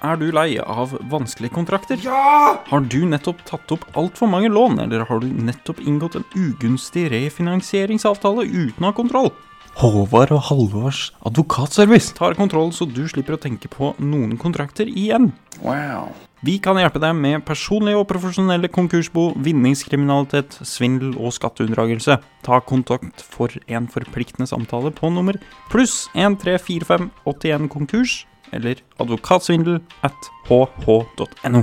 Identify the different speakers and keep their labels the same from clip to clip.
Speaker 1: Er du lei av vanskelige kontrakter?
Speaker 2: Ja!
Speaker 1: Har du nettopp tatt opp altfor mange lån, eller har du nettopp inngått en ugunstig refinansieringsavtale uten å ha kontroll? Håvard og Halvards advokatservice tar kontroll, så du slipper å tenke på noen kontrakter igjen.
Speaker 2: Wow.
Speaker 1: Vi kan hjelpe deg med personlige og profesjonelle konkursbo, vinningskriminalitet, svindel og skatteunndragelse. Ta kontakt for en forpliktende samtale på nummer pluss 134581 konkurs eller advokatsvindel at hh.no.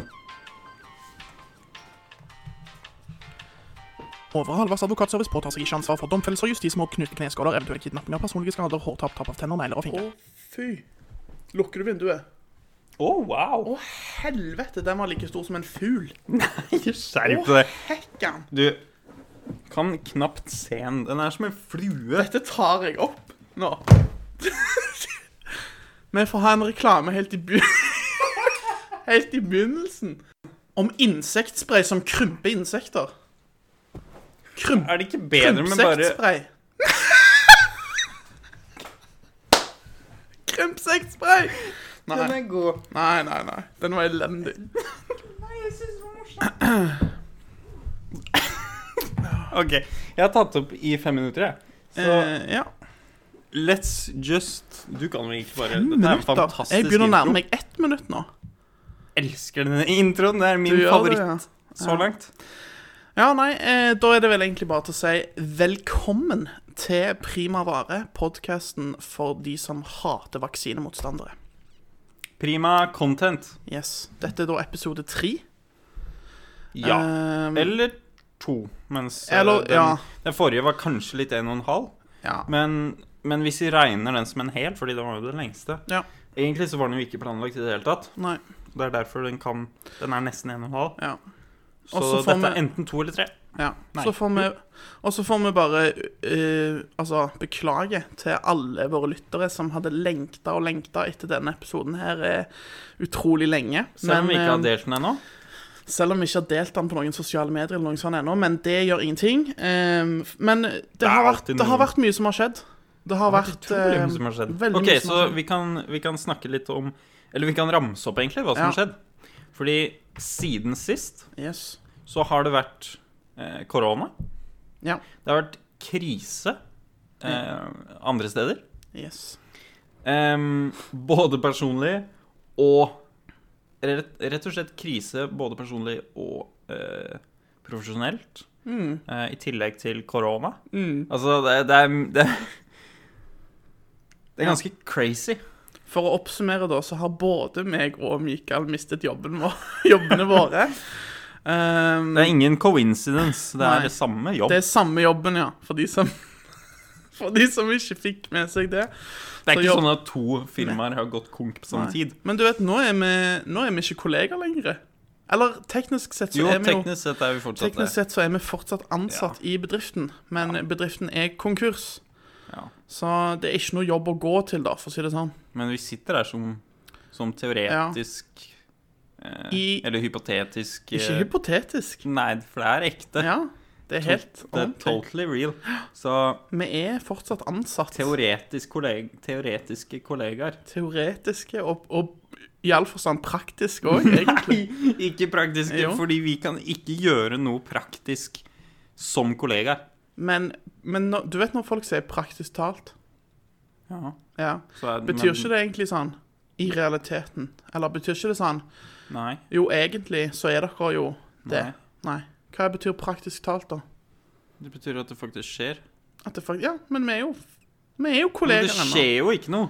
Speaker 3: Over Halvards advokatservice påtar seg ikke ansvar for domfellelser, justismord, knuste kneskader, eventuelle kidnappinger, personlige skader, hårtap, tap av tenner, negler og
Speaker 2: Å,
Speaker 3: fingre.
Speaker 2: fy. Lukker du vinduet?
Speaker 1: Å, wow!
Speaker 2: Å, helvete, den var like stor som en fugl.
Speaker 1: Skjerp
Speaker 2: Å, hekkan.
Speaker 1: Du kan knapt se den. Den er som en flue.
Speaker 2: Dette tar jeg opp nå. Vi får ha en reklame helt i, be helt i begynnelsen. Om insektspray som krymper insekter. Krymp
Speaker 1: Er det ikke bedre med bare
Speaker 2: krympsektspray. krympsektspray! Nei. Den er god. Nei, nei, nei. Den var elendig.
Speaker 1: OK, jeg har tatt opp i fem minutter, jeg. Så
Speaker 2: Eh, ja.
Speaker 1: Let's just Du kan vel ikke bare Dette er en
Speaker 2: Minutter.
Speaker 1: fantastisk
Speaker 2: Jeg begynner å
Speaker 1: intro.
Speaker 2: nærme meg ett minutt nå.
Speaker 1: elsker denne introen. Det er min
Speaker 2: Du gjør det,
Speaker 1: favoritt så
Speaker 2: Ja.
Speaker 1: langt.
Speaker 2: Ja, nei, eh, da er det vel egentlig bare til å si velkommen til Prima Vare, podkasten for de som hater vaksinemotstandere.
Speaker 1: Prima content.
Speaker 2: Yes, Dette er da episode tre.
Speaker 1: Ja.
Speaker 2: Ehm,
Speaker 1: eller to, mens eh,
Speaker 2: eller
Speaker 1: den,
Speaker 2: ja,
Speaker 1: den forrige var kanskje litt en og en halv.
Speaker 2: ja.
Speaker 1: Men, men hvis vi regner den som en hel, fordi den var jo den lengste
Speaker 2: Ja.
Speaker 1: Egentlig så var den jo ikke planlagt i det hele tatt.
Speaker 2: Nei.
Speaker 1: Det er derfor den kan Den er nesten en og en halv.
Speaker 2: Ja.
Speaker 1: Så
Speaker 2: Og så får
Speaker 1: dette
Speaker 2: vi-
Speaker 1: er enten to eller tre.
Speaker 2: ja.
Speaker 1: Nei. Mm.
Speaker 2: Så får vi Og så får vi bare eh, altså, beklage til alle våre lyttere som hadde lengta og lengta etter denne episoden her eh, utrolig lenge.
Speaker 1: Selv om vi ikke
Speaker 2: eh,
Speaker 1: har delt den ennå.
Speaker 2: Selv om vi ikke har delt den på noen sosiale medier, eller noe sånt ennå, men det gjør ingenting. Ehm, men det,
Speaker 1: er
Speaker 2: har vært,
Speaker 1: alltid
Speaker 2: det har
Speaker 1: noen.
Speaker 2: vært mye som har skjedd. Det har vært
Speaker 1: utrolig
Speaker 2: ehm,
Speaker 1: mye som har skjedd.
Speaker 2: veldig
Speaker 1: Ok,
Speaker 2: mye som
Speaker 1: så
Speaker 2: har skjedd.
Speaker 1: vi kan, vi kan snakke litt om Eller vi kan ramse opp egentlig hva som
Speaker 2: Ja.
Speaker 1: har skjedd. Fordi siden sist
Speaker 2: Yes.
Speaker 1: så har det vært eh, korona.
Speaker 2: Ja.
Speaker 1: Det har vært krise eh, andre steder.
Speaker 2: Yes.
Speaker 1: Em, både personlig og rett, rett og slett krise både personlig og eh, profesjonelt.
Speaker 2: Mm.
Speaker 1: eh, I tillegg til korona.
Speaker 2: Mm.
Speaker 1: Altså, det, det er det, det er ganske crazy.
Speaker 2: For å oppsummere, da, så har både meg og Mikael mistet jobben vår, jobbene våre. Ehm,
Speaker 1: Det er ingen coincidence. Det er
Speaker 2: Nei.
Speaker 1: det samme jobb.
Speaker 2: det
Speaker 1: Det,
Speaker 2: er samme jobben, ja, for de som For de som ikke fikk med seg det.
Speaker 1: er
Speaker 2: så
Speaker 1: ikke
Speaker 2: jobb-
Speaker 1: sånn at to firmaer har gått konk på samme
Speaker 2: Nei.
Speaker 1: tid.
Speaker 2: Men du vet, nå er vi, nå er vi ikke kollegaer lenger. Eller teknisk sett så
Speaker 1: Jo,
Speaker 2: er vi jo
Speaker 1: teknisk sett er vi fortsatt
Speaker 2: Teknisk
Speaker 1: det.
Speaker 2: sett så er vi fortsatt ansatt i bedriften, men bedriften er konkurs.
Speaker 1: Ja.
Speaker 2: Så det er ikke noe jobb å gå til, da, for å si det sånn.
Speaker 1: Men vi sitter der som, som teoretisk eh,
Speaker 2: I-
Speaker 1: Eller hypotetisk
Speaker 2: Ikke
Speaker 1: eh,
Speaker 2: hypotetisk.
Speaker 1: Nei, for det er ekte.
Speaker 2: Ja, det er helt
Speaker 1: det er
Speaker 2: ordentlig.
Speaker 1: totally real. Så
Speaker 2: Vi er fortsatt ansatt.
Speaker 1: teoretisk kolleg, teoretiske kollegaer
Speaker 2: Teoretiske og, og i all forstand praktiske òg, egentlig.
Speaker 1: Ikke praktiske,
Speaker 2: Jo.
Speaker 1: fordi vi kan ikke gjøre noe praktisk som kollegaer.
Speaker 2: Men, men nå- du vet når folk sier 'praktisk talt'?
Speaker 1: Ja,
Speaker 2: Ja.
Speaker 1: så er-
Speaker 2: Betyr ikke det egentlig sånn i realiteten? Eller betyr ikke det sånn
Speaker 1: Nei.
Speaker 2: Jo, egentlig så er dere jo
Speaker 1: nei.
Speaker 2: det. Nei. Hva betyr praktisk talt, da?
Speaker 1: Det betyr at det faktisk skjer.
Speaker 2: At det faktisk, ja, men vi er jo, vi er jo
Speaker 1: Men
Speaker 2: kolleger
Speaker 1: det
Speaker 2: ennå.
Speaker 1: skjer jo ikke noe.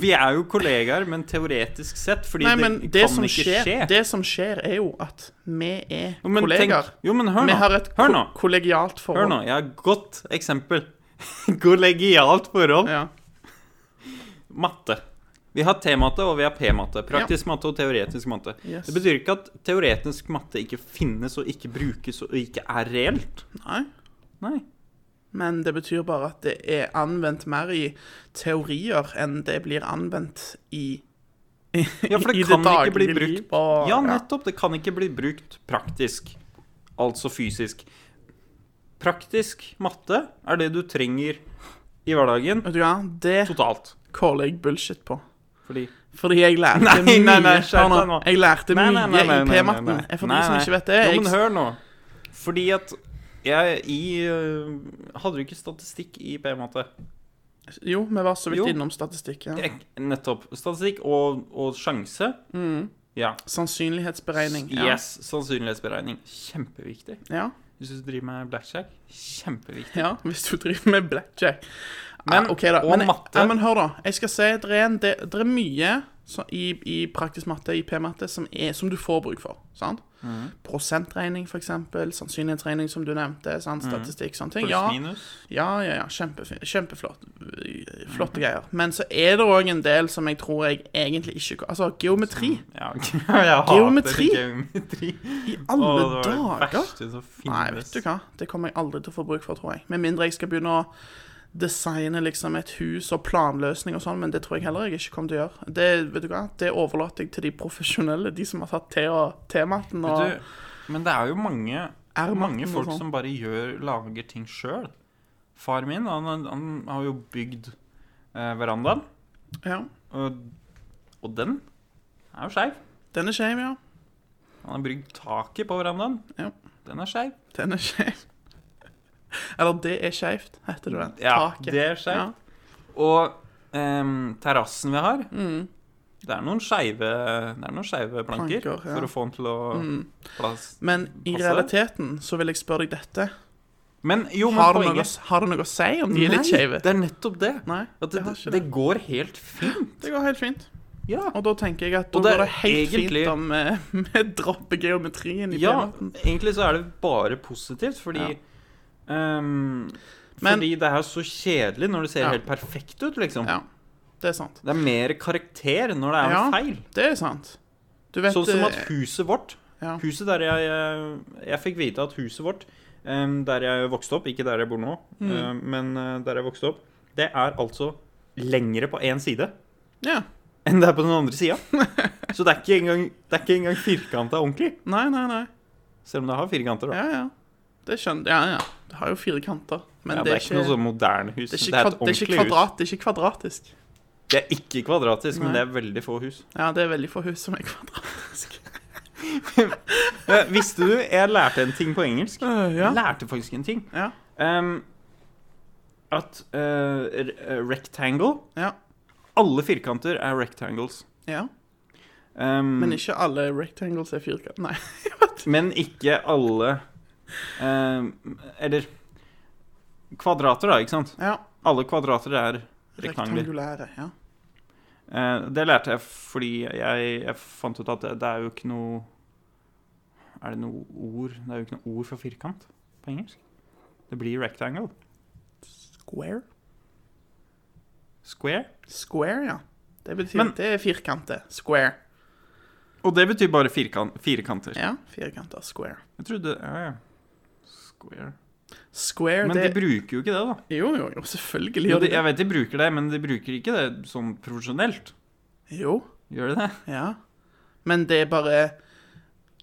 Speaker 1: Vi er jo kollegaer, men teoretisk sett, fordi
Speaker 2: Nei, men
Speaker 1: det,
Speaker 2: det
Speaker 1: kan
Speaker 2: som,
Speaker 1: ikke
Speaker 2: skjer,
Speaker 1: skje.
Speaker 2: det som skjer, er jo at vi er
Speaker 1: Jo, men tenk-
Speaker 2: kolleger.
Speaker 1: jo, men hør
Speaker 2: vi
Speaker 1: nå.
Speaker 2: har et
Speaker 1: hør
Speaker 2: ko-
Speaker 1: nå.
Speaker 2: kollegialt forhold.
Speaker 1: Hør nå. Jeg har et godt eksempel. Kollegialt forhold.
Speaker 2: Ja.
Speaker 1: Matte. Vi har T-matte og vi har P-matte. Praktisk matte og teoretisk matte.
Speaker 2: Yes.
Speaker 1: Det betyr ikke at teoretisk matte ikke finnes og ikke brukes og ikke er reelt.
Speaker 2: Nei.
Speaker 1: Nei.
Speaker 2: Men det betyr bare at det er anvendt mer i teorier enn det blir anvendt i
Speaker 1: Ja, for
Speaker 2: I
Speaker 1: det
Speaker 2: det
Speaker 1: kan ikke bli
Speaker 2: daglige liv
Speaker 1: brukt
Speaker 2: og-
Speaker 1: Ja,
Speaker 2: ja.
Speaker 1: nettopp. Det kan ikke bli brukt praktisk. Altså fysisk. Praktisk matte er det du trenger i hverdagen
Speaker 2: Vet du hva, det
Speaker 1: totalt.
Speaker 2: caller jeg bullshit på.
Speaker 1: Fordi
Speaker 2: Fordi jeg lærte
Speaker 1: Nei,
Speaker 2: mye.
Speaker 1: nei, nei,
Speaker 2: Hør nå.
Speaker 1: skjerp deg nå.
Speaker 2: Jeg lærte
Speaker 1: Nei,
Speaker 2: mye
Speaker 1: nei, nei, nei, nei,
Speaker 2: i P-matten.
Speaker 1: nei, nei.
Speaker 2: For
Speaker 1: Nei,
Speaker 2: de som
Speaker 1: nei.
Speaker 2: ikke vet det
Speaker 1: Jo, men
Speaker 2: jeg,
Speaker 1: hør nå. Fordi at jeg i øh, Hadde du ikke statistikk i P-matte?
Speaker 2: Jo, vi var så vidt
Speaker 1: Jo.
Speaker 2: innom statistikk. Ja.
Speaker 1: Jeg- Nettopp. Statistikk og, og sjanse.
Speaker 2: Mm.
Speaker 1: Ja.
Speaker 2: Sannsynlighetsberegning. Ja.
Speaker 1: Yes. Sannsynlighetsberegning. Kjempeviktig.
Speaker 2: Ja.
Speaker 1: Hvis du driver med blackjack, kjempeviktig.
Speaker 2: ja, hvis du driver med blackjack.
Speaker 1: Men-
Speaker 2: ah, ok da.
Speaker 1: og
Speaker 2: men,
Speaker 1: matte.
Speaker 2: Ja, men hør, da. Jeg skal si det er, en, det, det er mye så, i, i praktisk matte, i P-matte, som, er- som du får bruk for. sant? Prosentregning, f.eks. Sannsynlighetsregning, som du nevnte.
Speaker 1: Mhm.
Speaker 2: Sant? Statistikk, sånne ting.
Speaker 1: Pluss
Speaker 2: Ja,
Speaker 1: minus.
Speaker 2: Ja, ja, ja. Kjempefin, kjempeflott. eh,
Speaker 1: Mhm.
Speaker 2: Flotte greier. Men så er det òg en del som jeg tror jeg egentlig ikke Altså, geometri
Speaker 1: Mm. Ja, jeg hater
Speaker 2: Geometri.
Speaker 1: geometri.
Speaker 2: i
Speaker 1: Å,
Speaker 2: alle
Speaker 1: det var det
Speaker 2: dager!
Speaker 1: verste som finnes.
Speaker 2: Nei, vet du hva. Det kommer jeg aldri til å få bruk for, tror jeg. Med mindre jeg skal begynne å designe liksom et hus og planløsning og sånn, men det tror jeg heller jeg ikke kommer til å gjøre. Det vet du hva, det overlater jeg til de profesjonelle, de som har tatt te- og tematen og
Speaker 1: Vet du, men det er jo mange,
Speaker 2: Er
Speaker 1: mange
Speaker 2: matten
Speaker 1: folk
Speaker 2: og sånn.
Speaker 1: som bare gjør, lager ting sjøl. Far min han, han- han har jo bygd eh, verandaen,
Speaker 2: Ja.
Speaker 1: og, og den er jo skeiv.
Speaker 2: Den er skeiv, ja.
Speaker 1: Han har bygd taket på verandaen.
Speaker 2: Ja.
Speaker 1: Den er skeiv.
Speaker 2: Den er skeiv. Eller det er skeivt, heter det vel.
Speaker 1: Ja,
Speaker 2: Taket.
Speaker 1: det er skeiv. Og em, terrassen vi har
Speaker 2: Mm.
Speaker 1: Det er noen skeive Det er noen skeive planker,
Speaker 2: Planker, ja.
Speaker 1: for å få den til å
Speaker 2: Mm.
Speaker 1: plass.
Speaker 2: Men i
Speaker 1: Passer.
Speaker 2: realiteten så vil jeg spørre deg dette.
Speaker 1: Men jo, men
Speaker 2: Har det, noe,
Speaker 1: poenget
Speaker 2: har det noe å si om de er litt skeive?
Speaker 1: det er nettopp det.
Speaker 2: Nei,
Speaker 1: At det,
Speaker 2: det har ikke
Speaker 1: det går helt fint.
Speaker 2: det går helt fint.
Speaker 1: Ja.
Speaker 2: Og da tenker jeg at da
Speaker 1: Og det er
Speaker 2: går det helt
Speaker 1: egentlig-
Speaker 2: fint om eh, vi dropper geometrien i
Speaker 1: ja,
Speaker 2: P-matten.
Speaker 1: egentlig så er det bare positivt, fordi ehm,
Speaker 2: Men-
Speaker 1: Fordi det er så kjedelig når det ser
Speaker 2: Ja.
Speaker 1: helt perfekt ut, liksom.
Speaker 2: Ja. Det er sant.
Speaker 1: Det er mer karakter når det er
Speaker 2: Ja,
Speaker 1: en feil.
Speaker 2: Det er sant. Du vet
Speaker 1: Sånn som
Speaker 2: eh,
Speaker 1: at huset vårt
Speaker 2: ja.
Speaker 1: Huset der jeg eh, Jeg fikk vite at huset vårt, ehm, der jeg vokste opp Ikke der jeg bor nå,
Speaker 2: Mm.
Speaker 1: eh, men eh, der jeg vokste opp, det er altså lengre på én side
Speaker 2: ja.
Speaker 1: enn det er på den andre sida. Så det er ikke engang, det er ikke engang firkanta ordentlig.
Speaker 2: Nei, nei, nei.
Speaker 1: Selv om det har firkanter, da.
Speaker 2: Ja, ja. Det skjønner Ja, ja. Det har jo fire kanter. Men
Speaker 1: Ja,
Speaker 2: det, er ikke,
Speaker 1: noe sånn moderne hus.
Speaker 2: det, er ikke,
Speaker 1: det er
Speaker 2: kvad-
Speaker 1: et
Speaker 2: det er ikke
Speaker 1: ordentlig hus.
Speaker 2: kvadrat. Det er ikke kvadratisk.
Speaker 1: Det er ikke kvadratisk, men
Speaker 2: Nei.
Speaker 1: det er veldig få hus.
Speaker 2: Ja, det er veldig få hus som er kvadratisk.
Speaker 1: Eh, Visste du, jeg lærte en ting på engelsk.
Speaker 2: ja.
Speaker 1: Jeg lærte faktisk en ting.
Speaker 2: Ja.
Speaker 1: Em, at eh, re- eh, rectangle
Speaker 2: Ja.
Speaker 1: Alle firkanter er rectangles.
Speaker 2: ja.
Speaker 1: Em,
Speaker 2: Men ikke alle rectangles er firkant. Nei.
Speaker 1: men ikke alle em, Eller Kvadrater, da, ikke sant?
Speaker 2: Ja.
Speaker 1: Alle kvadrater er rektangler.
Speaker 2: Rektangulære. Ja.
Speaker 1: Eh, det lærte jeg fordi jeg, jeg fant ut at det, det er jo ikke noe Er det noe ord Det er jo ikke noe ord for firkant på engelsk. Det blir rectangle.
Speaker 2: Square?
Speaker 1: Square.
Speaker 2: Square, ja. Det betyr
Speaker 1: Men-
Speaker 2: det er firkanter. Square.
Speaker 1: Og det betyr bare firkan- firkanter.
Speaker 2: Ja, firkanter. Square.
Speaker 1: Jeg trodde ja, ja. Square
Speaker 2: Square,
Speaker 1: Men de
Speaker 2: det
Speaker 1: bruker jo ikke det, da.
Speaker 2: Jo, jo, jo, selvfølgelig
Speaker 1: Jo,
Speaker 2: gjør
Speaker 1: de,
Speaker 2: det
Speaker 1: jeg
Speaker 2: det.
Speaker 1: vet de bruker det, men de bruker ikke det sånn profesjonelt.
Speaker 2: Jo,
Speaker 1: Gjør de det?
Speaker 2: ja. Men det er bare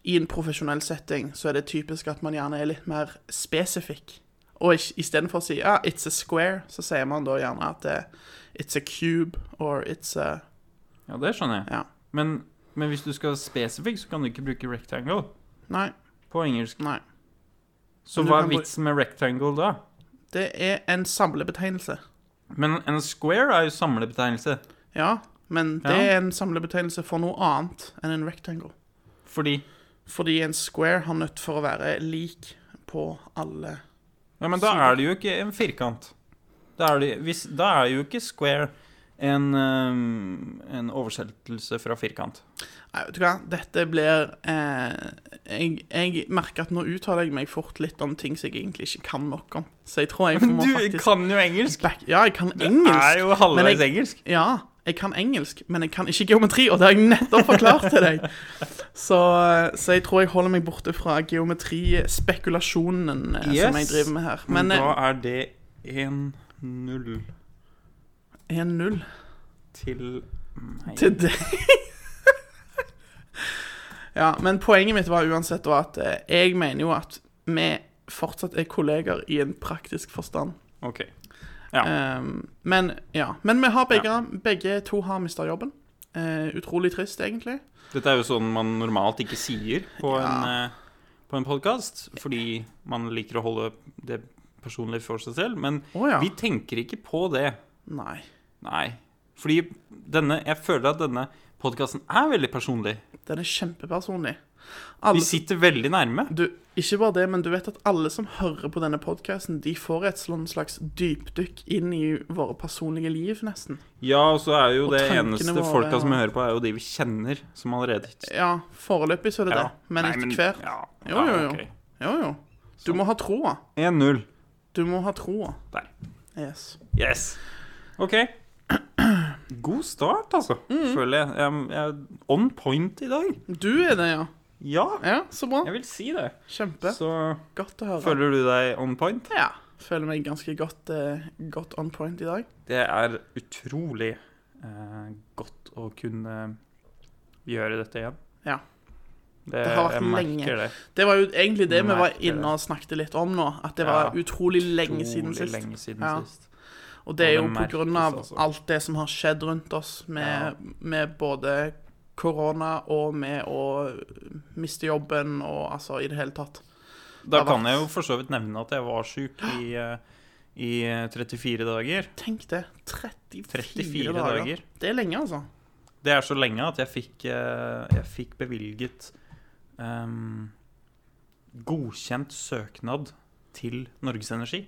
Speaker 2: I en profesjonell setting så er det typisk at man gjerne er litt mer spesifikk. Og ikk- istedenfor å si ja, 'it's a square', så sier man da gjerne at det, 'it's a cube' or 'it's a
Speaker 1: Ja, det skjønner jeg.
Speaker 2: Ja.
Speaker 1: Men, men hvis du skal spesifikk, så kan du ikke bruke rectangle
Speaker 2: Nei.
Speaker 1: på engelsk.
Speaker 2: nei.
Speaker 1: Så
Speaker 2: Men du
Speaker 1: hva
Speaker 2: kan
Speaker 1: er
Speaker 2: bare-
Speaker 1: vitsen med rectangle da?
Speaker 2: Det er en samlebetegnelse.
Speaker 1: Men en square er jo samlebetegnelse.
Speaker 2: Ja, men det
Speaker 1: Ja.
Speaker 2: er en samlebetegnelse for noe annet enn en rectangle.
Speaker 1: Fordi
Speaker 2: Fordi en square har nødt for å være lik på alle
Speaker 1: Ja, men da er det jo ikke en firkant. Da er, det, hvis, da er jo ikke square en, ehm, en oversettelse fra firkant.
Speaker 2: Nei, vet du hva, dette blir eh, jeg, jeg merker at nå uttaler jeg meg fort litt om ting som jeg egentlig ikke kan nok om. Så jeg tror jeg må faktisk
Speaker 1: kan jo engelsk!
Speaker 2: back... Ja, jeg kan
Speaker 1: Det er
Speaker 2: engelsk.
Speaker 1: jo halvveis
Speaker 2: Men jeg-
Speaker 1: engelsk.
Speaker 2: Ja, jeg kan engelsk, men jeg kan ikke geometri, og det har jeg nettopp forklart til deg. Så, så jeg tror jeg holder meg borte fra geometrispekulasjonen eh, som jeg
Speaker 1: Yes.
Speaker 2: driver med her.
Speaker 1: Men
Speaker 2: Men
Speaker 1: da
Speaker 2: eh,
Speaker 1: er det 1-0
Speaker 2: 1-0
Speaker 1: til meg.
Speaker 2: til deg. ja, men poenget mitt var uansett da at eh, jeg mener jo at vi fortsatt er kolleger i en praktisk forstand.
Speaker 1: OK. Ja.
Speaker 2: Ehm, men ja, men vi har begge, begge to har mista jobben. Eh, utrolig trist, egentlig.
Speaker 1: Dette er jo sånn man normalt ikke sier på
Speaker 2: Ja.
Speaker 1: en, eh, på en podkast, fordi man liker å holde det personlig for seg selv. Men
Speaker 2: Å ja.
Speaker 1: vi tenker ikke på det.
Speaker 2: Nei.
Speaker 1: Nei. Fordi denne Jeg føler at denne podkasten er veldig personlig.
Speaker 2: Den er kjempepersonlig.
Speaker 1: Vi
Speaker 2: Alle,
Speaker 1: sitter veldig nærme.
Speaker 2: du, ikke bare det, men du vet at alle som hører på denne podkasten, de får et sånn slags dypdykk inn i våre personlige liv, nesten.
Speaker 1: Ja, og så er jo
Speaker 2: Og
Speaker 1: det
Speaker 2: tankene
Speaker 1: eneste
Speaker 2: våre,
Speaker 1: folka som
Speaker 2: ja.
Speaker 1: hører på, er jo de vi kjenner, som allerede
Speaker 2: Ja, foreløpig så er det
Speaker 1: Ja.
Speaker 2: det. Men
Speaker 1: Nei,
Speaker 2: etter hvert
Speaker 1: Ja.
Speaker 2: Jo,
Speaker 1: ja,
Speaker 2: jo, jo.
Speaker 1: ok.
Speaker 2: Jo, jo. Du må ha troa.
Speaker 1: 1-0.
Speaker 2: Du må ha troa.
Speaker 1: Der.
Speaker 2: Yes.
Speaker 1: Yes. OK. God start, altså,
Speaker 2: Mm.
Speaker 1: føler jeg. jeg. Jeg er on point i dag.
Speaker 2: Du er det, ja.
Speaker 1: Ja,
Speaker 2: Ja, så bra.
Speaker 1: jeg vil si det.
Speaker 2: Kjempe.
Speaker 1: Så
Speaker 2: Godt å høre.
Speaker 1: føler du deg on point?
Speaker 2: Ja. Føler meg ganske godt, eh, godt on point i dag.
Speaker 1: Det er utrolig eh, godt å kunne gjøre dette igjen.
Speaker 2: Ja.
Speaker 1: Det,
Speaker 2: Det har vært
Speaker 1: jeg merker
Speaker 2: lenge.
Speaker 1: Det.
Speaker 2: Det var jo egentlig det vi var
Speaker 1: Merker det.
Speaker 2: inne og snakket litt om nå. At det var
Speaker 1: Ja.
Speaker 2: utrolig lenge siden
Speaker 1: Utrolig
Speaker 2: sist.
Speaker 1: Lenge siden
Speaker 2: Ja.
Speaker 1: sist.
Speaker 2: Og det er
Speaker 1: Og
Speaker 2: jo
Speaker 1: det
Speaker 2: på grunn
Speaker 1: merkes,
Speaker 2: av
Speaker 1: altså.
Speaker 2: alt det som har skjedd rundt oss, med, med både korona og med å miste jobben og altså i det hele tatt.
Speaker 1: Da
Speaker 2: Det har
Speaker 1: kan
Speaker 2: vært-
Speaker 1: jeg jo for så vidt nevne at jeg var syk i, eh, i 34 dager.
Speaker 2: Tenk det. 34,
Speaker 1: 34
Speaker 2: dager.
Speaker 1: dager.
Speaker 2: Det er lenge, altså.
Speaker 1: Det er så lenge at jeg fikk, eh, jeg fikk bevilget ehm, godkjent søknad til Norges Energi.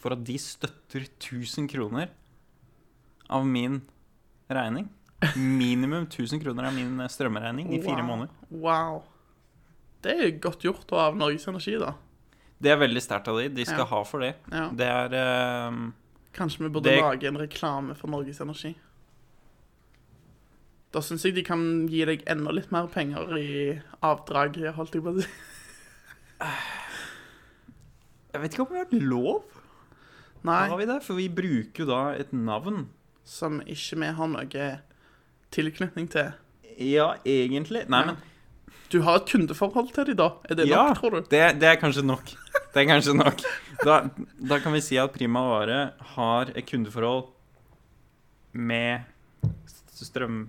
Speaker 1: For at de støtter 1000 kroner av min regning. Minimum 1000 kroner av min eh, strømregning i fire
Speaker 2: Wow.
Speaker 1: måneder.
Speaker 2: Wow. Det er jo godt gjort av Norges Energi, da.
Speaker 1: Det er veldig sterkt av de. De skal
Speaker 2: Ja.
Speaker 1: ha for det.
Speaker 2: Ja.
Speaker 1: Det er ehm,
Speaker 2: Kanskje vi burde
Speaker 1: Det-
Speaker 2: lage en reklame for Norges Energi. Da syns jeg de kan gi deg enda litt mer penger i avdrag, holdt jeg på å si.
Speaker 1: Jeg vet ikke om det har vært lov? Har
Speaker 2: Nei,
Speaker 1: vi det? For vi bruker jo da et navn.
Speaker 2: som ikke vi har noe tilknytning til.
Speaker 1: Ja, egentlig. Nei,
Speaker 2: Ja.
Speaker 1: men
Speaker 2: Du har et kundeforhold til dem, da? Er det
Speaker 1: Ja.
Speaker 2: nok, tror du?
Speaker 1: Det, det er kanskje nok. Det er kanskje nok. Da, da kan vi si at Prima Vare har et kundeforhold med s- strøm...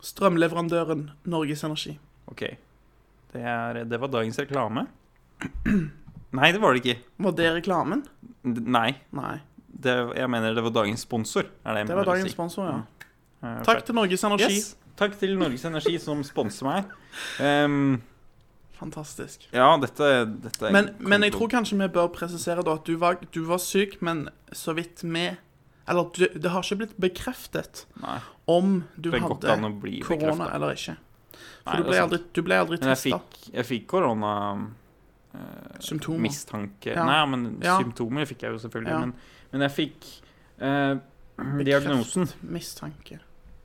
Speaker 2: Strømleverandøren Norges Energi.
Speaker 1: OK. Det, er, det var dagens reklame. Nei, det var det ikke.
Speaker 2: Var det reklamen?
Speaker 1: D- Nei.
Speaker 2: Nei.
Speaker 1: Det, jeg mener det var dagens sponsor. Er det jeg
Speaker 2: Det
Speaker 1: mener
Speaker 2: var
Speaker 1: å
Speaker 2: dagens
Speaker 1: si.
Speaker 2: sponsor, ja.
Speaker 1: Mm. Eh,
Speaker 2: Takk til Norges
Speaker 1: for-
Speaker 2: Energi.
Speaker 1: Yes. Takk til Norges Energi som sponser meg. Ehm,
Speaker 2: Fantastisk.
Speaker 1: ja, dette, dette
Speaker 2: Men, men jeg tror kanskje vi bør presisere da at du var, du var syk, men så vidt vi Eller du, det har ikke blitt bekreftet
Speaker 1: Nei,
Speaker 2: om du
Speaker 1: det går ikke an
Speaker 2: hadde
Speaker 1: å bli
Speaker 2: korona
Speaker 1: bekreftet.
Speaker 2: eller ikke. For
Speaker 1: Nei,
Speaker 2: du
Speaker 1: det
Speaker 2: ble
Speaker 1: er sant.
Speaker 2: aldri, du ble aldri
Speaker 1: Men jeg
Speaker 2: testa.
Speaker 1: fikk, jeg fikk korona eh,
Speaker 2: Symptomer.
Speaker 1: Mistanke
Speaker 2: Ja.
Speaker 1: Nei, men
Speaker 2: Ja.
Speaker 1: symptomer fikk jeg jo selvfølgelig.
Speaker 2: Ja.
Speaker 1: Men, men jeg fikk eh, diagnosen
Speaker 2: Mistanke.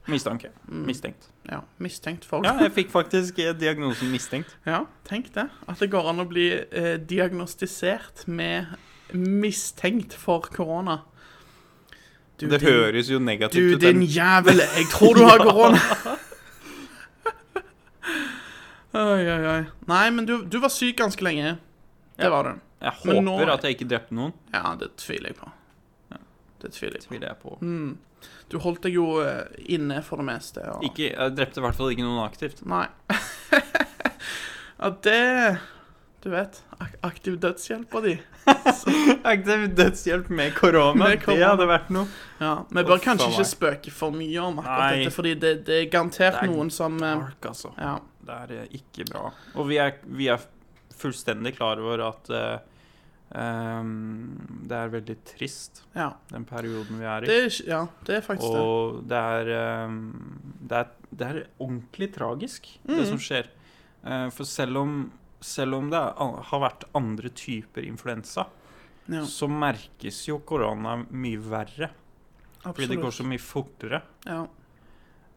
Speaker 1: mistanke.
Speaker 2: Mm.
Speaker 1: Mistenkt.
Speaker 2: Ja, mistenkt for
Speaker 1: Ja, jeg fikk faktisk eh, diagnosen mistenkt.
Speaker 2: Ja, tenk det. At det går an å bli eh, diagnostisert med mistenkt for korona. Du,
Speaker 1: det
Speaker 2: din-
Speaker 1: høres jo negativt
Speaker 2: Du,
Speaker 1: ut.
Speaker 2: din
Speaker 1: men-
Speaker 2: jævel, jeg tror du har
Speaker 1: Ja.
Speaker 2: korona. oi, oi, oi. Nei, men du, du var syk ganske lenge. Det
Speaker 1: Ja.
Speaker 2: var du.
Speaker 1: Jeg håper
Speaker 2: men nå-
Speaker 1: at jeg ikke drepte noen.
Speaker 2: Ja, det tviler jeg på.
Speaker 1: Ja.
Speaker 2: Det tviler jeg på.
Speaker 1: Tviler jeg på.
Speaker 2: Mm. Du holdt deg jo eh, inne for det meste. Og...
Speaker 1: Ikke, jeg drepte i hvert fall ikke noen aktivt.
Speaker 2: Nei. ja, det Du vet. ak- Aktiv dødshjelpa di.
Speaker 1: Aktiv dødshjelp med korona,
Speaker 2: Med korona.
Speaker 1: vært noe.
Speaker 2: Ja, Vi bør
Speaker 1: Uff,
Speaker 2: kanskje
Speaker 1: faen
Speaker 2: ikke spøke for mye om akkurat
Speaker 1: Nei.
Speaker 2: dette, fordi det, det er garantert
Speaker 1: Det er
Speaker 2: noen som eh,
Speaker 1: Dark, altså.
Speaker 2: Ja.
Speaker 1: Det er eh, ikke bra. Og vi er, vi er fullstendig klar over at eh, ehm, det er veldig trist,
Speaker 2: ja.
Speaker 1: den perioden vi er i.
Speaker 2: Det er, ikke- ja, det er faktisk det.
Speaker 1: Og det er, ehm, det er Det er ordentlig tragisk, det
Speaker 2: Mhm.
Speaker 1: som skjer. Eh, for selv om, selv om det er, an- har vært andre typer influensa,
Speaker 2: Ja,
Speaker 1: så merkes jo korona mye verre. Fordi det
Speaker 2: absolutt.
Speaker 1: går så mye fortere.
Speaker 2: ja.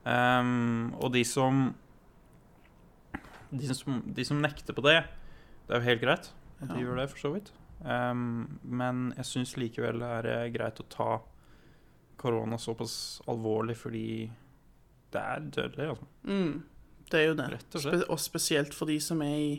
Speaker 1: Ehm, og de som, de som De som nekter på det, det er jo helt greit at de
Speaker 2: Ja.
Speaker 1: gjør det, for så vidt. Ehm, men jeg syns likevel det er eh, greit å ta korona såpass alvorlig, fordi det er dødelig, altså.
Speaker 2: Mm, det er jo det.
Speaker 1: Rett og slett.
Speaker 2: Spe og spesielt for de som er i,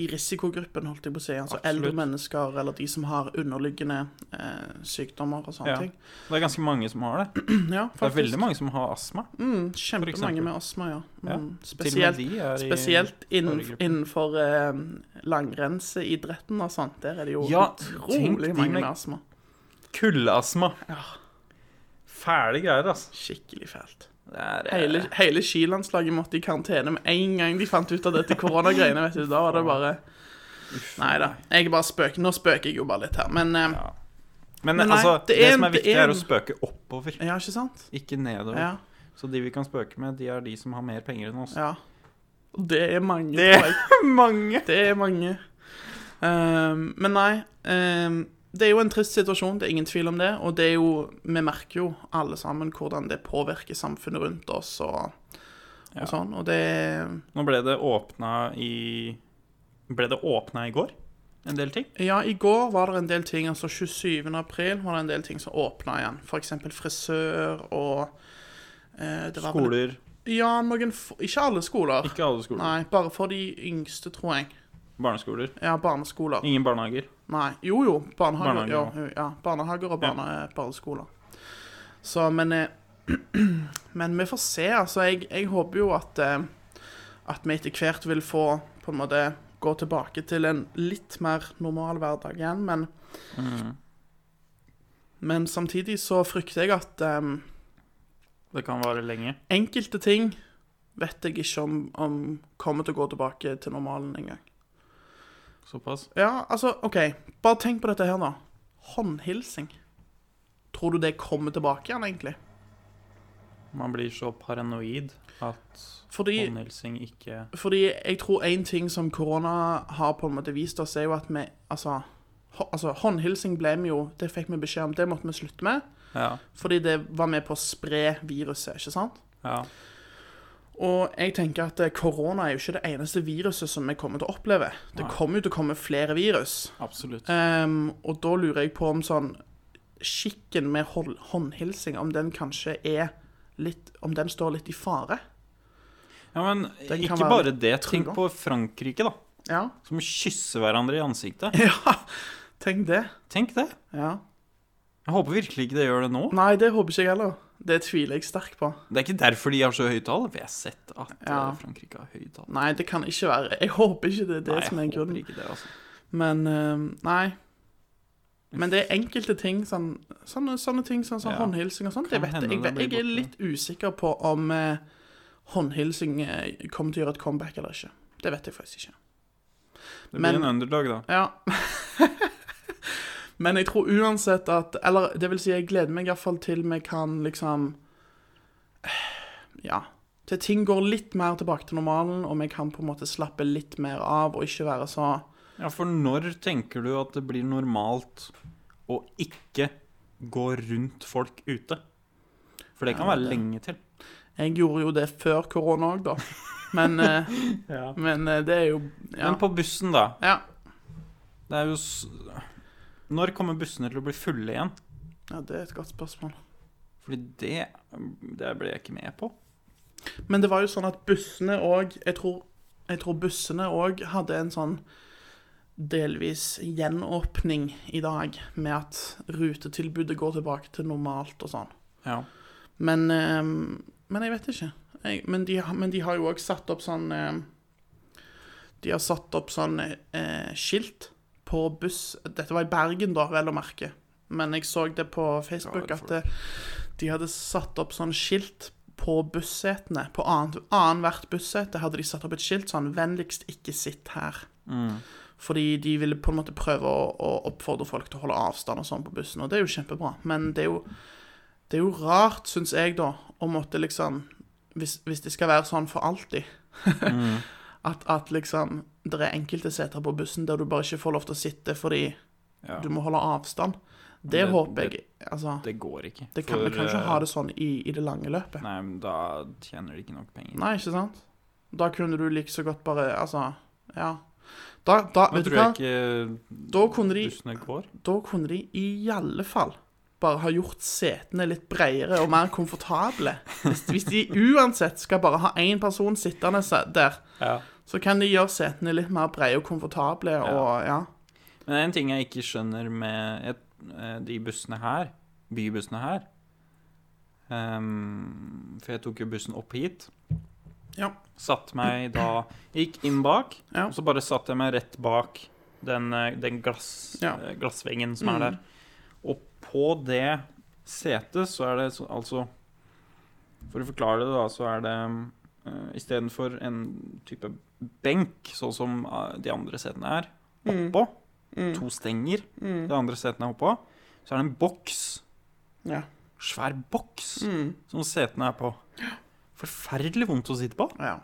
Speaker 2: i risikogruppen, holdt jeg på å si. Altså
Speaker 1: Absolutt.
Speaker 2: eldre mennesker eller de som har underliggende eh, sykdommer og sånne
Speaker 1: Ja.
Speaker 2: ting.
Speaker 1: Det er ganske mange som har det.
Speaker 2: Ja,
Speaker 1: Det er veldig mange som har astma.
Speaker 2: Mm,
Speaker 1: For eksempel.
Speaker 2: kjempemange med astma, ja.
Speaker 1: Ja,
Speaker 2: Mm,
Speaker 1: Til og
Speaker 2: spesielt
Speaker 1: med de er i
Speaker 2: spesielt innenfor,
Speaker 1: foregruppen.
Speaker 2: innenfor eh, langrennsidretten og sånt. Der er det jo
Speaker 1: Ja, tenk de
Speaker 2: utrolig mange
Speaker 1: med-
Speaker 2: med astma.
Speaker 1: kuldeastma.
Speaker 2: Ja.
Speaker 1: Fæle greier, altså.
Speaker 2: Skikkelig fælt.
Speaker 1: Det er, eh,
Speaker 2: Hele, hele skilandslaget måtte i karantene med en gang de fant ut av dette koronagreiene. vet du, Da var det bare
Speaker 1: uff,
Speaker 2: Nei da. Jeg bare spøker. Nå spøker jeg jo bare litt her, men eh,
Speaker 1: Ja. Men
Speaker 2: Men nei,
Speaker 1: altså, det,
Speaker 2: det er
Speaker 1: som
Speaker 2: en-
Speaker 1: er
Speaker 2: det
Speaker 1: viktig,
Speaker 2: er
Speaker 1: er å
Speaker 2: en-
Speaker 1: spøke oppover,
Speaker 2: Ja, ikke sant?
Speaker 1: ikke nedover.
Speaker 2: Ja.
Speaker 1: Så de vi kan spøke med, de er de som har mer penger enn oss.
Speaker 2: ja. Og Det er mange,
Speaker 1: Det-
Speaker 2: tror jeg.
Speaker 1: Mange!
Speaker 2: Det er mange. Ehm, men nei. ehm, det er jo en trist situasjon, det er ingen tvil om det. Og det er jo, vi merker jo alle sammen hvordan det påvirker samfunnet rundt oss og,
Speaker 1: Ja.
Speaker 2: og sånn. Og det
Speaker 1: Nå ble det åpna i Ble det åpna i går? En del ting?
Speaker 2: Ja, i går var det en del ting. Altså 27. april var det en del ting som åpna igjen. F.eks. frisør og eh, det var vel-
Speaker 1: Skoler.
Speaker 2: Ja, noen f Ikke alle skoler.
Speaker 1: Ikke alle skoler.
Speaker 2: Nei, bare for de yngste, tror jeg.
Speaker 1: Barneskoler.
Speaker 2: Ja, barneskoler.
Speaker 1: Ingen barnehager.
Speaker 2: Nei. Jo, jo. Barnehager,
Speaker 1: Barnehager,
Speaker 2: ja, ja. barnehager og barne, barneskoler. Så, men eh, Men vi får se. Altså, jeg, jeg håper jo at eh, At vi etter hvert vil få på en måte gå tilbake til en litt mer normal hverdag igjen, men Mm.
Speaker 1: Mhm.
Speaker 2: Men samtidig så frykter jeg at eh,
Speaker 1: Det kan vare lenge.
Speaker 2: enkelte ting vet jeg ikke om, om kommer til å gå tilbake til normalen engang.
Speaker 1: Såpass.
Speaker 2: Ja, altså, OK. Bare tenk på dette her, da. Håndhilsing. Tror du det kommer tilbake igjen, egentlig?
Speaker 1: Man blir så paranoid at
Speaker 2: Fordi,
Speaker 1: håndhilsing ikke
Speaker 2: fordi jeg tror én ting som korona har på en måte vist oss, er jo at vi Altså, hå, altså håndhilsing ble vi jo Det fikk vi beskjed om, det måtte vi slutte med.
Speaker 1: Ja.
Speaker 2: Fordi det var med på å spre viruset, ikke sant?
Speaker 1: ja.
Speaker 2: Og jeg tenker at eh, korona er jo ikke det eneste viruset som vi kommer til å oppleve. Det
Speaker 1: Nei.
Speaker 2: kommer jo til å komme flere virus.
Speaker 1: Absolutt.
Speaker 2: Ehm, og da lurer jeg på om sånn skikken med hold- håndhilsing, om den kanskje er litt Om den står litt i fare.
Speaker 1: Ja, men
Speaker 2: Den kan
Speaker 1: ikke
Speaker 2: være
Speaker 1: bare det. Tenk
Speaker 2: trua.
Speaker 1: på Frankrike, da.
Speaker 2: Ja.
Speaker 1: Som kysser hverandre i ansiktet.
Speaker 2: ja. Tenk det.
Speaker 1: Tenk det.
Speaker 2: Ja.
Speaker 1: Jeg håper virkelig ikke det gjør det nå.
Speaker 2: Nei, det håper ikke jeg heller. Det tviler jeg sterkt på.
Speaker 1: Det er ikke derfor de har så høye tall. Vi har sett at
Speaker 2: Ja.
Speaker 1: eh, Frankrike har høye tall.
Speaker 2: Nei, det kan ikke være Jeg håper ikke det er det som er
Speaker 1: jeg håper
Speaker 2: grunnen.
Speaker 1: ikke det, altså.
Speaker 2: Men ehm, nei. Men det er enkelte ting, sånn, sånne, sånne ting som sånn,
Speaker 1: Ja.
Speaker 2: håndhilsing og sånt,
Speaker 1: Kan
Speaker 2: jeg vet
Speaker 1: hende
Speaker 2: jeg,
Speaker 1: det
Speaker 2: vet- jeg
Speaker 1: blir
Speaker 2: er litt usikker på om eh, håndhilsing eh, kommer til å gjøre et comeback eller ikke. Det vet jeg faktisk ikke.
Speaker 1: Det blir
Speaker 2: Men-
Speaker 1: en underdog, da.
Speaker 2: Ja. Men jeg tror uansett at Eller det vil si, jeg gleder meg iallfall til vi kan liksom Ja. Til ting går litt mer tilbake til normalen, og vi kan på en måte slappe litt mer av og ikke være så
Speaker 1: Ja, for når tenker du at det blir normalt å ikke gå rundt folk ute? For det kan
Speaker 2: Ja,
Speaker 1: være
Speaker 2: det-
Speaker 1: lenge til.
Speaker 2: Jeg gjorde jo det før korona òg, da. Men, eh, men eh, det er jo ja.
Speaker 1: Men på bussen, da.
Speaker 2: ja.
Speaker 1: Det er jo s Når kommer bussene til å bli fulle igjen?
Speaker 2: ja, det er et godt spørsmål.
Speaker 1: Fordi det, det ble jeg ikke med på.
Speaker 2: Men det var jo sånn at bussene òg jeg, tror- jeg tror bussene òg hadde en sånn delvis gjenåpning i dag, med at rutetilbudet går tilbake til normalt og sånn.
Speaker 1: Ja.
Speaker 2: Men, eh, men jeg vet ikke. Jeg, men, de, har- men de har jo òg satt opp sånn eh, De har satt opp sånn eh, skilt på buss Dette var i Bergen, da, vel å merke. Men jeg så det på Facebook
Speaker 1: Ja,
Speaker 2: at eh, de hadde satt opp sånn skilt på bussetene. På annet- annethvert bussete hadde de satt opp et skilt sånn 'Vennligst ikke sitt her'.
Speaker 1: Mm.
Speaker 2: Fordi de ville på en måte prøve å, å oppfordre folk til å holde avstand og sånn på bussen, og det er jo kjempebra. Men det er jo, det er jo rart, syns jeg, da, å måtte liksom Hvis, hvis det skal være sånn for alltid,
Speaker 1: Mm.
Speaker 2: at, at liksom det er enkelte seter på bussen der du bare ikke får lov til å sitte fordi
Speaker 1: Ja.
Speaker 2: du må holde avstand. Det,
Speaker 1: det- eh,
Speaker 2: håper jeg Altså,
Speaker 1: Det går ikke.
Speaker 2: det kan, vi kan ikke ha det sånn i, i det lange løpet.
Speaker 1: Nei, men da tjener de ikke nok penger.
Speaker 2: Nei, ikke sant? Da kunne du like så godt bare Altså, ja. Da, da,
Speaker 1: Men
Speaker 2: vet du
Speaker 1: tror
Speaker 2: hva?
Speaker 1: jeg ikke
Speaker 2: Da kunne de
Speaker 1: bussene går.
Speaker 2: da kunne de i alle fall bare ha gjort setene litt bredere og mer komfortable. Hvis, hvis de uansett skal bare ha én person sittende se- der, Så kan de gjøre setene litt mer brede og komfortable, og ja.
Speaker 1: Men det er en ting jeg ikke skjønner med et, eh, de bussene her, bybussene her. Ehm, for jeg tok jo bussen opp hit.
Speaker 2: Ja.
Speaker 1: Satt meg da Gikk inn bak,
Speaker 2: Ja.
Speaker 1: og så bare satte jeg meg rett bak den, eh, den glass,
Speaker 2: Ja.
Speaker 1: eh, glassveggen som er
Speaker 2: Mm.
Speaker 1: der. Og på det setet så er det så, altså For å forklare det, da, så er det uh, istedenfor en type benk, sånn som eh, de andre setene er,
Speaker 2: Mm,
Speaker 1: oppå
Speaker 2: mm,
Speaker 1: to stenger.
Speaker 2: mm,
Speaker 1: Det andre setene er oppå. Så er det en boks.
Speaker 2: ja.
Speaker 1: Svær boks
Speaker 2: Mm,
Speaker 1: som setene er på. Forferdelig vondt å sitte på.
Speaker 2: ja.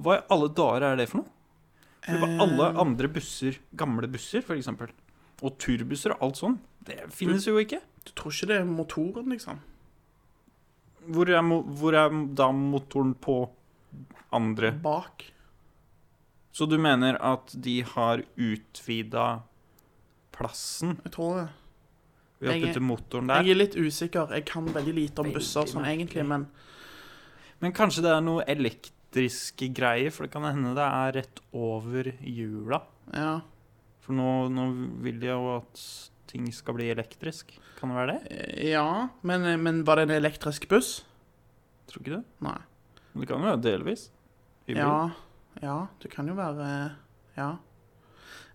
Speaker 1: Hva i alle dager er det for noe? For på alle
Speaker 2: Eh,
Speaker 1: andre busser, gamle busser f.eks., og turbusser og alt sånn, det finnes jo ikke.
Speaker 2: Du tror ikke det er motoren, liksom?
Speaker 1: Hvor er, mo- hvor er da motoren på andre?
Speaker 2: Bak.
Speaker 1: Så du mener at de har utvida plassen
Speaker 2: Jeg tror det.
Speaker 1: ved å
Speaker 2: Jeg er-
Speaker 1: putte motoren der?
Speaker 2: Jeg er litt usikker. Jeg kan veldig lite om busser
Speaker 1: Veldig
Speaker 2: sånn egentlig,
Speaker 1: merkelig.
Speaker 2: men
Speaker 1: Men kanskje det er noe elektriske greier, for det kan hende det er rett over jula.
Speaker 2: ja.
Speaker 1: For nå, nå vil jeg jo at ting skal bli elektrisk. Kan det være det?
Speaker 2: Eh, Ja, men, men var det en elektrisk buss?
Speaker 1: Tror ikke det.
Speaker 2: Nei.
Speaker 1: Men det kan jo være delvis. Hybrid.
Speaker 2: Ja. ja, det kan jo være Ja.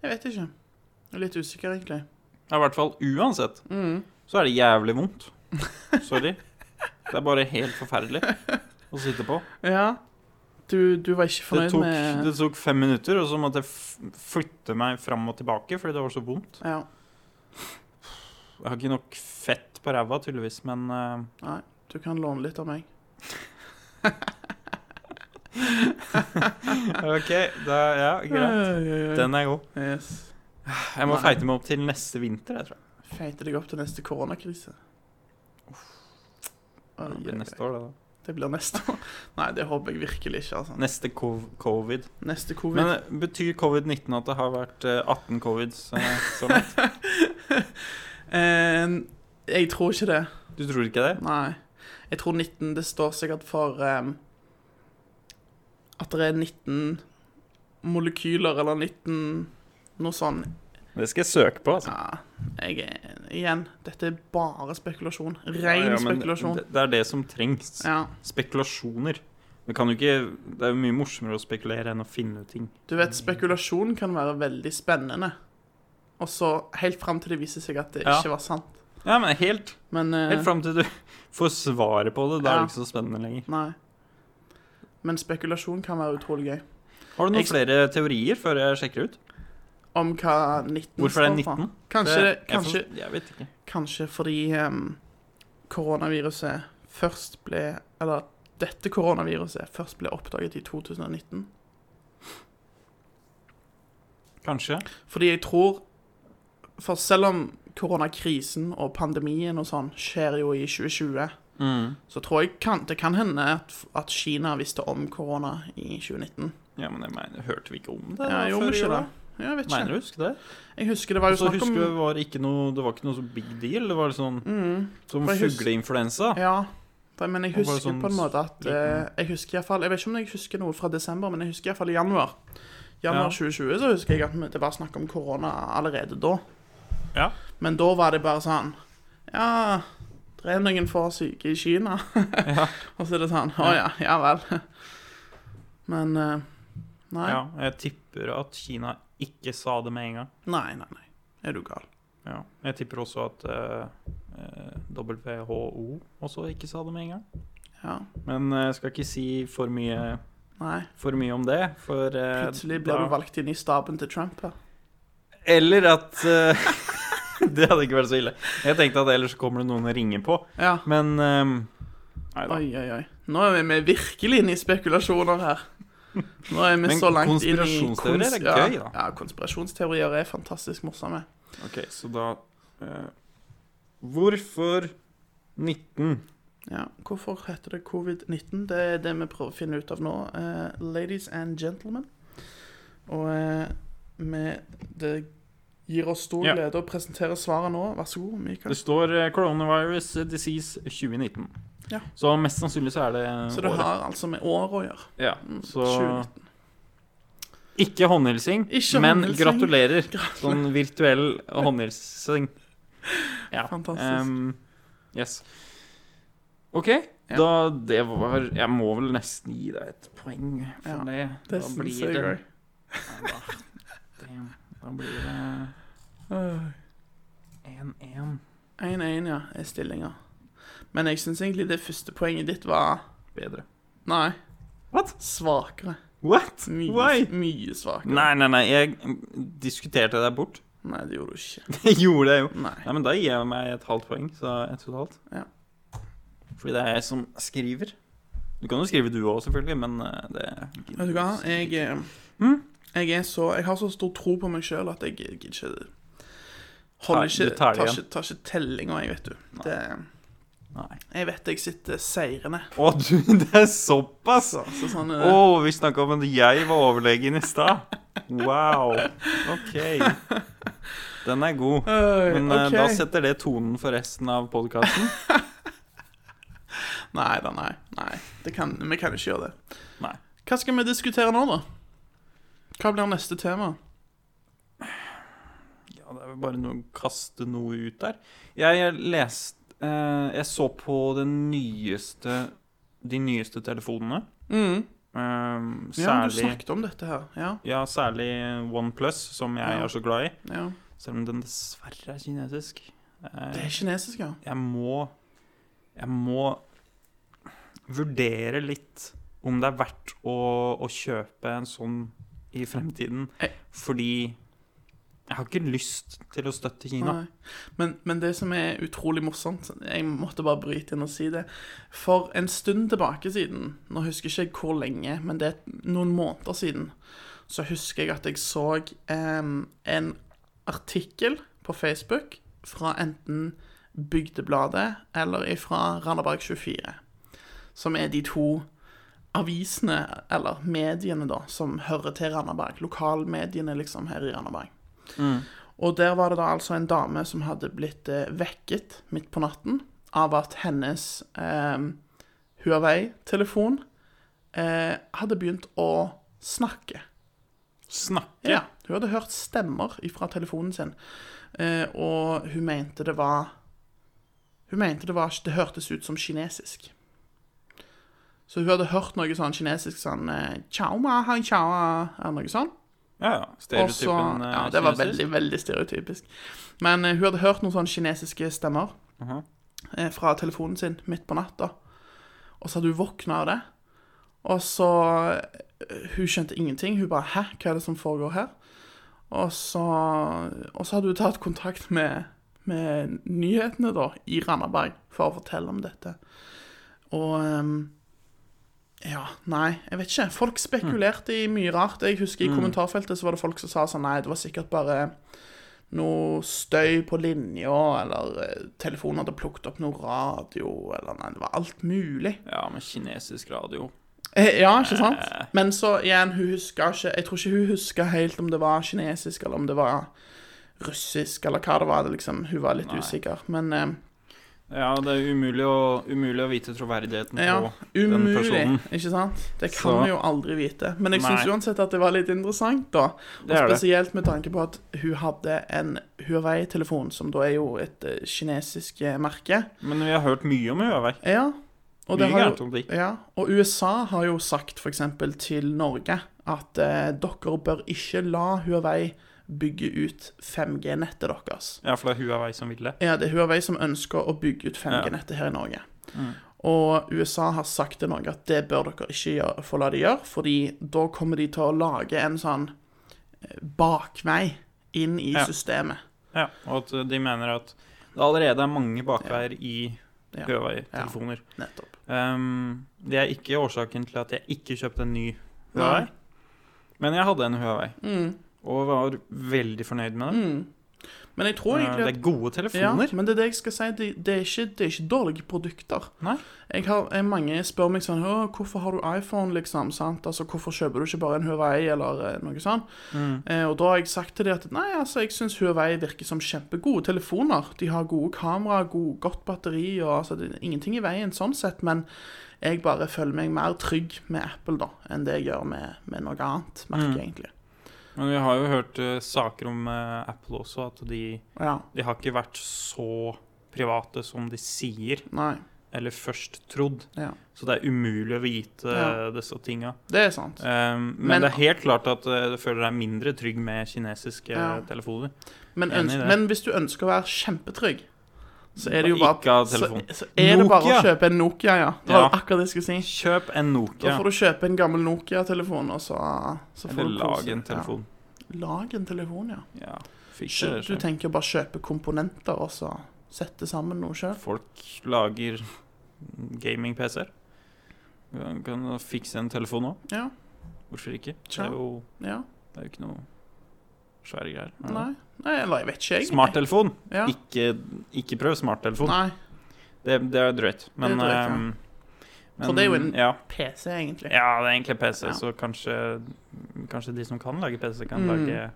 Speaker 2: Jeg vet ikke. Jeg er litt usikker, egentlig.
Speaker 1: Ja, I hvert fall uansett
Speaker 2: Mm.
Speaker 1: så er det jævlig vondt. Sorry. Det er bare helt forferdelig å sitte på.
Speaker 2: Ja. Du, du var ikke
Speaker 1: Det
Speaker 2: fornøyd
Speaker 1: tok,
Speaker 2: med
Speaker 1: det tok fem minutter, og så måtte jeg f- flytte meg fram og tilbake fordi det var så vondt.
Speaker 2: Ja.
Speaker 1: Jeg har ikke nok fett på ræva, tydeligvis, men eh,
Speaker 2: Du kan låne litt av meg.
Speaker 1: OK, da Ja, greit. Den er god.
Speaker 2: Yes.
Speaker 1: Jeg må
Speaker 2: Nei.
Speaker 1: feite meg opp til neste vinter, jeg tror. jeg.
Speaker 2: Feite deg opp til neste koronakrise. Oi,
Speaker 1: Det
Speaker 2: oi,
Speaker 1: blir
Speaker 2: oi.
Speaker 1: neste år, det, da.
Speaker 2: Det blir neste år. Nei, det håper jeg virkelig ikke. altså.
Speaker 1: Neste cov covid.
Speaker 2: Neste covid.
Speaker 1: Men eh, betyr covid-19 at det har vært eh, 18 covids? eh, Som,
Speaker 2: Eh, jeg tror ikke det.
Speaker 1: du tror ikke det?
Speaker 2: Nei. Jeg tror 19 Det står sikkert for eh, at det er 19 molekyler eller 19 noe sånn.
Speaker 1: Det skal jeg søke på. altså.
Speaker 2: Ja, jeg, er- igjen, dette er bare spekulasjon.
Speaker 1: Ja,
Speaker 2: Ren
Speaker 1: ja, men
Speaker 2: spekulasjon.
Speaker 1: Det, det er det som trengs.
Speaker 2: Ja.
Speaker 1: Spekulasjoner. Det, kan jo ikke, det er jo mye morsommere å spekulere enn å finne ut ting.
Speaker 2: Du vet, spekulasjon kan være veldig spennende. Og så helt fram til det viser seg at det
Speaker 1: Ja.
Speaker 2: ikke var sant.
Speaker 1: Ja, men Helt,
Speaker 2: Men eh,
Speaker 1: helt fram til du får svaret på det. Da er
Speaker 2: Ja.
Speaker 1: det ikke så spennende lenger.
Speaker 2: Nei. Men spekulasjon kan være utrolig gøy.
Speaker 1: Har du noen
Speaker 2: Jeg-
Speaker 1: flere teorier før jeg sjekker ut?
Speaker 2: Om hva 19
Speaker 1: Hvorfor er det
Speaker 2: står for.
Speaker 1: 19?
Speaker 2: Kanskje,
Speaker 1: Det- jeg
Speaker 2: kanskje,
Speaker 1: får- Jeg vet ikke.
Speaker 2: kanskje fordi em, koronaviruset først ble Eller dette koronaviruset først ble oppdaget i 2019.
Speaker 1: Kanskje.
Speaker 2: Fordi jeg tror For selv om koronakrisen og pandemien og sånn skjer jo i 2020
Speaker 1: Mm.
Speaker 2: så tror jeg kan, det kan hende at, at Kina visste om korona i 2019.
Speaker 1: Ja, men jeg mener, hørte vi ikke om det?
Speaker 2: Ja,
Speaker 1: da
Speaker 2: jeg gjorde
Speaker 1: før i
Speaker 2: ikke
Speaker 1: år,
Speaker 2: det.
Speaker 1: da?
Speaker 2: Ja, Jeg vet ikke.
Speaker 1: Mener du, husk det?
Speaker 2: Jeg husker det var
Speaker 1: Og
Speaker 2: jo
Speaker 1: så
Speaker 2: snakk om
Speaker 1: husker jeg det var ikke noe, det var ikke noe så big deal. Det var sånn
Speaker 2: mm,
Speaker 1: som
Speaker 2: For jeg husker-
Speaker 1: fugleinfluensa.
Speaker 2: Ja. For- Men jeg
Speaker 1: Og bare
Speaker 2: husker
Speaker 1: sånn
Speaker 2: på en måte at
Speaker 1: liten-
Speaker 2: eh, Jeg husker i hvert fall, jeg vet ikke om jeg husker noe fra desember, men jeg husker i hvert fall i januar. Januar
Speaker 1: Ja.
Speaker 2: 2020 så husker jeg at det var snakk om korona allerede da.
Speaker 1: Ja.
Speaker 2: Men da var det bare sånn Ja, det er noen få syke i Kina.
Speaker 1: Ja.
Speaker 2: Og så er det sånn Å ja, ja vel. Men eh, nei.
Speaker 1: Ja, jeg tipper at Kina ikke sa det med en gang.
Speaker 2: Nei, nei, nei. Er du gal?
Speaker 1: Ja. Jeg tipper også at eh, eh, WHO også ikke sa det med en gang.
Speaker 2: Ja.
Speaker 1: Men eh, jeg skal ikke si for mye,
Speaker 2: Nei.
Speaker 1: for mye om det, for eh,
Speaker 2: Plutselig blir
Speaker 1: da-
Speaker 2: du valgt inn i staben til Trump her.
Speaker 1: Eller at eh, Det hadde ikke vært så ille. Jeg tenkte at ellers kommer det noen å ringe på,
Speaker 2: Ja.
Speaker 1: men eh, Nei da.
Speaker 2: Oi, oi, oi. Nå er vi virkelig inne i spekulasjoner her. Nå er vi
Speaker 1: Men
Speaker 2: så langt inn i
Speaker 1: konspirasjonsteorier er
Speaker 2: kons-
Speaker 1: gøy,
Speaker 2: ja.
Speaker 1: da.
Speaker 2: Ja, konspirasjonsteorier er fantastisk morsomme.
Speaker 1: Ok, så da eh, Hvorfor 19?
Speaker 2: Ja, Hvorfor heter det covid-19? Det er det vi prøver å finne ut av nå. eh, ladies and gentlemen. Og eh, vi- det gir oss stor
Speaker 1: Ja.
Speaker 2: glede å presentere svaret nå. Vær så god, Mikael.
Speaker 1: Det står eh, coronavirus disease 2019.
Speaker 2: Ja.
Speaker 1: Så mest sannsynlig så er det
Speaker 2: Så det
Speaker 1: året.
Speaker 2: har altså med år å gjøre.
Speaker 1: Ja,
Speaker 2: Mm,
Speaker 1: så
Speaker 2: 2019.
Speaker 1: Ikke håndhilsing,
Speaker 2: Ikke
Speaker 1: men
Speaker 2: håndhilsing.
Speaker 1: gratulerer. Sånn virtuell håndhilsing. Ja.
Speaker 2: Fantastisk.
Speaker 1: ehm, yes. OK,
Speaker 2: Ja.
Speaker 1: da det var Jeg må vel nesten gi deg et poeng for
Speaker 2: Ja,
Speaker 1: det.
Speaker 2: det syns jeg
Speaker 1: det-
Speaker 2: også.
Speaker 1: Nei, da- det- Da blir det
Speaker 2: Øh.
Speaker 1: 1-1.
Speaker 2: 1-1, ja, er stillinga. Men jeg syns egentlig det første poenget ditt var
Speaker 1: Bedre.
Speaker 2: Nei.
Speaker 1: What?
Speaker 2: Svakere.
Speaker 1: What?
Speaker 2: Mye,
Speaker 1: Why?
Speaker 2: mye svakere.
Speaker 1: Nei, nei, nei, jeg diskuterte deg bort.
Speaker 2: Nei, det gjorde du ikke.
Speaker 1: Det gjorde jeg jo.
Speaker 2: Nei.
Speaker 1: Nei, men da gir jeg meg et halvt poeng, så ett og et halvt.
Speaker 2: Ja.
Speaker 1: Fordi det er jeg som skriver. Du kan jo skrive du òg, selvfølgelig, men eh, det
Speaker 2: Vet du hva, jeg, eh,
Speaker 1: Mm?
Speaker 2: jeg er så Jeg har så stor tro på meg sjøl at jeg gidder ikke Holder
Speaker 1: Tar- du
Speaker 2: ikke,
Speaker 1: tar
Speaker 2: tar,
Speaker 1: det igjen.
Speaker 2: ikke, tar ikke tellinga, jeg, vet du. Det,
Speaker 1: Nei.
Speaker 2: jeg vet jeg sitter seirende.
Speaker 1: Å, du, det er såpass!
Speaker 2: Så, så sånn
Speaker 1: Å,
Speaker 2: eh,
Speaker 1: vi snakka om at jeg var overlegen i stad. Wow. OK. Den er god.
Speaker 2: øh,
Speaker 1: Men eh,
Speaker 2: ok.
Speaker 1: da setter det tonen for resten av podkasten.
Speaker 2: Nei da, nei. nei. Det kan, vi kan ikke gjøre det.
Speaker 1: Nei.
Speaker 2: Hva skal vi diskutere nå, da? Hva blir neste tema?
Speaker 1: Ja, det er vel bare noe, kaste noe ut der. Jeg, jeg leste eh, Jeg så på den nyeste De nyeste telefonene.
Speaker 2: Mm.
Speaker 1: Eh,
Speaker 2: Ja, du
Speaker 1: særlig ja,
Speaker 2: snakket om dette her. Ja.
Speaker 1: særlig OnePlus, som jeg
Speaker 2: Ja.
Speaker 1: er så glad i.
Speaker 2: ja.
Speaker 1: Selv om den dessverre er kinesisk. Eh,
Speaker 2: Det er kinesisk, ja.
Speaker 1: jeg må Jeg må vurdere litt om det er verdt å, å kjøpe en sånn i fremtiden.
Speaker 2: Jeg-
Speaker 1: Fordi jeg har ikke lyst til å støtte Kina.
Speaker 2: Nei. Men, men det som er utrolig morsomt Jeg måtte bare bryte inn og si det. For en stund tilbake siden, nå husker ikke jeg hvor lenge, men det er noen måneder siden, så husker jeg at jeg så em, en artikkel på Facebook fra enten Bygdebladet eller fra Randaberg 24, som er de to avisene, eller mediene, da, som hører til Randaberg. Lokalmediene, liksom, her i Randaberg. Mm. Og der var det da altså en dame som hadde blitt eh, vekket midt på natten av at hennes eh, Huawei-telefon eh, hadde begynt å snakke.
Speaker 1: Snakke?
Speaker 2: Ja, Hun hadde hørt stemmer fra telefonen sin, eh, og hun mente det var Hun mente det var Det hørtes ut som kinesisk. Så hun hadde hørt noe sånn kinesisk sånn eh, Chao ma, han chao, ah», eller noe sånt.
Speaker 1: Ja, ja.
Speaker 2: Og så-
Speaker 1: Stereotypen eh,
Speaker 2: Ja, det var
Speaker 1: kinesisk.
Speaker 2: veldig, veldig stereotypisk. Men eh, hun hadde hørt noen sånne kinesiske stemmer
Speaker 1: Mhm.
Speaker 2: eh, fra telefonen sin midt på natta. Og så hadde hun våkna av det. Og så eh, Hun skjønte ingenting. Hun bare 'Hæ, hva er det som foregår her?' Og så, og så hadde hun tatt kontakt med, med nyhetene da, i Randaberg for å fortelle om dette. Og ehm, ja, nei, jeg vet ikke. Folk spekulerte i mye rart. Jeg husker i kommentarfeltet så var det folk som sa sånn Nei, det var sikkert bare noe støy på linja, eller eh, telefonen hadde plukket opp noe radio, eller nei, det var alt mulig.
Speaker 1: Ja, men kinesisk radio
Speaker 2: Eh, Ja, ikke sant?
Speaker 1: Eh.
Speaker 2: Men så igjen, hun huska ikke Jeg tror ikke hun huska helt om det var kinesisk, eller om det var russisk, eller hva det var. Det liksom, hun var litt
Speaker 1: Nei.
Speaker 2: usikker. Men eh,
Speaker 1: Ja, det er umulig å, umulig å vite troverdigheten
Speaker 2: Ja,
Speaker 1: på. personen.
Speaker 2: umulig, ikke sant? Det kan
Speaker 1: Så-
Speaker 2: vi jo aldri vite. Men jeg syns
Speaker 1: Nei.
Speaker 2: uansett at det var litt interessant, da. Og
Speaker 1: Det er det.
Speaker 2: spesielt med tanke på at hun hadde en Huawei-telefon, som da er jo et eh, kinesisk eh, merke.
Speaker 1: Men vi har hørt mye om Huawei.
Speaker 2: Ja, og, det
Speaker 1: Mye
Speaker 2: har
Speaker 1: gærent
Speaker 2: jo,
Speaker 1: om de.
Speaker 2: ja, og USA har jo sagt f.eks. til Norge at eh, dere bør ikke la Huawei bygge ut 5G-nettet deres.
Speaker 1: Ja, for det er Huawei som vil det.
Speaker 2: Ja, det er Huawei som ønsker å bygge ut 5G-nettet her i Norge. Og USA har sagt til Norge at det bør dere ikke gjøre, få la de gjøre, fordi da kommer de til å lage en sånn eh, bakvei inn i
Speaker 1: Ja.
Speaker 2: systemet.
Speaker 1: Ja, Og at eh, de mener at det allerede er mange bakveier i
Speaker 2: Ja.
Speaker 1: Huawei-telefoner.
Speaker 2: Nettopp.
Speaker 1: Ehm, det er ikke årsaken til at jeg ikke kjøpte en ny Huawei, men jeg hadde en Huawei.
Speaker 2: Mm,
Speaker 1: Og var veldig fornøyd med den.
Speaker 2: mm. Men jeg tror
Speaker 1: Eh,
Speaker 2: egentlig
Speaker 1: det
Speaker 2: at
Speaker 1: er gode
Speaker 2: ja,
Speaker 1: telefoner.
Speaker 2: men det er det jeg skal si, det, det, er, ikke, det er ikke dårlige produkter.
Speaker 1: Nei.
Speaker 2: Jeg har, jeg, mange spør meg sånn «Å, 'Hvorfor har du iPhone?' liksom, sant? Altså, 'Hvorfor kjøper du ikke bare en Huawei?' eller eh, noe sånt.
Speaker 1: Mm.
Speaker 2: Eh, Og da har jeg sagt til dem at nei, altså, jeg syns Huawei virker som kjempegode telefoner. De har gode kamera, god, godt batteri og altså, det er ingenting i veien sånn sett. Men jeg bare føler meg mer trygg med Apple da, enn det jeg gjør med, med noe annet merke,
Speaker 1: Mm.
Speaker 2: egentlig.
Speaker 1: Men vi har jo hørt eh, saker om eh, Apple også, at de,
Speaker 2: Ja,
Speaker 1: de har ikke vært så private som de sier,
Speaker 2: nei.
Speaker 1: eller først trodd.
Speaker 2: Ja.
Speaker 1: Så det er umulig å vite
Speaker 2: Ja.
Speaker 1: eh, disse tinga.
Speaker 2: Det er sant.
Speaker 1: Um, men,
Speaker 2: Men-
Speaker 1: det er helt klart at eh, du føler deg mindre trygg med kinesiske
Speaker 2: Ja.
Speaker 1: eh, telefoner.
Speaker 2: Men,
Speaker 1: Enig i
Speaker 2: øns-
Speaker 1: det.
Speaker 2: men hvis du ønsker å være kjempetrygg, så er det jo
Speaker 1: Bare
Speaker 2: bare
Speaker 1: Ikke ha
Speaker 2: så,
Speaker 1: telefon.
Speaker 2: så er det bare å
Speaker 1: Nokia.
Speaker 2: kjøpe en Nokia, ja. Det var
Speaker 1: Ja.
Speaker 2: akkurat det jeg skulle si.
Speaker 1: Kjøp en
Speaker 2: Da
Speaker 1: Nokia,
Speaker 2: får du kjøpe en gammel Nokia-telefon, og så, så får
Speaker 1: eller
Speaker 2: du kose-
Speaker 1: lag en telefon.
Speaker 2: Ja. Lag en telefon, ja.
Speaker 1: Ja. Fiks
Speaker 2: Skjø-
Speaker 1: det.
Speaker 2: Du
Speaker 1: selv.
Speaker 2: tenker bare kjøpe komponenter og så sette sammen noe sjøl?
Speaker 1: Folk lager gaming-PC-er. Du kan fikse en telefon òg.
Speaker 2: Ja.
Speaker 1: Hvorfor ikke? Det
Speaker 2: Tja.
Speaker 1: er jo,
Speaker 2: Ja.
Speaker 1: det er jo ikke noe svære greier. Er det?
Speaker 2: Nei. Nei, eller jeg vet ikke, egentlig.
Speaker 1: Smarttelefon!
Speaker 2: Ja.
Speaker 1: Ikke, ikke prøv smarttelefon.
Speaker 2: Nei.
Speaker 1: Det, det er drøyt. Men,
Speaker 2: Det er drøyt, ja.
Speaker 1: ehm,
Speaker 2: For det er jo en-
Speaker 1: ja.
Speaker 2: PC, egentlig.
Speaker 1: Ja, det er egentlig PC,
Speaker 2: Ja.
Speaker 1: så kanskje, kanskje de som kan lage PC, kan,
Speaker 2: Mm.
Speaker 1: lage,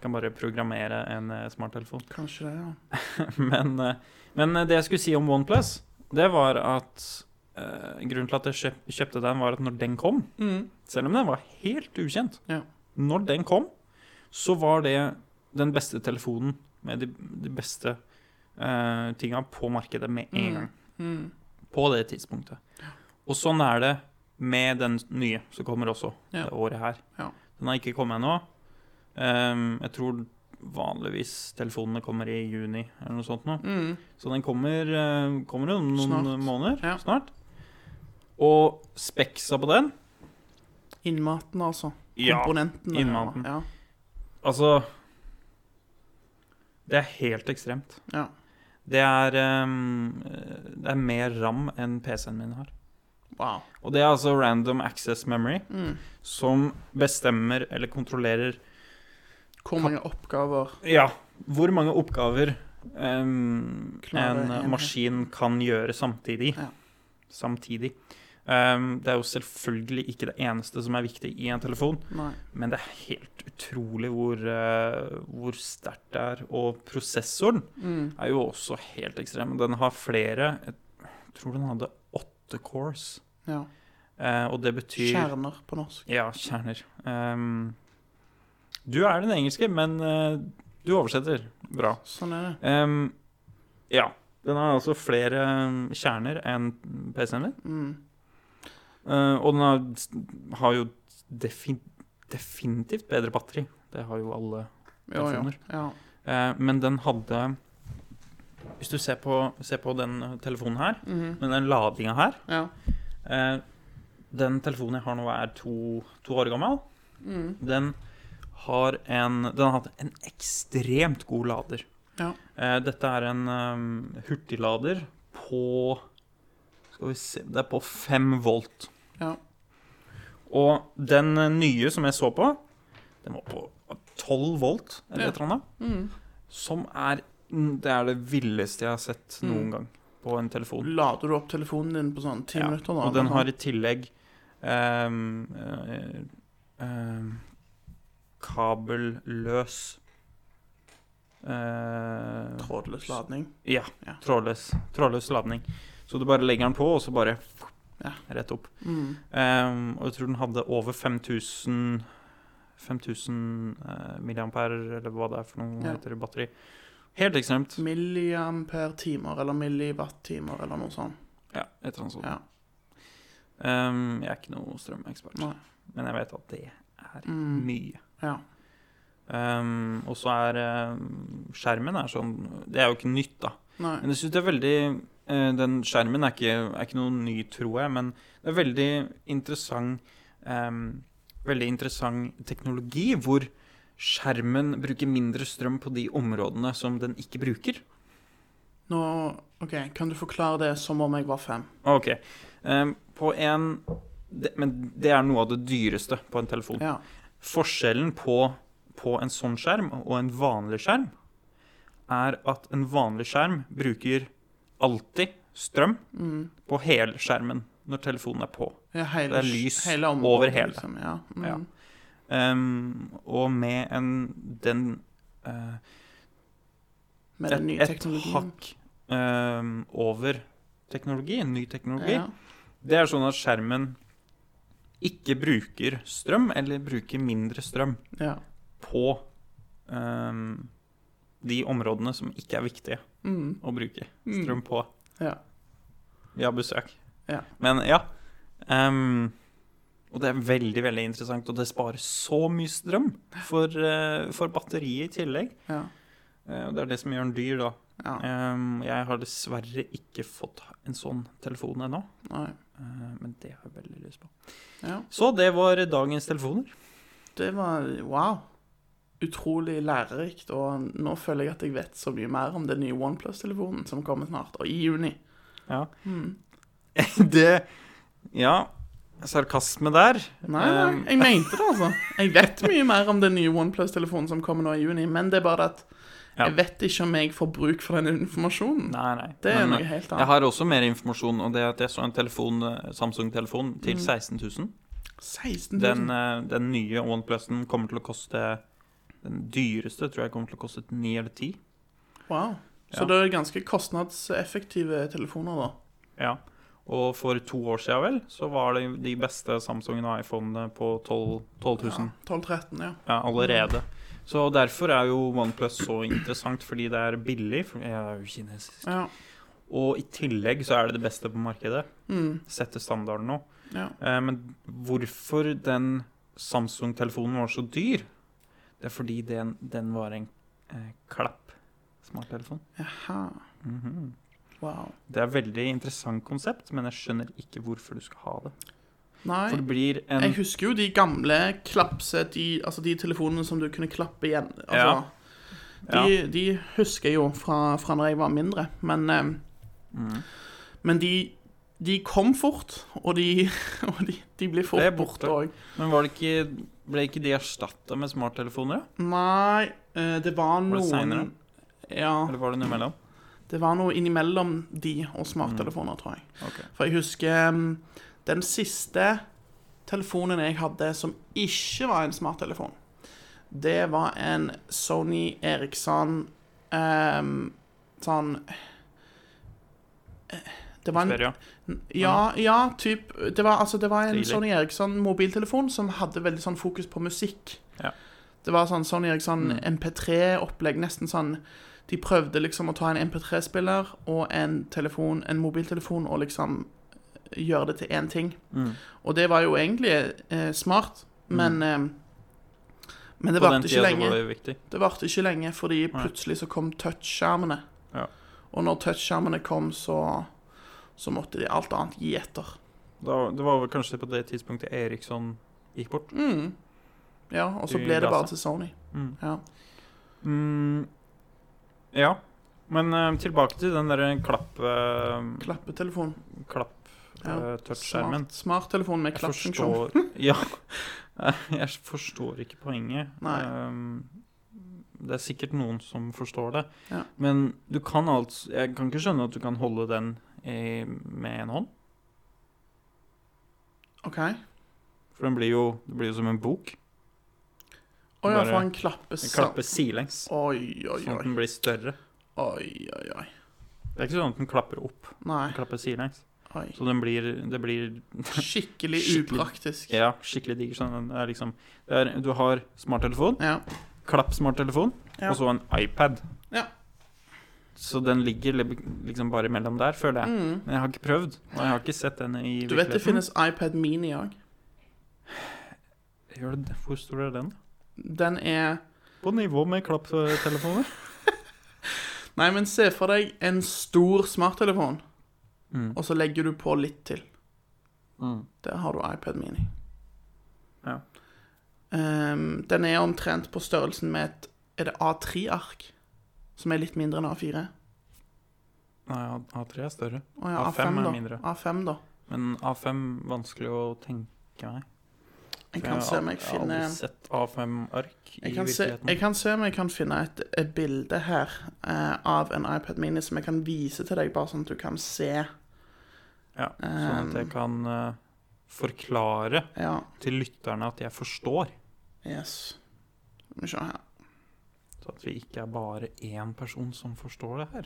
Speaker 1: kan bare programmere en eh, smarttelefon.
Speaker 2: Kanskje det, ja.
Speaker 1: men, eh, men det jeg skulle si om OnePlus, det var at eh, Grunnen til at jeg kjøp, kjøpte den, var at når den kom,
Speaker 2: Mm.
Speaker 1: selv om den var helt ukjent
Speaker 2: Ja.
Speaker 1: Når den kom, så var det den beste telefonen med de, de beste uh, tinga på markedet med en
Speaker 2: Mm.
Speaker 1: gang.
Speaker 2: Mm.
Speaker 1: På det tidspunktet. Og sånn er det med den nye som kommer også
Speaker 2: Ja.
Speaker 1: det året her.
Speaker 2: Ja.
Speaker 1: Den har ikke kommet ennå. Ehm, jeg tror vanligvis telefonene kommer i juni eller noe sånt nå.
Speaker 2: Mm.
Speaker 1: Så den kommer, eh, kommer om noen
Speaker 2: Snart.
Speaker 1: måneder
Speaker 2: Ja.
Speaker 1: snart. Og speksa på den
Speaker 2: Innmaten, altså.
Speaker 1: Ja,
Speaker 2: Komponentene.
Speaker 1: innmaten.
Speaker 2: Ja.
Speaker 1: altså Det er helt ekstremt.
Speaker 2: Ja.
Speaker 1: Det er, ehm, eh, det er mer ram enn PC-en min har.
Speaker 2: Wow.
Speaker 1: Og det er altså random access memory.
Speaker 2: Mm.
Speaker 1: som bestemmer eller kontrollerer
Speaker 2: Hvor mange oppgaver
Speaker 1: Ja, hvor mange oppgaver em,
Speaker 2: Klarer
Speaker 1: en
Speaker 2: enhet.
Speaker 1: maskin kan gjøre samtidig.
Speaker 2: Ja.
Speaker 1: Samtidig. Em, det er jo selvfølgelig ikke det eneste som er viktig i en telefon,
Speaker 2: Nei.
Speaker 1: men det er helt utrolig hvor, eh, hvor sterkt det er. Og prosessoren
Speaker 2: Mm.
Speaker 1: er jo også helt ekstrem. Den har flere Jeg tror den hadde åtte cores,
Speaker 2: Ja.
Speaker 1: Eh, og det betyr
Speaker 2: Kjerner på norsk.
Speaker 1: Ja, kjerner. Ehm, du er den engelske, men eh, du oversetter bra.
Speaker 2: Sånn er det.
Speaker 1: Ehm, ja. Den har altså flere eh, kjerner enn PC-en min.
Speaker 2: Mm.
Speaker 1: Eh, og den har, har jo defi definitivt bedre batteri. Det har jo alle.
Speaker 2: Jo, jo.
Speaker 1: Telefoner.
Speaker 2: Ja.
Speaker 1: Eh, men den hadde Hvis du ser på, ser på den eh, telefonen her,
Speaker 2: Mhm.
Speaker 1: med den ladinga her
Speaker 2: ja.
Speaker 1: eh, Den telefonen jeg har nå, er to, to år gammel.
Speaker 2: Mm.
Speaker 1: Den har en Den har hatt en ekstremt god lader.
Speaker 2: Ja.
Speaker 1: Eh, dette er en ehm, hurtiglader på Skal vi se Det er på 5 volt.
Speaker 2: Ja.
Speaker 1: Og den eh, nye som jeg så på, den var på 12 volt eller
Speaker 2: Ja.
Speaker 1: et eller annet.
Speaker 2: Mm.
Speaker 1: Som er mm, Det er det villeste jeg har sett noen
Speaker 2: Mm.
Speaker 1: gang på en telefon.
Speaker 2: Lader du opp telefonen din på sånn ti
Speaker 1: Ja,
Speaker 2: minutter? da?
Speaker 1: Og den
Speaker 2: eller
Speaker 1: har i
Speaker 2: noe?
Speaker 1: tillegg ehm, eh, ehm, kabelløs eh,
Speaker 2: Trådløs ladning.
Speaker 1: Ja,
Speaker 2: Ja.
Speaker 1: trådløs, trådløs ladning. Så du bare legger den på, og så bare
Speaker 2: Ja.
Speaker 1: rett opp.
Speaker 2: Mm.
Speaker 1: Ehm, og jeg tror den hadde over 5000 5000 eh, milliampere, eller hva det er for noe
Speaker 2: Ja.
Speaker 1: heter det, batteri. Helt ekstremt.
Speaker 2: Milliampere-timer eller milliwatt-timer eller noe sånt.
Speaker 1: Ja, et eller annet sånt.
Speaker 2: Ja.
Speaker 1: Ehm, jeg er ikke noe strømekspert,
Speaker 2: Nei.
Speaker 1: men jeg vet at det er
Speaker 2: Mm.
Speaker 1: mye.
Speaker 2: Ja.
Speaker 1: Um, og så er um, skjermen er sånn Det er jo ikke nytt, da.
Speaker 2: Nei.
Speaker 1: Men jeg syns det er veldig eh, Den skjermen er ikke, er ikke noe ny, tror jeg, men det er veldig interessant em, Veldig interessant teknologi hvor skjermen bruker mindre strøm på de områdene som den ikke bruker.
Speaker 2: Nå OK, kan du forklare det som om jeg var fem?
Speaker 1: OK. Em, på en det, Men det er noe av det dyreste på en telefon.
Speaker 2: Ja.
Speaker 1: Forskjellen på, på en sånn skjerm og en vanlig skjerm er at en vanlig skjerm bruker alltid strøm
Speaker 2: Mm.
Speaker 1: på hele skjermen når telefonen er på.
Speaker 2: ja hele,
Speaker 1: Det er lys
Speaker 2: hele området,
Speaker 1: over hele.
Speaker 2: Liksom. Ja. Mm.
Speaker 1: Ja. Ehm, og med en, den eh,
Speaker 2: Med
Speaker 1: et,
Speaker 2: den nye
Speaker 1: et
Speaker 2: teknologien.
Speaker 1: hakk ehm, over teknologi, en ny teknologi,
Speaker 2: Ja.
Speaker 1: det er sånn at skjermen ikke bruker strøm, eller bruker mindre strøm
Speaker 2: ja.
Speaker 1: på ehm, de områdene som ikke er viktige
Speaker 2: Mm.
Speaker 1: å bruke
Speaker 2: Mm.
Speaker 1: strøm på.
Speaker 2: Ja.
Speaker 1: Vi har besøk.
Speaker 2: Ja.
Speaker 1: Men ja. ehm, og det er veldig veldig interessant, og det sparer så mye strøm for, eh, for batteriet i tillegg.
Speaker 2: Ja.
Speaker 1: Eh, og det er det som gjør den dyr, da.
Speaker 2: ja.
Speaker 1: Ehm, jeg har dessverre ikke fått en sånn telefon ennå,
Speaker 2: Nei.
Speaker 1: eh, men det har jeg veldig lyst på.
Speaker 2: Ja.
Speaker 1: Så det var dagens telefoner.
Speaker 2: Det var wow. Utrolig lærerikt. Og nå føler jeg at jeg vet så mye mer om den nye OnePlus-telefonen som kommer snart, og i juni.
Speaker 1: Ja.
Speaker 2: Mm.
Speaker 1: Det Ja, sarkasme der.
Speaker 2: Nei, nei,
Speaker 1: Ehm,
Speaker 2: jeg mente det, altså. Jeg vet mye mer om den nye OnePlus-telefonen som kommer nå i juni, men det er bare det at
Speaker 1: Ja.
Speaker 2: jeg vet ikke om jeg får bruk for den informasjonen.
Speaker 1: Nei, nei.
Speaker 2: Det er
Speaker 1: Men, eh,
Speaker 2: noe helt
Speaker 1: jeg
Speaker 2: annet.
Speaker 1: har også mer informasjon, og det er at jeg så en telefon, eh, Samsung-telefon til 16 000.
Speaker 2: 16
Speaker 1: Den,
Speaker 2: 000.
Speaker 1: eh, den nye OnePlusen kommer til å koste Den dyreste tror jeg kommer til å koste 9 eller 10.
Speaker 2: Wow.
Speaker 1: Ja.
Speaker 2: Så det er ganske kostnadseffektive telefoner, da.
Speaker 1: Ja. Og for to år siden vel, så var det de beste Samsungen og iPhonene på 12 12 000.
Speaker 2: 12-13, ja.
Speaker 1: Ja, allerede. Så derfor er jo OnePlus så interessant, fordi det er billig. For jeg er jo kinesisk.
Speaker 2: ja.
Speaker 1: Og i tillegg så er det det beste på markedet.
Speaker 2: Mm.
Speaker 1: Setter standarden nå.
Speaker 2: ja.
Speaker 1: Eh, Men hvorfor den Samsung-telefonen var så dyr, det er fordi den, den var en eh, klapp smarttelefon.
Speaker 2: Jaha.
Speaker 1: Mhm.
Speaker 2: Wow.
Speaker 1: Det er et veldig interessant konsept, men jeg skjønner ikke hvorfor du skal ha det.
Speaker 2: Nei.
Speaker 1: For det blir en
Speaker 2: Jeg husker jo de gamle klapse, de, altså de telefonene som du kunne klappe igjen. Altså,
Speaker 1: Ja.
Speaker 2: De, de husker jeg jo fra, fra når jeg var mindre. Men, eh,
Speaker 1: Mm.
Speaker 2: men de, de kom fort, og de, og de, de blir fort
Speaker 1: Ble borte.
Speaker 2: borte òg.
Speaker 1: Men var det ikke, ble ikke de erstatta med smarttelefoner? da?
Speaker 2: Nei, eh, det var
Speaker 1: Var det
Speaker 2: noen
Speaker 1: senere?
Speaker 2: Ja.
Speaker 1: Eller var det noe imellom?
Speaker 2: Det var noe innimellom de og smarttelefoner, tror jeg.
Speaker 1: Ok.
Speaker 2: For jeg husker mm, den siste telefonen jeg hadde som ikke var en smarttelefon, det var en Sony Eriksson ehm, sånn eh, det var en,
Speaker 1: Xperia.
Speaker 2: ja, ja, typ Det var, altså, det var en
Speaker 1: Stilig.
Speaker 2: Sony Eriksson mobiltelefon som hadde veldig sånn fokus på musikk.
Speaker 1: Ja.
Speaker 2: Det var sånn Sony Eriksson
Speaker 1: Mm.
Speaker 2: MP3-opplegg, nesten sånn De prøvde liksom å ta en MP3-spiller og en telefon, en mobiltelefon, og liksom gjøre det til én ting.
Speaker 1: Mm.
Speaker 2: Og det var jo egentlig eh, smart, men eh, Men det
Speaker 1: På den
Speaker 2: varte
Speaker 1: tida
Speaker 2: ikke
Speaker 1: så
Speaker 2: lenge.
Speaker 1: var det jo viktig.
Speaker 2: Det varte ikke lenge, fordi
Speaker 1: Nei.
Speaker 2: plutselig så kom touchskjermene.
Speaker 1: Ja.
Speaker 2: Og når touchskjermene kom, så, så måtte de alt annet gi etter.
Speaker 1: Da, det var vel kanskje på det tidspunktet Eriksson gikk bort.
Speaker 2: Mm. Ja, og så
Speaker 1: De
Speaker 2: ble
Speaker 1: ga
Speaker 2: det bare
Speaker 1: seg.
Speaker 2: til Sony.
Speaker 1: Mm.
Speaker 2: Ja.
Speaker 1: Mm. Ja. Men eh, tilbake til den derre klapp... eh,
Speaker 2: Klappetelefon.
Speaker 1: klapp
Speaker 2: Ja,
Speaker 1: eh, touchskjermen.
Speaker 2: Smart- Smarttelefon med
Speaker 1: Jeg
Speaker 2: klappfunksjon.
Speaker 1: forstår Ja. Jeg forstår ikke poenget.
Speaker 2: Nei.
Speaker 1: Ehm, det er sikkert noen som forstår det.
Speaker 2: Ja.
Speaker 1: Men du kan altså Jeg kan ikke skjønne at du kan holde den i, med en hånd.
Speaker 2: OK. Å
Speaker 1: For den blir jo, det blir jo som en bok.
Speaker 2: ja,
Speaker 1: Bare-
Speaker 2: for han
Speaker 1: Den
Speaker 2: klappes
Speaker 1: klapper sidelengs,
Speaker 2: Oi, oi,
Speaker 1: sånn at
Speaker 2: oi.
Speaker 1: den blir større.
Speaker 2: Oi, oi, oi.
Speaker 1: Det er ikke sånn at den klapper opp.
Speaker 2: Nei.
Speaker 1: Den klapper sidelengs.
Speaker 2: Oi.
Speaker 1: Så den blir, det blir
Speaker 2: Skikkelig
Speaker 1: Skikkelig-
Speaker 2: upraktisk.
Speaker 1: ja, skikkelig diger. Sånn, den er liksom, det er, du har smarttelefon,
Speaker 2: Ja.
Speaker 1: klapp smarttelefon,
Speaker 2: Ja.
Speaker 1: og så en iPad.
Speaker 2: Ja.
Speaker 1: Så den ligger li- liksom bare mellom der, føler jeg.
Speaker 2: Mm.
Speaker 1: Men jeg har ikke prøvd, og jeg har ikke sett den i
Speaker 2: Du vet det finnes iPad Mini òg?
Speaker 1: Gjør det, hvor stor er den?
Speaker 2: Den er
Speaker 1: På nivå med klapptelefoner.
Speaker 2: Nei, men se for deg en stor smarttelefon,
Speaker 1: Mm.
Speaker 2: og så legger du på litt til.
Speaker 1: Mm.
Speaker 2: Der har du iPad Mini.
Speaker 1: Ja.
Speaker 2: Ehm, den er omtrent på størrelsen med et Er det A3-ark? Som er litt mindre enn A4?
Speaker 1: Nei, A- A3 er større.
Speaker 2: Å ja,
Speaker 1: A5
Speaker 2: A5,
Speaker 1: er
Speaker 2: da.
Speaker 1: mindre.
Speaker 2: A5, da.
Speaker 1: Men A5 vanskelig å tenke meg.
Speaker 2: Jeg kan se om jeg
Speaker 1: har al-
Speaker 2: finner
Speaker 1: aldri sett A5-ark i
Speaker 2: jeg kan, se,
Speaker 1: virkeligheten.
Speaker 2: jeg kan se om jeg kan finne et, et bilde her eh, av en iPad Mini som jeg kan vise til deg, bare sånn at du kan se.
Speaker 1: Ja, sånn at jeg
Speaker 2: Ehm.
Speaker 1: kan eh, forklare
Speaker 2: Ja,
Speaker 1: til lytterne at jeg forstår.
Speaker 2: yes. Skal vi se her.
Speaker 1: Så at vi ikke er bare én person som forstår det her.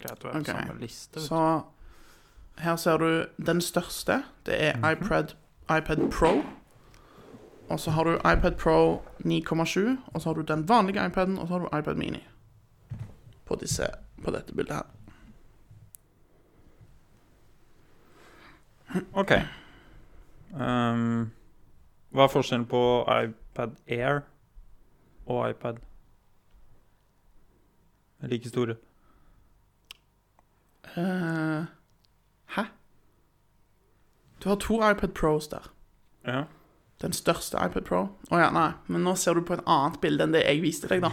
Speaker 1: Greit å være
Speaker 2: Ok,
Speaker 1: på samme liste. vet
Speaker 2: Så
Speaker 1: Mhm.
Speaker 2: her ser du den største. Det er iPad, iPad Pro. Og så har du iPad Pro 9,7, og så har du den vanlige iPaden, og så har du iPad Mini. På, disse, på dette bildet her.
Speaker 1: OK. Ehm, hva er forskjellen på iPad Air og iPad? De er Like store.
Speaker 2: Eh, hæ? Du har to iPad Pros der.
Speaker 1: Ja.
Speaker 2: Den største iPad Pro. Å ja, nei. Men nå ser du på et annet bilde enn det jeg viste deg, da.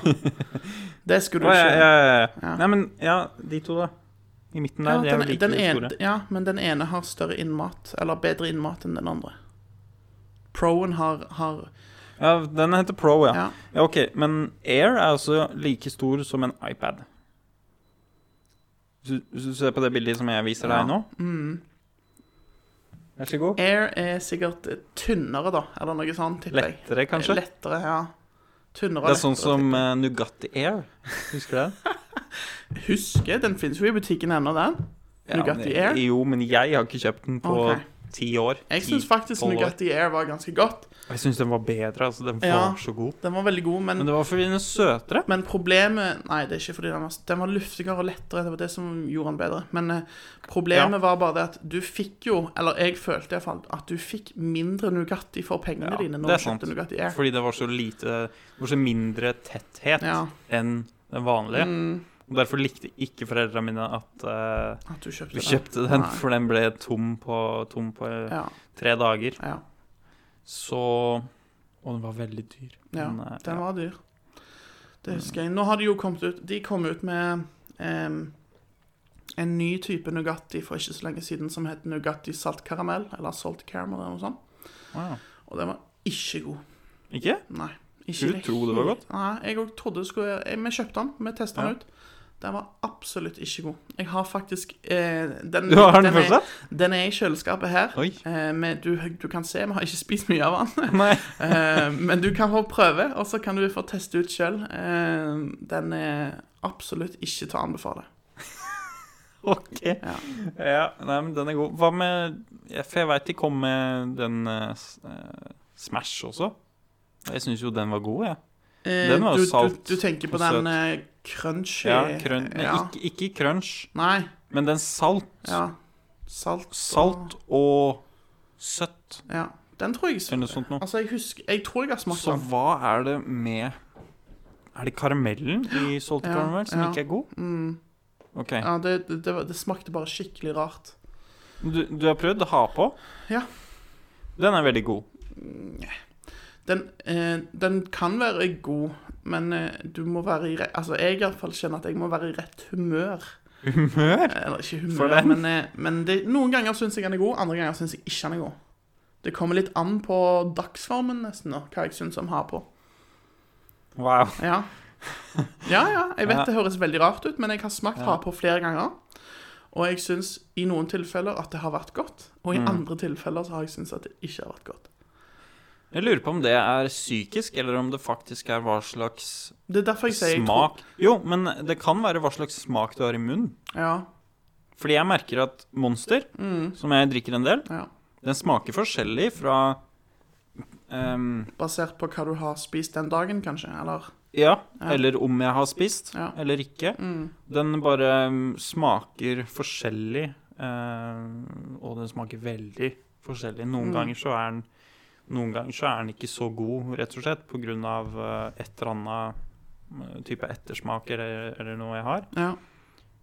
Speaker 2: Det skulle du
Speaker 1: Å, ja,
Speaker 2: ikke.
Speaker 1: ja, ja, ja.
Speaker 2: Ja.
Speaker 1: Nei, men ja, de to, da. I midten
Speaker 2: Ja,
Speaker 1: der. de er
Speaker 2: den,
Speaker 1: vel like
Speaker 2: den ene,
Speaker 1: store.
Speaker 2: ja, men den ene har større innmat, eller bedre innmat enn den andre. Proen har, har
Speaker 1: Ja, den heter Pro, ja.
Speaker 2: Ja.
Speaker 1: Ja, ok, men Air er altså like stor som en iPad. Hvis du- Hvis du ser på det bildet som jeg viser
Speaker 2: Ja.
Speaker 1: deg nå
Speaker 2: Mm.
Speaker 1: Vær så god.
Speaker 2: Air er sikkert eh, tynnere, da, eller noe sånt, tipper jeg.
Speaker 1: Lettere, kanskje?
Speaker 2: Lettere, ja. Tynnere
Speaker 1: Det er sånn
Speaker 2: lettere,
Speaker 1: som
Speaker 2: tipper jeg.
Speaker 1: eh, Nugatti Air. Husker du den?
Speaker 2: Husker, den finnes jo i butikken ennå, den. Nugatti
Speaker 1: men-
Speaker 2: Air?
Speaker 1: Jo, men jeg har ikke kjøpt den på
Speaker 2: Ok.
Speaker 1: ti år.
Speaker 2: Jeg
Speaker 1: Ti-
Speaker 2: syns faktisk
Speaker 1: tolv år.
Speaker 2: Nugatti Air var ganske godt.
Speaker 1: Jeg syns den var bedre. altså Den var
Speaker 2: Ja.
Speaker 1: så god.
Speaker 2: Den var veldig god,
Speaker 1: Men
Speaker 2: men, men,
Speaker 1: det var fordi den er søtere.
Speaker 2: problemet Nei, det er ikke fordi den var Den var luftigere og lettere. Det var det som gjorde den bedre. Men eh, problemet var bare det at du fikk jo, eller jeg følte iallfall, at du fikk mindre Nugatti for pengene
Speaker 1: Ja,
Speaker 2: dine
Speaker 1: det er
Speaker 2: når du
Speaker 1: sant.
Speaker 2: kjøpte Nugatti Air.
Speaker 1: Fordi det var så lite Det var så mindre tetthet
Speaker 2: Ja.
Speaker 1: enn den vanlige.
Speaker 2: Mm,
Speaker 1: Og derfor likte ikke foreldrene mine at eh,
Speaker 2: at du kjøpte
Speaker 1: vi
Speaker 2: den.
Speaker 1: kjøpte den,
Speaker 2: Nei.
Speaker 1: for den ble tom på, tom på eh,
Speaker 2: Ja,
Speaker 1: tre dager.
Speaker 2: ja.
Speaker 1: Så Og den var veldig dyr.
Speaker 2: Ja,
Speaker 1: Men, eh,
Speaker 2: Den
Speaker 1: ja.
Speaker 2: var dyr. Det husker jeg. Nå har de jo kommet ut De kom ut med em, en ny type Nugatti for ikke så lenge siden som het Nugatti saltkaramell, eller salt caramel eller noe sånt.
Speaker 1: Wow.
Speaker 2: Og den var ikke god.
Speaker 1: Ikke?
Speaker 2: Nei. Ikke
Speaker 1: Skulle
Speaker 2: i
Speaker 1: tro det var
Speaker 2: hele-
Speaker 1: godt.
Speaker 2: Nei, jeg òg trodde det skulle jeg, Vi kjøpte den, vi testa
Speaker 1: Ja.
Speaker 2: den ut. Den var absolutt ikke god. Jeg har faktisk eh, den,
Speaker 1: Du har den
Speaker 2: er-
Speaker 1: fortsatt?
Speaker 2: Den er i kjøleskapet her.
Speaker 1: Oi.
Speaker 2: Eh, men du, du kan se, vi har ikke spist mye av den.
Speaker 1: Nei.
Speaker 2: Eh, men du kan få prøve, og så kan du få teste ut sjøl. den er absolutt ikke til å anbefale.
Speaker 1: OK.
Speaker 2: Ja.
Speaker 1: Ja, nei, men den er god. Hva med ja, For jeg veit de kom med den eh, s- eh, Smash også. Jeg syns jo den var god, jeg.
Speaker 2: Eh,
Speaker 1: Den var jo
Speaker 2: du,
Speaker 1: salt
Speaker 2: Du, du tenker på
Speaker 1: og søt.
Speaker 2: den eh, crunchy
Speaker 1: Ja, krøn, nei,
Speaker 2: ja.
Speaker 1: Ikke, ikke crunch,
Speaker 2: Nei.
Speaker 1: men den salt.
Speaker 2: Ja. Salt. og-
Speaker 1: Salt og søtt,
Speaker 2: Ja. Den tror jeg
Speaker 1: eller noe sånt noe.
Speaker 2: Altså, jeg husker Jeg tror jeg har smakt
Speaker 1: Så
Speaker 2: den.
Speaker 1: hva er det med Er det karamellen i salt
Speaker 2: Ja,
Speaker 1: karamell som
Speaker 2: ja.
Speaker 1: ikke er god?
Speaker 2: Mm.
Speaker 1: Ok.
Speaker 2: Ja, det, det, det, var- det smakte bare skikkelig rart.
Speaker 1: Du, du har prøvd å ha på?
Speaker 2: Ja.
Speaker 1: Den er veldig god.
Speaker 2: Den, eh, den kan være god, men eh, du må være i rett Altså, jeg i hvert fall kjenner at jeg må være i rett humør.
Speaker 1: Humør?
Speaker 2: Eh, Eller ikke
Speaker 1: For
Speaker 2: humør,
Speaker 1: den.
Speaker 2: men, eh, men det, noen ganger syns jeg han er god, andre ganger syns jeg ikke han er god. Det kommer litt an på dagsformen, nesten, og hva jeg syns om har på.
Speaker 1: Wow.
Speaker 2: Ja. ja, ja. Jeg vet
Speaker 1: Ja.
Speaker 2: det høres veldig rart ut, men jeg har smakt
Speaker 1: Ja.
Speaker 2: har på flere ganger. Og jeg syns i noen tilfeller at det har vært godt, og i
Speaker 1: Mm.
Speaker 2: andre tilfeller så har jeg syntes at det ikke har vært godt.
Speaker 1: Jeg lurer på om det er psykisk, eller om det faktisk er hva slags
Speaker 2: Det er derfor jeg sier jeg tror-
Speaker 1: smak Jo, men det kan være hva slags smak du har i munnen.
Speaker 2: Ja.
Speaker 1: Fordi jeg merker at Monster,
Speaker 2: Mm.
Speaker 1: som jeg drikker en del,
Speaker 2: Ja.
Speaker 1: den smaker forskjellig fra ehm,
Speaker 2: Basert på hva du har spist den dagen, kanskje. Eller
Speaker 1: ja,
Speaker 2: Ja.
Speaker 1: eller om jeg har spist,
Speaker 2: Ja.
Speaker 1: eller ikke.
Speaker 2: mm.
Speaker 1: Den bare mm, smaker forskjellig, eh, og den smaker veldig forskjellig. Noen
Speaker 2: Mm.
Speaker 1: ganger så er den noen ganger så er den ikke så god, rett og slett, pga. et eller annet eh, type ettersmak eller, eller noe jeg har.
Speaker 2: Ja.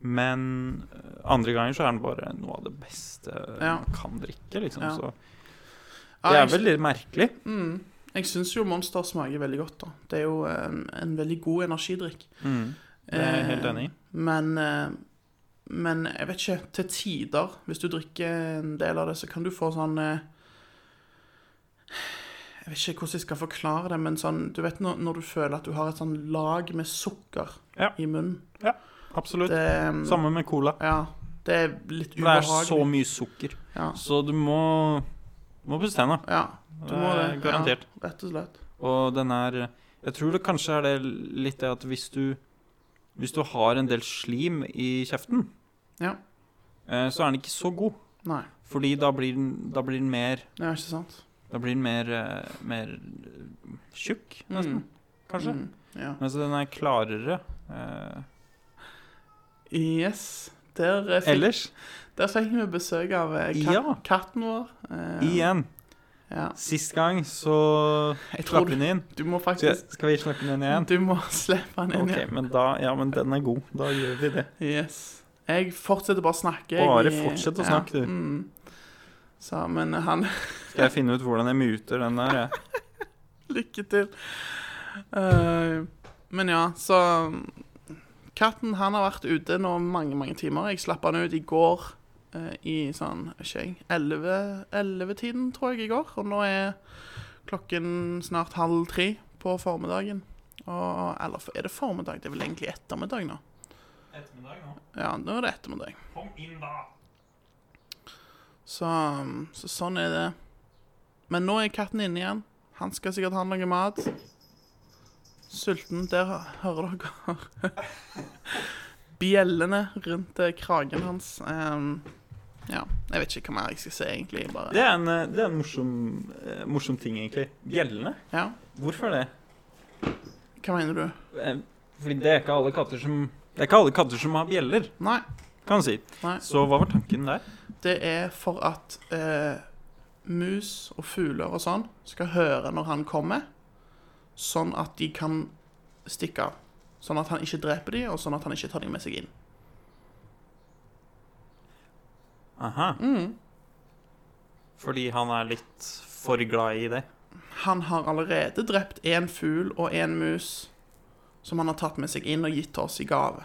Speaker 1: Men eh, andre ganger så er den bare noe av det beste
Speaker 2: Ja.
Speaker 1: man kan drikke, liksom.
Speaker 2: Ja.
Speaker 1: Så
Speaker 2: Ja,
Speaker 1: det
Speaker 2: jeg-
Speaker 1: er veldig merkelig.
Speaker 2: Mm. Jeg syns jo Monster smaker veldig godt, da. Det er jo en, en veldig god energidrikk.
Speaker 1: Mm. Det er jeg helt
Speaker 2: Eh,
Speaker 1: enig i.
Speaker 2: Men, eh, men jeg vet ikke. Til tider, hvis du drikker en del av det, så kan du få sånn eh, Jeg vet ikke hvordan jeg skal forklare det, men sånn Du vet når, når du føler at du har et sånn lag med sukker
Speaker 1: Ja.
Speaker 2: i munnen? Eh,
Speaker 1: Absolutt.
Speaker 2: Det, mm,
Speaker 1: Samme med cola.
Speaker 2: Ja. Det er litt
Speaker 1: Det er
Speaker 2: ubehagelig.
Speaker 1: så mye sukker,
Speaker 2: Ja.
Speaker 1: så du må, må bestemme.
Speaker 2: ja. Du
Speaker 1: Det
Speaker 2: må
Speaker 1: er
Speaker 2: det, ja.
Speaker 1: Eh, garantert.
Speaker 2: Rett og slett.
Speaker 1: Og den er eh, Jeg tror det kanskje er det litt det at hvis du Hvis du har en del slim i kjeften,
Speaker 2: Ja.
Speaker 1: eh, så er den ikke så god.
Speaker 2: Nei.
Speaker 1: Fordi da blir den, da blir den mer
Speaker 2: Det er ikke sant.
Speaker 1: Da blir den mer, eh, mer eh, tjukk, nesten.
Speaker 2: Mm.
Speaker 1: Kanskje.
Speaker 2: Mm. Ja.
Speaker 1: Men så den er klarere eh,
Speaker 2: Yes. Der eh, fikk,
Speaker 1: ellers.
Speaker 2: der fikk vi besøk av eh, kat
Speaker 1: Ja.
Speaker 2: katten vår. Eh,
Speaker 1: Igjen.
Speaker 2: Ja.
Speaker 1: Sist gang så
Speaker 2: Jeg
Speaker 1: slapp
Speaker 2: tror du,
Speaker 1: hun inn.
Speaker 2: du må
Speaker 1: Skal,
Speaker 2: faktisk
Speaker 1: skal vi slappe den inn igjen?
Speaker 2: Du må slippe han inn
Speaker 1: Ok,
Speaker 2: igjen.
Speaker 1: men da, ja, men den er god. Da gjør vi det.
Speaker 2: Yes. Jeg fortsetter bare å snakke. jeg- eh,
Speaker 1: Bare fortsett å snakke, du.
Speaker 2: Mm. Så, men han
Speaker 1: Skal jeg finne ut hvordan jeg muter den der? jeg?
Speaker 2: Lykke til. Eh, men ja, så Katten han har vært ute nå mange mange timer. Jeg slapp han ut i går eh, i sånn ikke jeg, 11-tiden, tror jeg, i går. Og nå er klokken snart halv tre på formiddagen. Og, eller er det formiddag? Det er vel egentlig ettermiddag nå. Ja, nå er det ettermiddag.
Speaker 1: Kom inn, da!
Speaker 2: Så, så sånn er det. Men nå er katten inne igjen. Han skal sikkert ha noe mat. Sulten. Der hø- hører dere bjellene rundt eh, kragen hans. Ehm, ja, jeg vet ikke hva mer jeg skal si, egentlig.
Speaker 1: Det
Speaker 2: Bare.
Speaker 1: er en, eh, det er en morsom, eh, morsom ting, egentlig. Bjellene.
Speaker 2: Ja,
Speaker 1: Hvorfor det?
Speaker 2: Hva mener du?
Speaker 1: Eh, Fordi det er ikke alle katter som Det er ikke alle katter som har bjeller,
Speaker 2: Nei,
Speaker 1: kan man si.
Speaker 2: nei.
Speaker 1: Så hva var tanken der?
Speaker 2: Det er for at eh, mus og fugler og sånn skal høre når han kommer, sånn at de kan stikke av. Sånn at han ikke dreper dem, og sånn at han ikke tar dem med seg inn.
Speaker 1: Aha.
Speaker 2: Mm.
Speaker 1: Fordi han er litt for glad i det.
Speaker 2: Han har allerede drept én fugl og én mus som han har tatt med seg inn og gitt til oss i gave.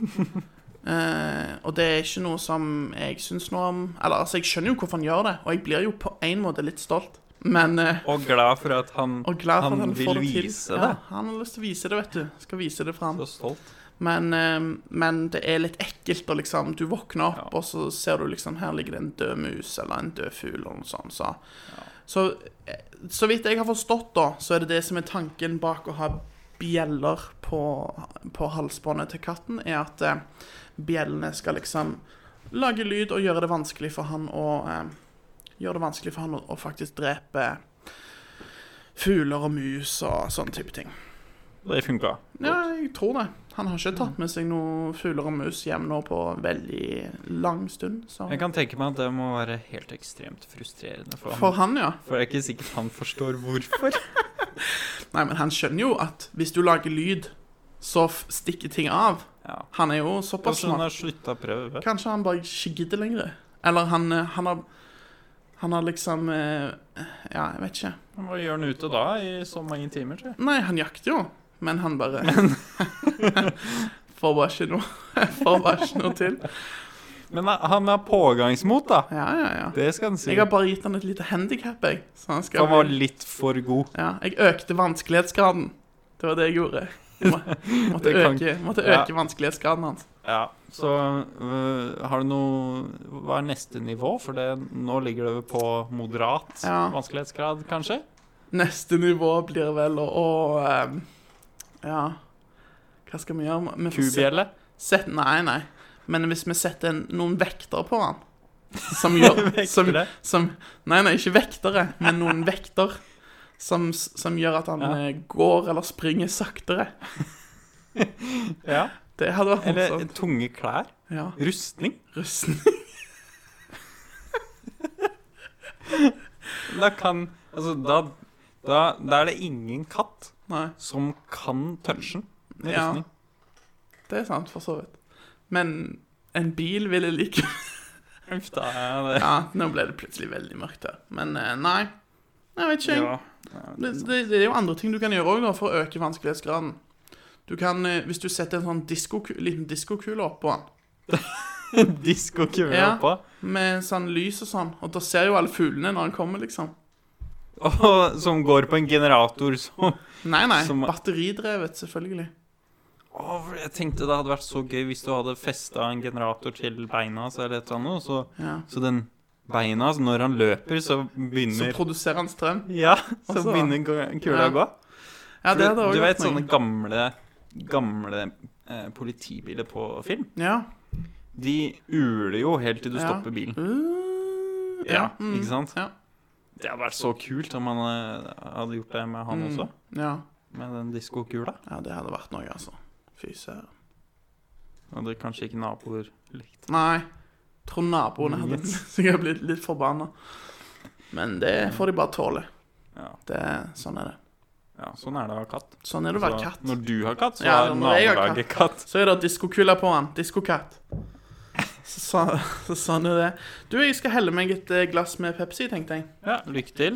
Speaker 2: Eh, og det er ikke noe som jeg syns noe om Eller altså, jeg skjønner jo hvorfor han gjør det, og jeg blir jo på en måte litt stolt, men eh,
Speaker 1: Og glad for at han
Speaker 2: Og glad
Speaker 1: Mm.
Speaker 2: for
Speaker 1: Han
Speaker 2: at han
Speaker 1: vil
Speaker 2: får det til.
Speaker 1: vise det.
Speaker 2: Ja, han har lyst til å vise det, vet du. Skal vise det fram.
Speaker 1: Så stolt.
Speaker 2: Men, eh, men det er litt ekkelt å liksom Du våkner opp,
Speaker 1: Ja.
Speaker 2: og så ser du liksom Her ligger det en død mus eller en død fugl eller noe sånt. Så.
Speaker 1: Ja.
Speaker 2: så eh, så vidt jeg har forstått, da, så er det det som er tanken bak å ha bjeller på, på halsbåndet til katten, er at eh, bjellene skal liksom lage lyd og gjøre det vanskelig for han å eh, Gjøre det vanskelig for han å, å faktisk drepe fugler og mus og sånne type ting.
Speaker 1: Det funka.
Speaker 2: Ja, jeg tror det. Han har ikke tatt med seg noen fugler og mus hjem nå på veldig lang stund. Så.
Speaker 1: Jeg kan tenke meg at det må være helt ekstremt frustrerende for
Speaker 2: For
Speaker 1: han.
Speaker 2: han, ja.
Speaker 1: For jeg er ikke sikkert han forstår hvorfor.
Speaker 2: Nei, men han skjønner jo at hvis du lager lyd, så f stikker ting av.
Speaker 1: Ja.
Speaker 2: Han er jo såpass
Speaker 1: Kanskje han
Speaker 2: smart.
Speaker 1: har slutta å prøve.
Speaker 2: Kanskje han bare ikke gidder lenger. Eller han, eh, han har Han har liksom eh, Ja, jeg vet ikke.
Speaker 1: Hva gjør han ute da i så mange timer, tror jeg?
Speaker 2: Nei, han jakter jo, men han bare Får bare ikke noe Får bare ikke noe til.
Speaker 1: Men eh, han har pågangsmot, da.
Speaker 2: Ja, ja, ja.
Speaker 1: Det skal han si.
Speaker 2: Jeg har bare gitt han et lite handikap, jeg. Så han skal
Speaker 1: Han var litt for god.
Speaker 2: Ja, jeg økte vanskelighetsgraden. Det var det jeg gjorde. Jeg må- måtte
Speaker 1: Det kan-
Speaker 2: øke, måtte
Speaker 1: ja.
Speaker 2: øke vanskelighetsgraden hans.
Speaker 1: Ja. Så øh, har du noe Hva er neste nivå? For det, nå ligger det vel på moderat
Speaker 2: Ja.
Speaker 1: vanskelighetsgrad, kanskje?
Speaker 2: Neste nivå blir vel å å, ehm, Ja, hva skal vi gjøre? Vi får se-
Speaker 1: Kubjelle?
Speaker 2: sett- Nei, nei. Men hvis vi setter en, noen vekter på han som gjør som,
Speaker 1: Vektere?
Speaker 2: som, Nei, nei, ikke vektere, men noen vekter som, som gjør at han
Speaker 1: Ja.
Speaker 2: eh, går eller springer saktere.
Speaker 1: Ja.
Speaker 2: Det hadde vært
Speaker 1: Eller
Speaker 2: morsomt.
Speaker 1: tunge klær?
Speaker 2: Ja,
Speaker 1: Rustning?
Speaker 2: russen.
Speaker 1: Da kan Altså, da, da, da er det ingen katt
Speaker 2: Nei.
Speaker 1: som kan touchen med
Speaker 2: Ja.
Speaker 1: rustning.
Speaker 2: Det er sant, for så vidt. Men en bil ville like
Speaker 1: Uff, da er det
Speaker 2: Ja, nå ble det plutselig veldig mørkt her. Men eh, nei. Jeg vet ikke. jeg.
Speaker 1: Ja.
Speaker 2: Det, det, det er jo andre ting du kan gjøre også, da, for å øke vanskelighetsgraden. Du kan, eh, Hvis du setter en sånn disco, liten diskokule oppå den,
Speaker 1: Diskokule
Speaker 2: Ja.
Speaker 1: oppå.
Speaker 2: med sånn lys og sånn, og da ser jo alle fuglene når han kommer, liksom.
Speaker 1: Og som går på en generator som
Speaker 2: Nei, nei.
Speaker 1: Som-
Speaker 2: Batteridrevet, selvfølgelig.
Speaker 1: Å, for jeg tenkte det hadde vært så gøy hvis du hadde festa en generator til beina hans eller et eller annet, og så,
Speaker 2: Ja.
Speaker 1: så den beina hans, når han løper, så
Speaker 2: Så
Speaker 1: begynner
Speaker 2: produserer han strøm.
Speaker 1: Ja, så
Speaker 2: Og så-
Speaker 1: begynner gå- kula
Speaker 2: Ja.
Speaker 1: å gå.
Speaker 2: Ja, det hadde
Speaker 1: du,
Speaker 2: også
Speaker 1: du vet
Speaker 2: vært noe.
Speaker 1: sånne gamle, gamle eh, politibiler på film?
Speaker 2: Ja.
Speaker 1: De uler jo helt til du
Speaker 2: Ja.
Speaker 1: stopper bilen.
Speaker 2: Uh,
Speaker 1: Ja,
Speaker 2: mm.
Speaker 1: ikke sant?
Speaker 2: Ja.
Speaker 1: Det hadde vært så kult om han eh, hadde gjort det med han
Speaker 2: Mm.
Speaker 1: også.
Speaker 2: Ja.
Speaker 1: Med den diskokula.
Speaker 2: ja, det hadde vært noe, altså. Fy søren.
Speaker 1: Hadde kanskje ikke naboer likt.
Speaker 2: Nei. Tror naboene hadde
Speaker 1: Mm, Yes. Mm.
Speaker 2: sikkert blitt litt forbanna. Men det får de bare tåle.
Speaker 1: Ja,
Speaker 2: Det, sånn er det.
Speaker 1: ja sånn er det å ha katt.
Speaker 2: Sånn er det å være
Speaker 1: Så
Speaker 2: katt.
Speaker 1: Når du har katt, så
Speaker 2: Ja,
Speaker 1: er
Speaker 2: når jeg har
Speaker 1: nabolaget katt.
Speaker 2: Så er det diskokula på han. Diskokatt. Så, så, så sånn er det. Du, jeg skal helle meg et eh, glass med Pepsi, tenkte jeg.
Speaker 1: Ja, lykke til.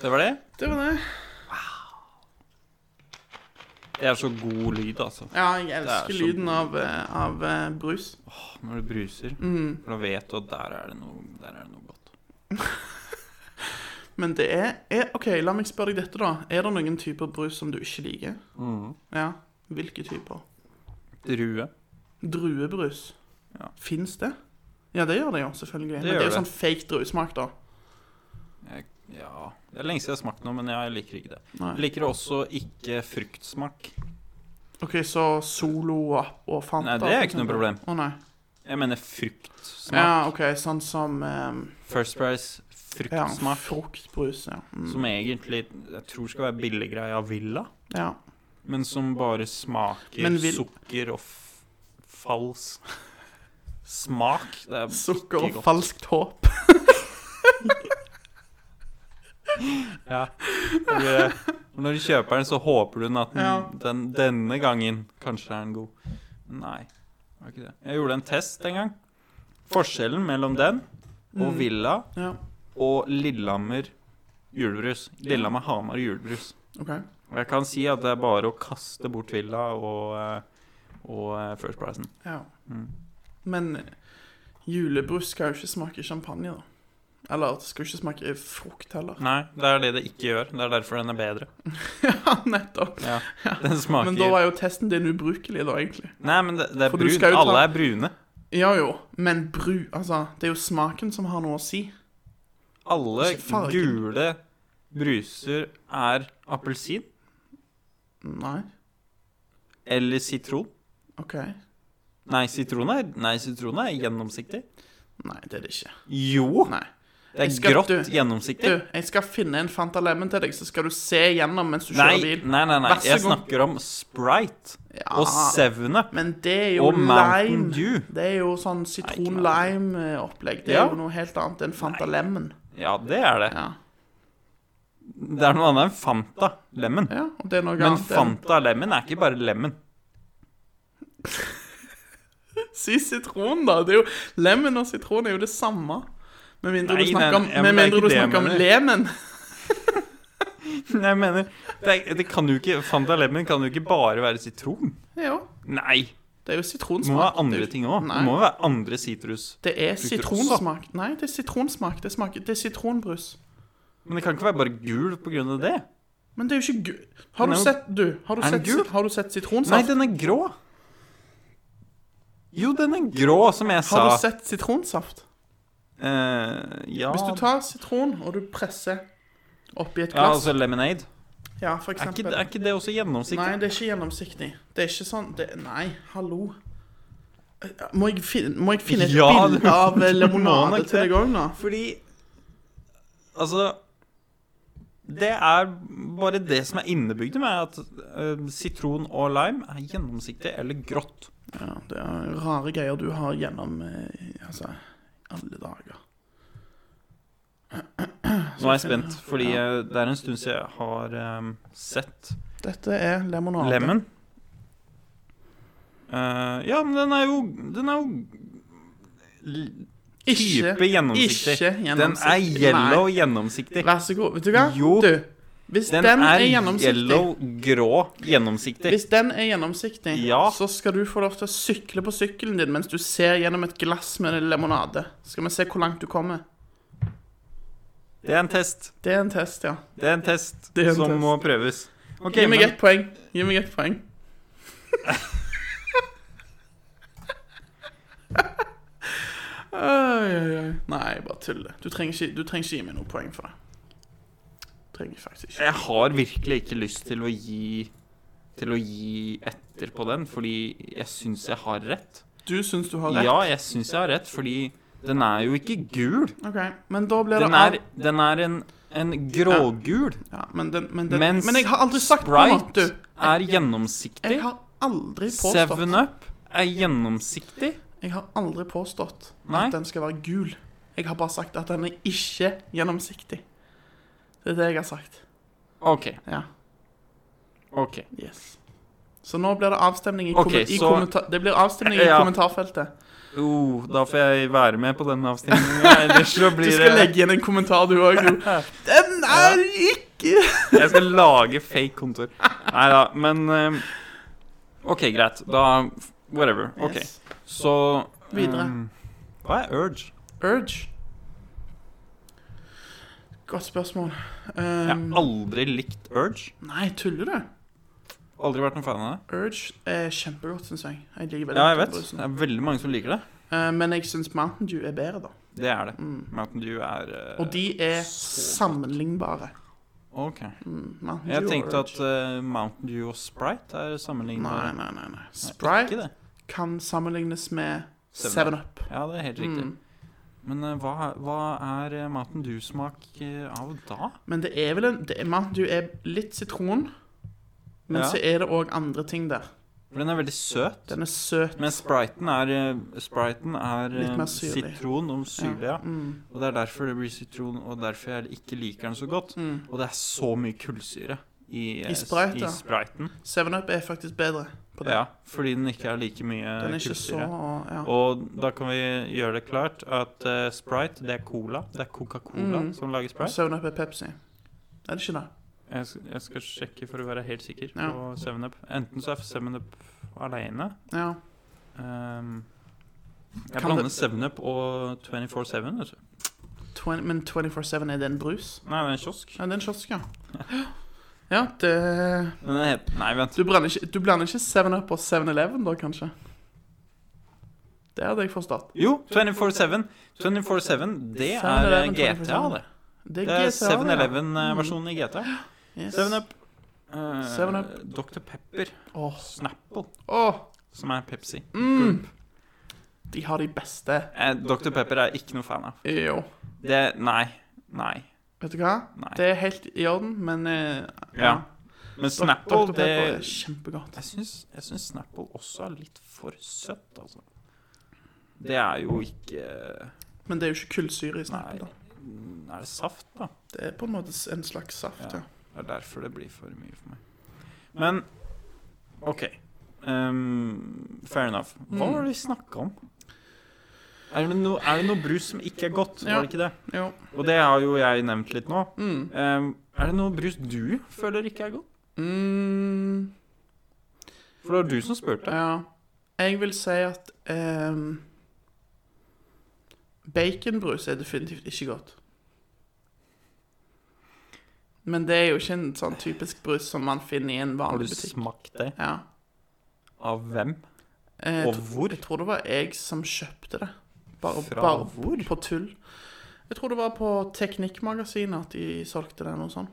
Speaker 1: Det var det.
Speaker 2: Det var det.
Speaker 1: Det er så god lyd, altså.
Speaker 2: Ja, jeg elsker
Speaker 1: Det er så
Speaker 2: lyden
Speaker 1: god.
Speaker 2: av, eh, av eh, brus.
Speaker 1: Når det bruser.
Speaker 2: Mm.
Speaker 1: For da vet du at der er det noe, der er det noe godt.
Speaker 2: Men det er, er OK, la meg spørre deg dette, da. Er det noen typer brus som du ikke liker?
Speaker 1: Mm.
Speaker 2: Ja. Hvilke typer?
Speaker 1: Drue.
Speaker 2: Druebrus.
Speaker 1: Ja.
Speaker 2: Fins det? Ja, det gjør det jo, selvfølgelig.
Speaker 1: Det
Speaker 2: Men det
Speaker 1: gjør
Speaker 2: er jo
Speaker 1: det.
Speaker 2: sånn fake druesmak, da.
Speaker 1: Jeg, ja Det er lenge siden jeg har smakt noe, men jeg liker ikke det. Jeg
Speaker 2: Nei.
Speaker 1: liker også ikke fruktsmak.
Speaker 2: OK, så Solo og, og Fanta
Speaker 1: Nei, det er
Speaker 2: for
Speaker 1: ikke noe
Speaker 2: eksempel.
Speaker 1: problem.
Speaker 2: Å nei.
Speaker 1: Jeg mener fruktsmak.
Speaker 2: Ja, OK, sånn som ehm,
Speaker 1: First Price
Speaker 2: ja,
Speaker 1: fruktsmak.
Speaker 2: fruktbrus, ja. Mm.
Speaker 1: Som egentlig jeg tror skal være billiggreie av Villa,
Speaker 2: ja.
Speaker 1: men som bare smaker
Speaker 2: Men vil-
Speaker 1: sukker og f falsk smak. Det er
Speaker 2: Sukker
Speaker 1: ikke
Speaker 2: og
Speaker 1: godt.
Speaker 2: falskt håp.
Speaker 1: Ja. Når du- Når du kjøper den, så håper du den at den,
Speaker 2: Ja.
Speaker 1: den, denne gangen kanskje er den god. Nei, det var ikke det. Jeg gjorde en test en gang. Forskjellen mellom den og
Speaker 2: Mm.
Speaker 1: Villa
Speaker 2: Ja.
Speaker 1: og Lillehammer julebrus. Lillehammer Hamar julebrus.
Speaker 2: OK.
Speaker 1: Og jeg kan si at det er bare å kaste bort Villa og, eh, og eh, First Pricen.
Speaker 2: Ja.
Speaker 1: Mm.
Speaker 2: Men julebrus skal jo ikke smake champagne, da. Eller det skal jo ikke smake frukt heller.
Speaker 1: Nei, det er det det ikke gjør. Det er derfor den er bedre.
Speaker 2: ja, nettopp.
Speaker 1: Ja, den smaker
Speaker 2: Men da var jo testen din ubrukelig, da, egentlig.
Speaker 1: Nei, men det, det er
Speaker 2: For du
Speaker 1: brun.
Speaker 2: skal jo ta-
Speaker 1: Alle er brune.
Speaker 2: Ja jo, men bru Altså, det er jo smaken som har noe å si.
Speaker 1: Alle
Speaker 2: Ikke fargen.
Speaker 1: gule bruser er appelsin
Speaker 2: Nei,
Speaker 1: eller sitron.
Speaker 2: OK.
Speaker 1: Nei, sitron er, nei, sitron er gjennomsiktig.
Speaker 2: Nei, det er det ikke.
Speaker 1: Jo!
Speaker 2: Nei.
Speaker 1: Det
Speaker 2: Jeg
Speaker 1: er
Speaker 2: skal-
Speaker 1: grått
Speaker 2: du- Du,
Speaker 1: gjennomsiktig.
Speaker 2: jeg skal finne en Fanta Lemon til deg, så skal du se gjennom mens du
Speaker 1: Nei,
Speaker 2: kjører bil.
Speaker 1: nei, nei, nei.
Speaker 2: Vær så
Speaker 1: Jeg
Speaker 2: god.
Speaker 1: snakker om Sprite
Speaker 2: Ja,
Speaker 1: og Seven Up
Speaker 2: men det er jo
Speaker 1: og Mountain
Speaker 2: lime.
Speaker 1: Dew.
Speaker 2: Det er jo sånn
Speaker 1: Nei, ikke Mountain
Speaker 2: sitron-lime-opplegg. Det er
Speaker 1: Ja.
Speaker 2: jo noe helt annet enn Fanta Lemon.
Speaker 1: Ja, det er det.
Speaker 2: Ja.
Speaker 1: Det er noe annet enn Fanta Lemon.
Speaker 2: ja, og det er noe
Speaker 1: Men
Speaker 2: annet enn
Speaker 1: Fanta Lemon er ikke bare lemon.
Speaker 2: Si sitron, da. Det er jo, lemon og sitron er jo det samme. Med mindre
Speaker 1: Nei,
Speaker 2: du
Speaker 1: nei,
Speaker 2: snakker om,
Speaker 1: ja, men det
Speaker 2: med
Speaker 1: er ikke
Speaker 2: mindre du
Speaker 1: det jeg
Speaker 2: snakker om
Speaker 1: mener.
Speaker 2: lemen.
Speaker 1: Jeg mener, det, er- det kan jo ikke, Fanta Lemon kan jo ikke bare være sitron.
Speaker 2: Jo,
Speaker 1: Nei,
Speaker 2: det er jo
Speaker 1: det må
Speaker 2: sitronsmak.
Speaker 1: være andre
Speaker 2: Det er jo-
Speaker 1: ting òg. Det
Speaker 2: Nei.
Speaker 1: må være andre sitrus.
Speaker 2: Det er
Speaker 1: Frukter også.
Speaker 2: sitronsmak. Nei, det er sitronsmak. Det, smaker, det er sitronbrus.
Speaker 1: Men det kan ikke være bare gul pga. det.
Speaker 2: Men det er jo ikke gul. Har
Speaker 1: Den er
Speaker 2: du
Speaker 1: jo-
Speaker 2: sett Du, har du,
Speaker 1: Er den
Speaker 2: sett,
Speaker 1: gul?
Speaker 2: sit- har du sett
Speaker 1: Nei,
Speaker 2: sitronsaft?
Speaker 1: den er grå. Jo, den er grå, som jeg
Speaker 2: har du
Speaker 1: sa.
Speaker 2: sett sitronsaft?
Speaker 1: Eh, ja
Speaker 2: Hvis du tar sitron og du presser oppi et
Speaker 1: Ja,
Speaker 2: glass
Speaker 1: altså lemonade.
Speaker 2: Ja, for
Speaker 1: Er ikke,
Speaker 2: eksempel.
Speaker 1: er ikke det også
Speaker 2: Nei,
Speaker 1: gjennomsiktig?
Speaker 2: det er ikke gjennomsiktig. Det er ikke sånn det, Nei, hallo. Må jeg finne, må jeg finne et
Speaker 1: Ja, du-
Speaker 2: bilde av
Speaker 1: du
Speaker 2: eh,
Speaker 1: må
Speaker 2: limonade
Speaker 1: nok
Speaker 2: til
Speaker 1: det.
Speaker 2: deg òg, nå?
Speaker 1: Fordi Altså Det er bare det som er innebygd i meg, at eh, sitron og lime er gjennomsiktig eller grått.
Speaker 2: Ja, det er rare greier du har gjennom eh, Altså, alle dager.
Speaker 1: Nå er jeg spent, fordi eh, det er en stund siden jeg har eh, sett
Speaker 2: Dette er limonade.
Speaker 1: Lemon. Eh, ja, men den er jo Den er jo l-
Speaker 2: Ikke-
Speaker 1: type gjennomsiktig.
Speaker 2: Ikke
Speaker 1: Den er
Speaker 2: gjennomsiktig.
Speaker 1: yellow
Speaker 2: Nei.
Speaker 1: gjennomsiktig.
Speaker 2: Vær så god. Vet du hva?
Speaker 1: Jo.
Speaker 2: Du, hvis den,
Speaker 1: Den,
Speaker 2: er,
Speaker 1: er,
Speaker 2: gjennomsiktig
Speaker 1: yellow grå gjennomsiktig.
Speaker 2: Hvis den er gjennomsiktig,
Speaker 1: Ja.
Speaker 2: så skal du få lov til å sykle på sykkelen din mens du ser gjennom et glass med limonade. Skal vi se hvor langt du kommer.
Speaker 1: Det er en test.
Speaker 2: Det er en test, ja.
Speaker 1: Det er en test
Speaker 2: Det er en
Speaker 1: som
Speaker 2: test.
Speaker 1: må prøves. Ok,
Speaker 2: Gi meg
Speaker 1: men-
Speaker 2: ett poeng. Gi meg ett poeng. Oi, oi, oi. Nei, jeg bare tuller. Du trenger, ikke, du trenger ikke gi meg noe poeng for det. Trenger faktisk ikke.
Speaker 1: Jeg har virkelig ikke lyst til å gi til å gi etter på den, fordi jeg syns jeg har rett.
Speaker 2: Du syns du har rett.
Speaker 1: Ja, jeg syns jeg har rett, fordi den er jo ikke gul.
Speaker 2: OK, men da blir det
Speaker 1: Den er, den er en, en grågul.
Speaker 2: Ja, men, den, men, den,
Speaker 1: Mens
Speaker 2: men jeg har aldri sagt noe
Speaker 1: Sprite
Speaker 2: annet, du.
Speaker 1: Er
Speaker 2: Jeg
Speaker 1: gjennomsiktig.
Speaker 2: har aldri påstått
Speaker 1: Seven Up er gjennomsiktig.
Speaker 2: Jeg har aldri påstått
Speaker 1: Nei.
Speaker 2: at den skal være gul. Jeg har bare sagt at den er ikke gjennomsiktig. Det er det jeg har sagt.
Speaker 1: OK.
Speaker 2: Ja.
Speaker 1: ok.
Speaker 2: Yes. Så nå blir det avstemning i,
Speaker 1: Ok,
Speaker 2: kommen- i
Speaker 1: så-
Speaker 2: kommenta- Det blir avstemning i
Speaker 1: Ja.
Speaker 2: kommentarfeltet.
Speaker 1: Oh, da får jeg være med på den avstemninga, ellers så
Speaker 2: Du
Speaker 1: blir det
Speaker 2: skal legge inn en kommentar, du òg. Den er ikke
Speaker 1: Jeg skal lage fake kontor. Nei da, men eh, OK, greit. Da Whatever. OK.
Speaker 2: Yes.
Speaker 1: Så
Speaker 2: Videre.
Speaker 1: eh, Hva er urge?
Speaker 2: Urge. Godt spørsmål.
Speaker 1: Jeg
Speaker 2: Um,
Speaker 1: har aldri likt urge.
Speaker 2: Nei, tuller du?
Speaker 1: Aldri vært noen fan av det.
Speaker 2: Urge er kjempegodt, syns jeg. Jeg liker veldig
Speaker 1: Ja, jeg
Speaker 2: godt
Speaker 1: vet.
Speaker 2: den brusen.
Speaker 1: Det er veldig mange som liker det.
Speaker 2: Eh, men jeg syns Mountain Dew er bedre, da.
Speaker 1: Det er det.
Speaker 2: Mm.
Speaker 1: Mountain Dew er eh,
Speaker 2: Og de er
Speaker 1: så godt.
Speaker 2: sammenlignbare.
Speaker 1: OK.
Speaker 2: Mm, Mountain
Speaker 1: Jeg
Speaker 2: Dew og
Speaker 1: tenkte at
Speaker 2: Urge.
Speaker 1: eh, Mountain Dew og Sprite er
Speaker 2: Nei,
Speaker 1: sammenlignbare.
Speaker 2: nei, nei. nei.
Speaker 1: Nei,
Speaker 2: Sprite
Speaker 1: Ikke det.
Speaker 2: kan sammenlignes med
Speaker 1: Seven
Speaker 2: Seven Up.
Speaker 1: Ja, det er helt riktig.
Speaker 2: Mm.
Speaker 1: Men eh, hva, hva er eh, Mountain Dew-smak eh, av da?
Speaker 2: Men det er vel en det er, Mountain Dew er litt sitron, men
Speaker 1: Ja.
Speaker 2: så er det òg andre ting der.
Speaker 1: For den er veldig søt.
Speaker 2: Den er søt.
Speaker 1: Men spriten er, eh, spriten er
Speaker 2: Litt mer
Speaker 1: eh,
Speaker 2: syrlig.
Speaker 1: sitron og syrlig, ja.
Speaker 2: Mm.
Speaker 1: Og det er derfor det blir sitron, og derfor jeg ikke liker den så godt.
Speaker 2: Mm.
Speaker 1: Og det er så mye kullsyre i, eh,
Speaker 2: I Sprite,
Speaker 1: i
Speaker 2: ja.
Speaker 1: spriten.
Speaker 2: Seven Up er faktisk bedre på det.
Speaker 1: Ja, fordi den ikke er like mye
Speaker 2: Den er ikke så
Speaker 1: kullsyre.
Speaker 2: ja.
Speaker 1: Og da kan vi gjøre det klart at eh, Sprite, det er cola. Det er Coca-Cola
Speaker 2: Mm.
Speaker 1: som lager Sprite.
Speaker 2: Seven Up er Pepsi. Er det ikke det?
Speaker 1: Jeg, sk- jeg skal sjekke for å være helt sikker
Speaker 2: Ja.
Speaker 1: på 7-Up. Enten så er 7-Up alene
Speaker 2: Ja.
Speaker 1: ehm, Jeg
Speaker 2: Kan
Speaker 1: blander
Speaker 2: det-
Speaker 1: 7-Up og 24-7. vet du.
Speaker 2: Twen- men 24-7, er det en brus?
Speaker 1: Nei, det er en kiosk.
Speaker 2: Ja, det er en kiosk, ja. Ja, det
Speaker 1: Men den het- Nei, vent.
Speaker 2: Du blander ikke, du blander ikke 7-Up og 7-Eleven da, kanskje? Det hadde jeg forstått.
Speaker 1: Jo, 24-7. 24-7, det er eh,
Speaker 2: 7-Eleven,
Speaker 1: GTA, det.
Speaker 2: 24/7. Det
Speaker 1: Det er eh,
Speaker 2: GTA, ja. Mm.
Speaker 1: 7-Eleven-versjonen i GTA.
Speaker 2: Yes.
Speaker 1: 7-Up.
Speaker 2: 7-Up.
Speaker 1: Dr. eh, Pepper.
Speaker 2: Åh,
Speaker 1: Snapple,
Speaker 2: åh,
Speaker 1: som er Pepsi.
Speaker 2: mm. De har de beste.
Speaker 1: Eh, Dr. Pepper er jeg ikke noe fan av.
Speaker 2: Jo.
Speaker 1: Det Nei. Nei.
Speaker 2: Vet du hva?
Speaker 1: nei.
Speaker 2: Det er helt i orden, men eh,
Speaker 1: Ja. Men
Speaker 2: Dr.
Speaker 1: Snapple,
Speaker 2: Pepper
Speaker 1: det
Speaker 2: er kjempegodt.
Speaker 1: Jeg syns, jeg syns Snapple også er litt for søtt, altså. Det er jo ikke
Speaker 2: Men det er jo ikke
Speaker 1: Nei.
Speaker 2: kullsyre i Snapple. da.
Speaker 1: mm, Er det saft, da?
Speaker 2: Det er på en måte en slags saft,
Speaker 1: Ja.
Speaker 2: ja.
Speaker 1: Det er derfor det blir for mye for meg. Men OK. Ehm, fair enough. Hva
Speaker 2: Mm.
Speaker 1: var det vi snakka om? Er det, no, er det noe brus som ikke er godt?
Speaker 2: Ja.
Speaker 1: Var det ikke det?
Speaker 2: Jo.
Speaker 1: Og det har jo jeg nevnt litt nå.
Speaker 2: Mm.
Speaker 1: Ehm, er det noe brus du føler ikke er godt?
Speaker 2: Mm.
Speaker 1: For det var du som spurte.
Speaker 2: Ja. Jeg vil si at ehm, Baconbrus er definitivt ikke godt. Men det er jo ikke en sånn typisk brus som man finner i en
Speaker 1: Har du
Speaker 2: vanlig butikk.
Speaker 1: smakt det?
Speaker 2: Ja.
Speaker 1: Av hvem?
Speaker 2: Eh, Jeg,
Speaker 1: Og
Speaker 2: tro-
Speaker 1: hvor?
Speaker 2: jeg tror det var jeg som kjøpte det. Bare,
Speaker 1: Fra
Speaker 2: bare
Speaker 1: hvor?
Speaker 2: på tull. Jeg tror det var på Teknikkmagasinet at de solgte det, noe sånt.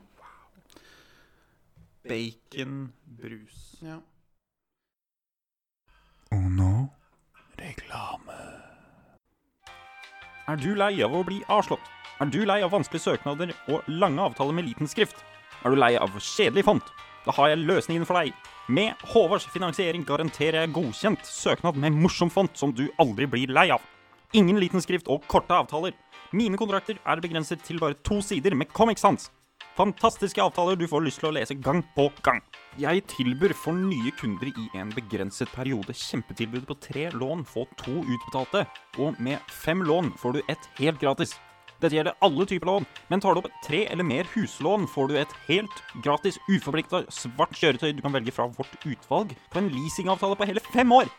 Speaker 1: Baconbrus.
Speaker 2: Ja.
Speaker 1: Og nå reklame. Er du lei av å bli avslått? Er du lei av vanskelige søknader og lange avtaler med liten skrift? Er du lei av kjedelig font? Da har jeg løsningen for deg. Med Håvards finansiering garanterer jeg godkjent søknad med morsom font som du aldri blir lei av. Ingen liten skrift og korte avtaler. Mine kontrakter er begrenset til bare to sider med Comic Sans. Fantastiske avtaler du får lyst til å lese gang på gang. Jeg tilbyr for nye kunder i en begrenset periode kjempetilbud på tre lån, få to utbetalte. Og med fem lån får du ett helt gratis. Dette gjelder alle typer lån, men tar du opp tre eller mer huslån, får du et helt gratis uforplikta svart kjøretøy du kan velge fra vårt utvalg på en leasingavtale på hele fem år.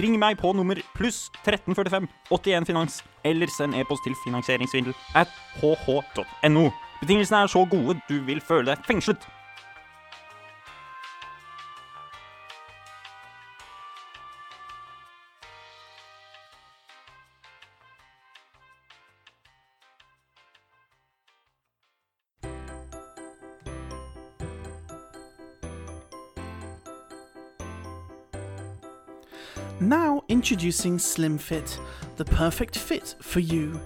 Speaker 1: Ring meg på nummer pluss 1345 81 finans, eller send e-post til finansieringssvindel at hh.no. Betingelsene er så gode du vil føle deg fengslet.
Speaker 2: Now introducing Slim Fit, the perfect fit for you.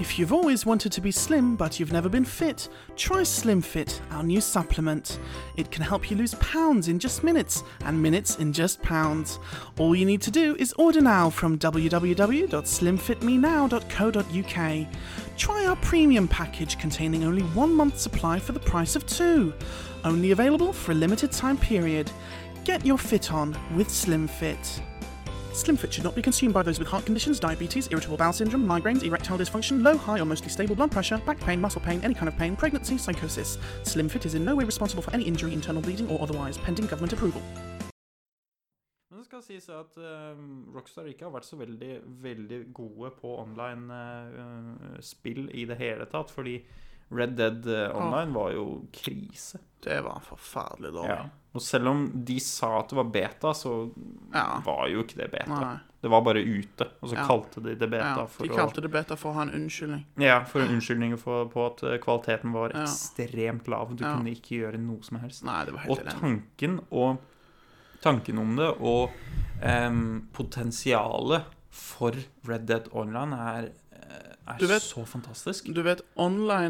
Speaker 2: If you've always wanted to be slim but you've never been fit, try Slim Fit, our new supplement. It can help you lose pounds in just minutes and minutes in just pounds. All you need to do is order now from www.slimfitmenow.co.uk. Try our premium package containing only one month's supply for the price of two. Only available for a limited time period. Get your fit on with Slim Fit. SlimFit should not be consumed by those with heart conditions, diabetes, irritable bowel syndrome, migraines, erectile dysfunction, low, high, or mostly stable blood pressure, back pain, muscle pain, any kind of pain, pregnancy, psychosis. SlimFit is in no way responsible for any injury, internal bleeding, or otherwise, pending government approval.
Speaker 1: Men det skal sies at eh, Rockstar ikke har vært så veldig, veldig gode på online eh, eh, spill i det hele tatt, fordi Red Dead eh, Online var jo krise.
Speaker 2: Det var forferdelig dårlig.
Speaker 1: Ja. Og selv om de sa at det var beta, så
Speaker 2: Ja.
Speaker 1: var jo ikke det beta.
Speaker 2: Nei.
Speaker 1: Det var bare ute, og så
Speaker 2: Ja.
Speaker 1: kalte de det beta for,
Speaker 2: de kalte det beta for å ha en unnskyldning.
Speaker 1: å, ja, for en unnskyldning for, på at eh, kvaliteten var
Speaker 2: Ja.
Speaker 1: ekstremt lav. Du
Speaker 2: Ja.
Speaker 1: kunne ikke gjøre noe som helst.
Speaker 2: Nei, det var helt
Speaker 1: Og
Speaker 2: elendig.
Speaker 1: tanken og Tanken om det og em, potensialet for Red Dead Online er, eh, er
Speaker 2: Du vet-
Speaker 1: så fantastisk.
Speaker 2: Du vet,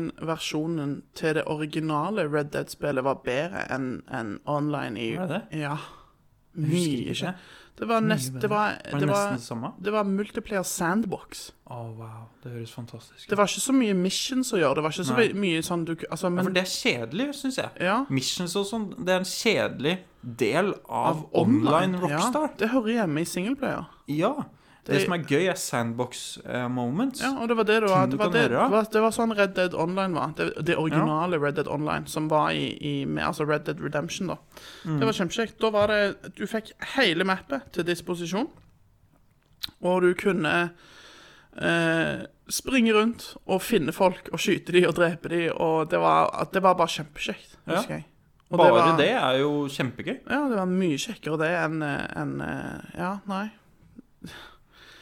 Speaker 2: online-versjonen til det originale Red Dead-spillet var bedre enn enn online i
Speaker 1: Var det det?
Speaker 2: Ja.
Speaker 1: Jeg husker
Speaker 2: Mye
Speaker 1: ikke det.
Speaker 2: kjent. Det var nest...
Speaker 1: bedre.
Speaker 2: Det var,
Speaker 1: Var
Speaker 2: det
Speaker 1: det
Speaker 2: var,
Speaker 1: nesten det samme?
Speaker 2: det var multiplayer sandbox.
Speaker 1: Å, wow. Det høres fantastisk ut.
Speaker 2: Det var ikke så mye missions å gjøre. Det var ikke så
Speaker 1: Nei.
Speaker 2: ve- mye sånn du ku- Altså,
Speaker 1: Ja, for
Speaker 2: men
Speaker 1: det er kjedelig, syns jeg.
Speaker 2: Ja.
Speaker 1: Missions og sånn, det er en kjedelig del av,
Speaker 2: online,
Speaker 1: online Rockstar.
Speaker 2: Ja, det hører hjemme i singleplayer.
Speaker 1: Ja. Det,
Speaker 2: Det-
Speaker 1: som er gøy, er sandbox eh, moments.
Speaker 2: Ja, og det var det det var.
Speaker 1: Ting du
Speaker 2: Det var,
Speaker 1: kan
Speaker 2: det,
Speaker 1: gjøre.
Speaker 2: det var, det var sånn Red Dead Online var. Det, det originale Red Dead Online, som var i, i med, altså Red Dead Redemption, da. Det var kjempekjekt. Da var det Du fikk hele mappet til disposisjon, og du kunne eh, springe rundt og finne folk og skyte dem og drepe dem, og det var, at det var bare kjempekjekt,
Speaker 1: Ja.
Speaker 2: husker jeg. Og
Speaker 1: Bare det,
Speaker 2: var-
Speaker 1: er jo kjempegøy.
Speaker 2: Ja, det var mye kjekkere det enn enn, eh, Ja, nei.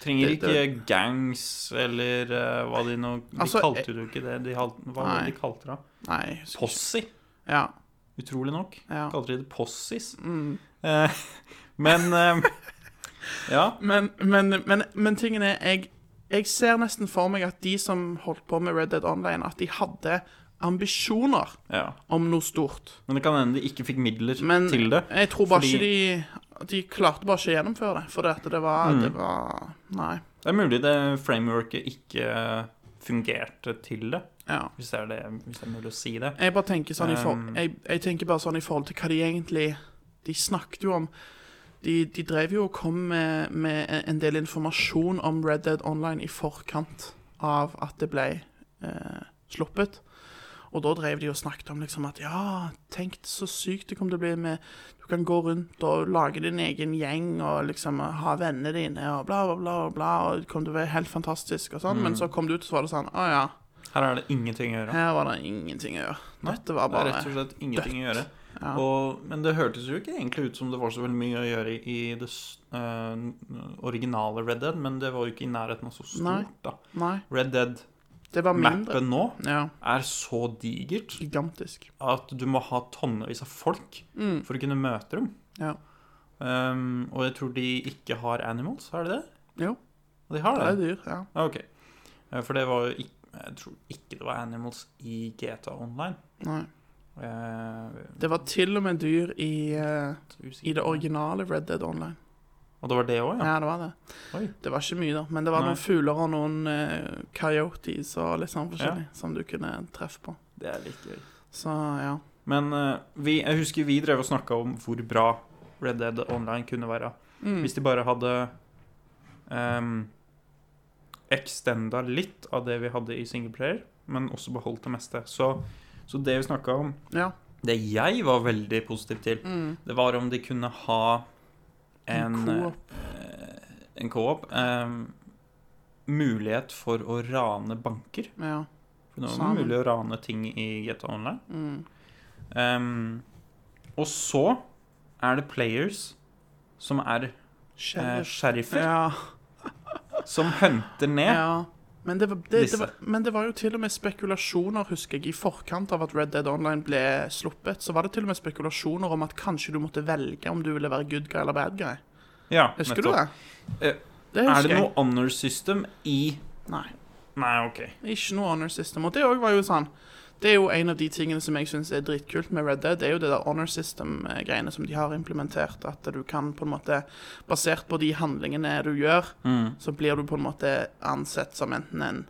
Speaker 1: Trenger
Speaker 2: Det-
Speaker 1: ikke gangs eller eh, hva de nå De
Speaker 2: Altså,
Speaker 1: kalte jo ikke det. De, hal- hva var det
Speaker 2: Nei.
Speaker 1: de kalte det?
Speaker 2: Nei. jeg husker ikke.
Speaker 1: Possy,
Speaker 2: Ja.
Speaker 1: utrolig nok.
Speaker 2: ja.
Speaker 1: Kalte de det possis?
Speaker 2: Mm.
Speaker 1: Eh, men eh, Ja.
Speaker 2: Men, men, men, men tingen er jeg, jeg ser nesten for meg at de som holdt på med Red Dead Online, at de hadde ambisjoner
Speaker 1: ja.
Speaker 2: om noe stort.
Speaker 1: Men det kan hende de ikke fikk midler
Speaker 2: Men
Speaker 1: til det.
Speaker 2: jeg tror bare
Speaker 1: Fordi-
Speaker 2: ikke de De klarte bare ikke å gjennomføre det, fordi at det var, det var Nei.
Speaker 1: Det er mulig det frameworket ikke fungerte til det,
Speaker 2: Ja.
Speaker 1: hvis det er, det, hvis det er mulig å si det.
Speaker 2: Jeg bare tenker sånn i for,
Speaker 1: Um.
Speaker 2: jeg, jeg tenker bare sånn i forhold til hva de egentlig De snakket jo om De, de drev jo og kom med, med en del informasjon om Red Dead Online i forkant av at det ble eh, sluppet. Og da drev de og snakket om liksom at ja, tenk så sykt det kommer til å bli med Du kan gå rundt og lage din egen gjeng og liksom ha vennene dine og bla, bla, bla, og bla, og det kommer til å være helt fantastisk og sånn.
Speaker 1: Mm.
Speaker 2: Men så kom det ut, og så var det sånn Å ja,
Speaker 1: Her er det ingenting å gjøre.
Speaker 2: her var det ingenting å gjøre.
Speaker 1: Nei,
Speaker 2: Dette
Speaker 1: Det
Speaker 2: var
Speaker 1: er
Speaker 2: bare
Speaker 1: rett og slett ingenting å gjøre.
Speaker 2: ja.
Speaker 1: Og, men det hørtes jo ikke egentlig ut som det var så veldig mye å gjøre i, i det s- eh, originale Red Dead, men det var jo ikke i nærheten av så stort,
Speaker 2: Nei.
Speaker 1: da.
Speaker 2: Nei,
Speaker 1: Red Dead-mappen
Speaker 2: det var mindre.
Speaker 1: nå
Speaker 2: Ja,
Speaker 1: er så digert
Speaker 2: gigantisk.
Speaker 1: at du må ha tonnevis av folk
Speaker 2: Mm.
Speaker 1: for å kunne møte dem.
Speaker 2: Ja.
Speaker 1: Um, og jeg tror de ikke har animals, har de det?
Speaker 2: Jo.
Speaker 1: De har
Speaker 2: Det
Speaker 1: det?
Speaker 2: er dyr, ja.
Speaker 1: Ja, Ok. Eh, For det var jo ikke Jeg tror ikke det var animals i GTA Online.
Speaker 2: Nei.
Speaker 1: Eh,
Speaker 2: Det var til og med dyr i, eh,
Speaker 1: usikker.
Speaker 2: i det originale Red Dead Online.
Speaker 1: Og det var det òg,
Speaker 2: Ja,
Speaker 1: ja?
Speaker 2: det var det.
Speaker 1: Oi.
Speaker 2: Det var ikke mye, da. Men det var
Speaker 1: Nei.
Speaker 2: noen fugler og noen eh, coyotes og litt sånn forskjellig som du kunne treffe på.
Speaker 1: Det er litt gøy.
Speaker 2: Så ja.
Speaker 1: Men eh, vi, jeg husker vi drev og snakka om hvor bra Red Dead Online kunne være.
Speaker 2: Mm.
Speaker 1: Hvis de bare hadde um, extenda litt av det vi hadde i singleplayer, men også beholdt det meste. Så, så det vi snakka om
Speaker 2: Ja.
Speaker 1: Det jeg var veldig positiv til,
Speaker 2: Mm.
Speaker 1: det var om de kunne ha en
Speaker 2: En co-op.
Speaker 1: eh, en co-op eh, mulighet for å rane banker.
Speaker 2: Ja.
Speaker 1: For nå er
Speaker 2: Sammen.
Speaker 1: det mulig å rane ting i GTA Online.
Speaker 2: Mm.
Speaker 1: Eh, Ehm, og så er det players som er eh,
Speaker 2: Sheriff.
Speaker 1: sheriffer,
Speaker 2: Ja.
Speaker 1: som hunter ned.
Speaker 2: Ja. Men det, var, det,
Speaker 1: Disse.
Speaker 2: det var, men det var jo til og med spekulasjoner, husker jeg, i forkant av at Red Dead Online ble sluppet. Så var det til og med spekulasjoner om at kanskje du måtte velge om du ville være good guy eller bad guy.
Speaker 1: Ja,
Speaker 2: Husker
Speaker 1: nettopp.
Speaker 2: du det?
Speaker 1: Eh,
Speaker 2: Det
Speaker 1: Er
Speaker 2: husker
Speaker 1: det
Speaker 2: jeg.
Speaker 1: noe honor system i
Speaker 2: Nei.
Speaker 1: Nei, OK.
Speaker 2: Ikke noe honor system. Og det òg var jo sånn Det er jo en av de tingene som jeg syns er dritkult med Red Dead, det er jo det der honor system-greiene som de har implementert. At du kan på en måte Basert på de handlingene du gjør,
Speaker 1: Mm.
Speaker 2: så blir du på en måte ansett som enten en,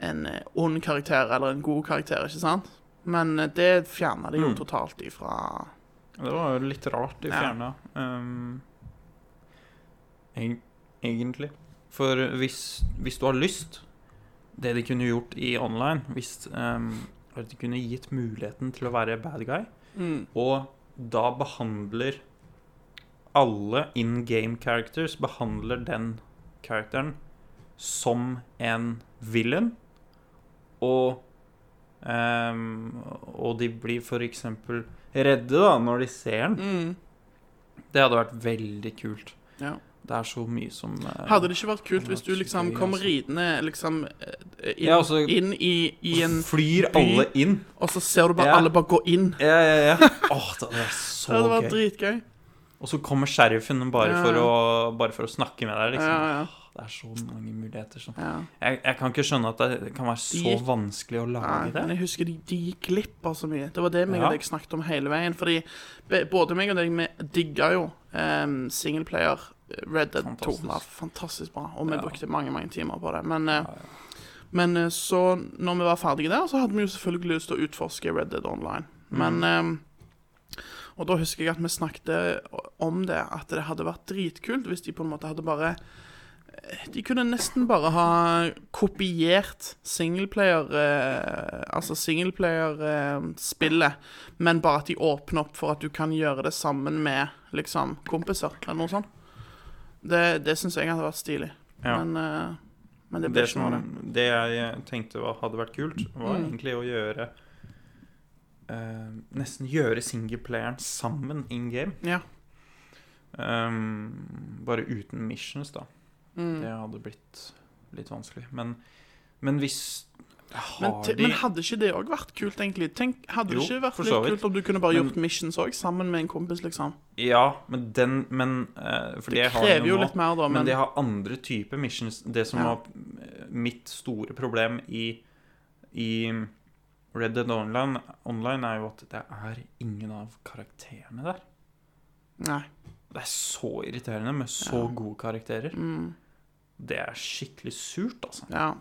Speaker 2: en eh, ond karakter eller en god karakter, ikke sant? Men eh, det fjerner de jo
Speaker 1: Mm.
Speaker 2: totalt ifra
Speaker 1: Det var jo litt rart de
Speaker 2: Ja.
Speaker 1: fjerna. ehm, eg- egentlig. For hvis, hvis du har lyst Det de kunne gjort i online, hvis ehm, at de kunne gitt muligheten til å være bad guy,
Speaker 2: Mm.
Speaker 1: og da behandler alle in game characters behandler den karakteren som en villain, og ehm, Og de blir for eksempel redde da når de ser den.
Speaker 2: Mm.
Speaker 1: Det hadde vært veldig kult.
Speaker 2: Ja.
Speaker 1: Det er så mye som eh,
Speaker 2: Hadde det ikke vært kult
Speaker 1: Det
Speaker 2: hvis du
Speaker 1: var
Speaker 2: liksom
Speaker 1: skikkelig,
Speaker 2: kom
Speaker 1: altså.
Speaker 2: ridende liksom eh, inn,
Speaker 1: Ja, altså-
Speaker 2: inn i, i en
Speaker 1: Flyr
Speaker 2: by-
Speaker 1: alle inn?
Speaker 2: Og så ser du bare
Speaker 1: Ja.
Speaker 2: alle bare gå inn.
Speaker 1: Ja, ja, ja. Åh, det hadde vært
Speaker 2: Det
Speaker 1: så
Speaker 2: hadde vært
Speaker 1: gøy.
Speaker 2: dritgøy.
Speaker 1: Og så kommer sheriffen bare,
Speaker 2: Ja.
Speaker 1: for å, bare for å snakke med deg, liksom.
Speaker 2: Ja, ja.
Speaker 1: Det er så mange muligheter. Som...
Speaker 2: Ja.
Speaker 1: Jeg, jeg kan ikke skjønne at det kan være så
Speaker 2: gikk-
Speaker 1: vanskelig å
Speaker 2: Nei,
Speaker 1: lage
Speaker 2: men
Speaker 1: det.
Speaker 2: jeg husker de, de gikk glipp av så mye. Det var det meg
Speaker 1: Ja.
Speaker 2: og deg snakket om hele veien. Fordi be- både meg og deg vi digga jo um, singleplayer eh, Red Dead 2.
Speaker 1: Fantastisk.
Speaker 2: var fantastisk bra, og vi
Speaker 1: Ja.
Speaker 2: brukte mange mange timer på det. Men, eh,
Speaker 1: Ja, ja.
Speaker 2: men eh, så, når vi var ferdige der, så hadde vi jo selvfølgelig lyst til å utforske Red Dead Online.
Speaker 1: Mm.
Speaker 2: Men eh, Og da husker jeg at vi snakket om det, at det hadde vært dritkult hvis de på en måte hadde bare eh, de kunne nesten bare ha kopiert singleplayer eh, Altså singleplayer-spillet, men bare at de åpner opp for at du kan gjøre det sammen med liksom kompiser, eller noe sånt. Det, det syns jeg hadde vært stilig.
Speaker 1: Ja.
Speaker 2: Men, eh, men det
Speaker 1: Det,
Speaker 2: ble ikke
Speaker 1: som,
Speaker 2: noe av det.
Speaker 1: det jeg tenkte var, hadde vært kult, var
Speaker 2: Mm.
Speaker 1: egentlig å gjøre eh, Nesten gjøre singleplayeren sammen in game.
Speaker 2: Ja.
Speaker 1: Ehm, bare uten missions, da.
Speaker 2: Mm.
Speaker 1: Det hadde blitt litt vanskelig. Men, men hvis Har
Speaker 2: Men, te,
Speaker 1: de
Speaker 2: men hadde ikke det òg vært kult, egentlig? Tenk, hadde
Speaker 1: Jo,
Speaker 2: det ikke vært
Speaker 1: for
Speaker 2: litt
Speaker 1: så vidt.
Speaker 2: kult om du kunne bare
Speaker 1: Men-
Speaker 2: gjort missions òg, sammen med en kompis, liksom?
Speaker 1: Ja, men den Men eh, For det,
Speaker 2: Det
Speaker 1: har de
Speaker 2: krever jo
Speaker 1: nå.
Speaker 2: litt mer, da,
Speaker 1: Men
Speaker 2: men,
Speaker 1: de har andre typer missions. Det som
Speaker 2: Ja.
Speaker 1: var eh, mitt store problem i, i Red Dead Online, Online, er jo at det er ingen av karakterene der.
Speaker 2: Nei.
Speaker 1: Det er så irriterende med så
Speaker 2: Ja.
Speaker 1: gode karakterer.
Speaker 2: Mm,
Speaker 1: Det er skikkelig surt, altså.
Speaker 2: ja.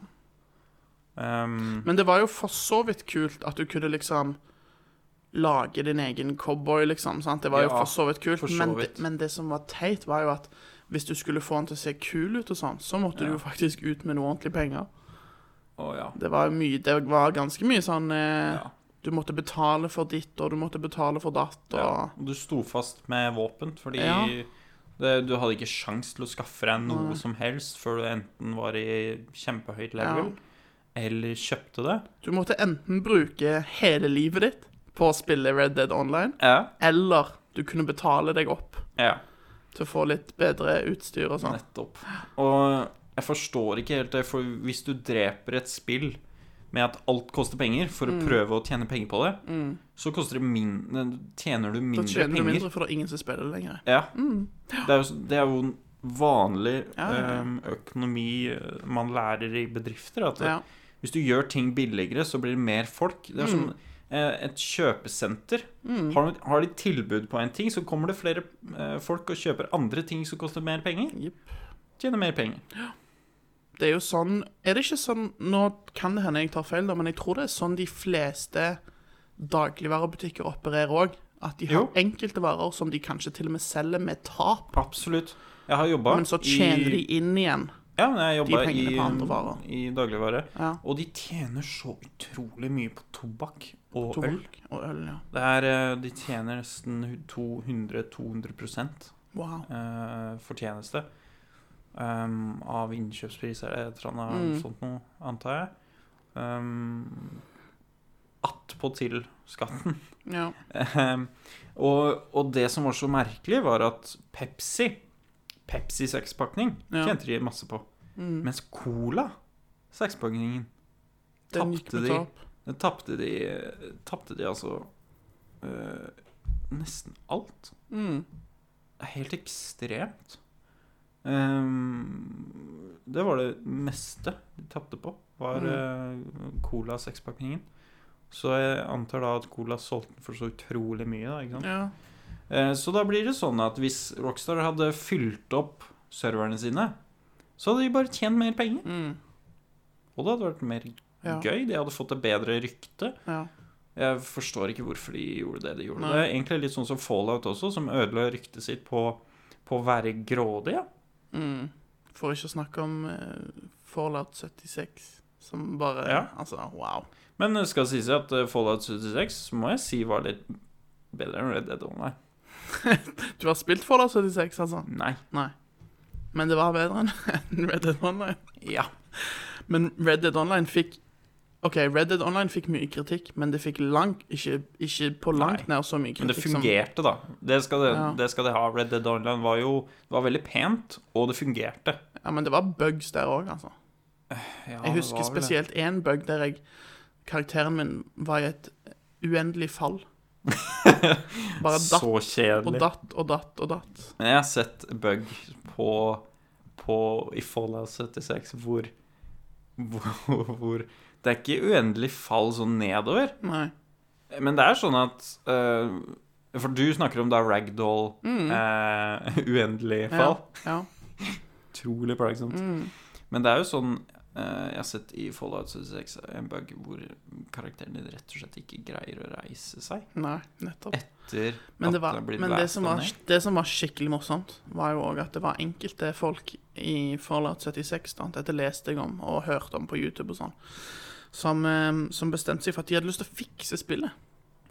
Speaker 1: Ehm,
Speaker 2: Men det var jo for så vidt kult at du kunne liksom lage din egen cowboy, liksom. sant? Det var jo
Speaker 1: Ja,
Speaker 2: for så vidt kult.
Speaker 1: for så
Speaker 2: men,
Speaker 1: vidt.
Speaker 2: Det, men det som var teit, var jo at hvis du skulle få han til å se kul ut, og sånn, så måtte du
Speaker 1: Ja.
Speaker 2: jo faktisk ut med noe ordentlig penger.
Speaker 1: å ja.
Speaker 2: Det var, jo mye, det var ganske mye sånn eh,
Speaker 1: ja.
Speaker 2: Du måtte betale for ditt, og du måtte betale for datt, og
Speaker 1: ja. Og du sto fast med våpen, fordi
Speaker 2: Ja.
Speaker 1: det, du hadde ikke sjans til å skaffe deg noe
Speaker 2: Nei.
Speaker 1: som helst før du enten var i kjempehøyt level,
Speaker 2: Ja.
Speaker 1: eller kjøpte det.
Speaker 2: Du måtte enten bruke hele livet ditt på å spille Red Dead Online,
Speaker 1: Ja.
Speaker 2: eller du kunne betale deg opp
Speaker 1: ja.
Speaker 2: til å få litt bedre utstyr og sånn.
Speaker 1: Nettopp. Og jeg forstår ikke helt det, for hvis du dreper et spill med at alt koster penger, for å prøve å tjene penger på det,
Speaker 2: Mm.
Speaker 1: så koster det min tjener du
Speaker 2: Da
Speaker 1: mindre
Speaker 2: tjener
Speaker 1: penger.
Speaker 2: du mindre, for det er ingen som spiller det lenger.
Speaker 1: Ja.
Speaker 2: Mm.
Speaker 1: Det er jo, det er jo en vanlig
Speaker 2: Ja, ja, ja.
Speaker 1: øhm, økonomi øh, man lærer i bedrifter. At
Speaker 2: Ja.
Speaker 1: hvis du gjør ting billigere, så blir det mer folk. Det er som eh, et kjøpesenter.
Speaker 2: Mm.
Speaker 1: Har, har de tilbud på en ting, så kommer det flere eh, folk og kjøper andre ting som koster mer penger.
Speaker 2: Jipp.
Speaker 1: Tjener mer penger.
Speaker 2: Det er jo sånn Er det ikke sånn Nå kan det hende jeg tar feil, da, men jeg tror det er sånn de fleste dagligvarebutikker opererer òg. At de har
Speaker 1: Jo.
Speaker 2: enkelte varer som de kanskje til og med selger med tap,
Speaker 1: Absolutt. Jeg har jobba
Speaker 2: men så tjener de inn igjen.
Speaker 1: Ja, men jeg jobba i,
Speaker 2: pengene på andre varer.
Speaker 1: i dagligvare.
Speaker 2: Ja.
Speaker 1: Og de tjener så utrolig mye på tobakk og øl.
Speaker 2: Tobakk og øl, ja.
Speaker 1: Det er, eh, de tjener nesten 200-200
Speaker 2: Wow.
Speaker 1: eh, fortjeneste. um, av innkjøpspris eller et eller annet
Speaker 2: Mm.
Speaker 1: sånt noe, antar jeg. Um, Attpåtil skatten.
Speaker 2: Ja.
Speaker 1: Ehm, og, og det som var så merkelig, var at Pepsi, Pepsi sekspakning,
Speaker 2: Ja.
Speaker 1: tjente de masse på.
Speaker 2: Mm.
Speaker 1: Mens Cola, sekspakningen,
Speaker 2: Den gikk
Speaker 1: tapte
Speaker 2: på
Speaker 1: de.
Speaker 2: topp.
Speaker 1: den tapte de, tapte de altså eh, nesten alt.
Speaker 2: Mm.
Speaker 1: Det er helt ekstremt. Ehm, det var det meste de tapte på, var
Speaker 2: Mm.
Speaker 1: eh, Cola sekspakningen. Så jeg antar da at Cola solgte den for så utrolig mye, da, ikke sant?
Speaker 2: Ja.
Speaker 1: Eh, Så da blir det sånn at hvis Rockstar hadde fylt opp serverne sine, så hadde de bare tjent mer penger.
Speaker 2: Mm.
Speaker 1: Og det hadde vært mer
Speaker 2: Ja.
Speaker 1: gøy. De hadde fått et bedre rykte.
Speaker 2: ja.
Speaker 1: Jeg forstår ikke hvorfor de gjorde det de gjorde.
Speaker 2: Nei.
Speaker 1: Det er egentlig litt sånn som Fallout også, som ødela ryktet sitt på, på å være grådige.
Speaker 2: Mm. For ikke å snakke om eh, Fallout 76, som bare
Speaker 1: Ja.
Speaker 2: Altså, wow.
Speaker 1: Men det skal sies at eh, Fallout 76 må jeg si var litt bedre enn Red Dead Online.
Speaker 2: Du har spilt Fallout 76, altså?
Speaker 1: Nei.
Speaker 2: Men det var bedre enn Red Dead Online.
Speaker 1: Ja.
Speaker 2: Men Red Dead Online fikk Ok, Red Dead Online fikk mye kritikk, men det fikk langt Ikke, ikke på langt nær så mye
Speaker 1: Men det
Speaker 2: kritikk
Speaker 1: fungerte, da. Det skal det,
Speaker 2: liksom- Ja.
Speaker 1: det skal det ha. Red Dead Online var jo det var veldig pent, og det fungerte.
Speaker 2: som Ja, men det var bugs der òg, altså.
Speaker 1: Ja,
Speaker 2: jeg
Speaker 1: det
Speaker 2: husker
Speaker 1: var vel det.
Speaker 2: spesielt én bug der jeg Karakteren min var i et uendelig fall. Bare datt
Speaker 1: Så
Speaker 2: og
Speaker 1: kjedelig.
Speaker 2: datt og datt og datt.
Speaker 1: Men jeg har sett bug på, på i Fallout 76 hvor, hvor, hvor Det er ikke uendelig fall sånn nedover.
Speaker 2: Nei.
Speaker 1: Men det er sånn at eh, For du snakker om da ragdoll,
Speaker 2: Mm.
Speaker 1: eh, uendelig fall.
Speaker 2: Ja.
Speaker 1: Utrolig
Speaker 2: ja.
Speaker 1: plagsomt.
Speaker 2: Mm.
Speaker 1: Men det er jo sånn eh, Jeg har sett i Fallout 76 en bug hvor karakteren din rett og slett ikke greier å reise seg
Speaker 2: Nei, nettopp.
Speaker 1: etter
Speaker 2: Men,
Speaker 1: at
Speaker 2: det, var,
Speaker 1: den har blitt
Speaker 2: men det, som
Speaker 1: blastet
Speaker 2: var,
Speaker 1: ned.
Speaker 2: det som var skikkelig morsomt, var jo òg at det var enkelte folk i Fallout 76, da, dette leste jeg om og hørte om på YouTube og sånn, som, eh, som bestemte seg for at de hadde lyst til å fikse spillet.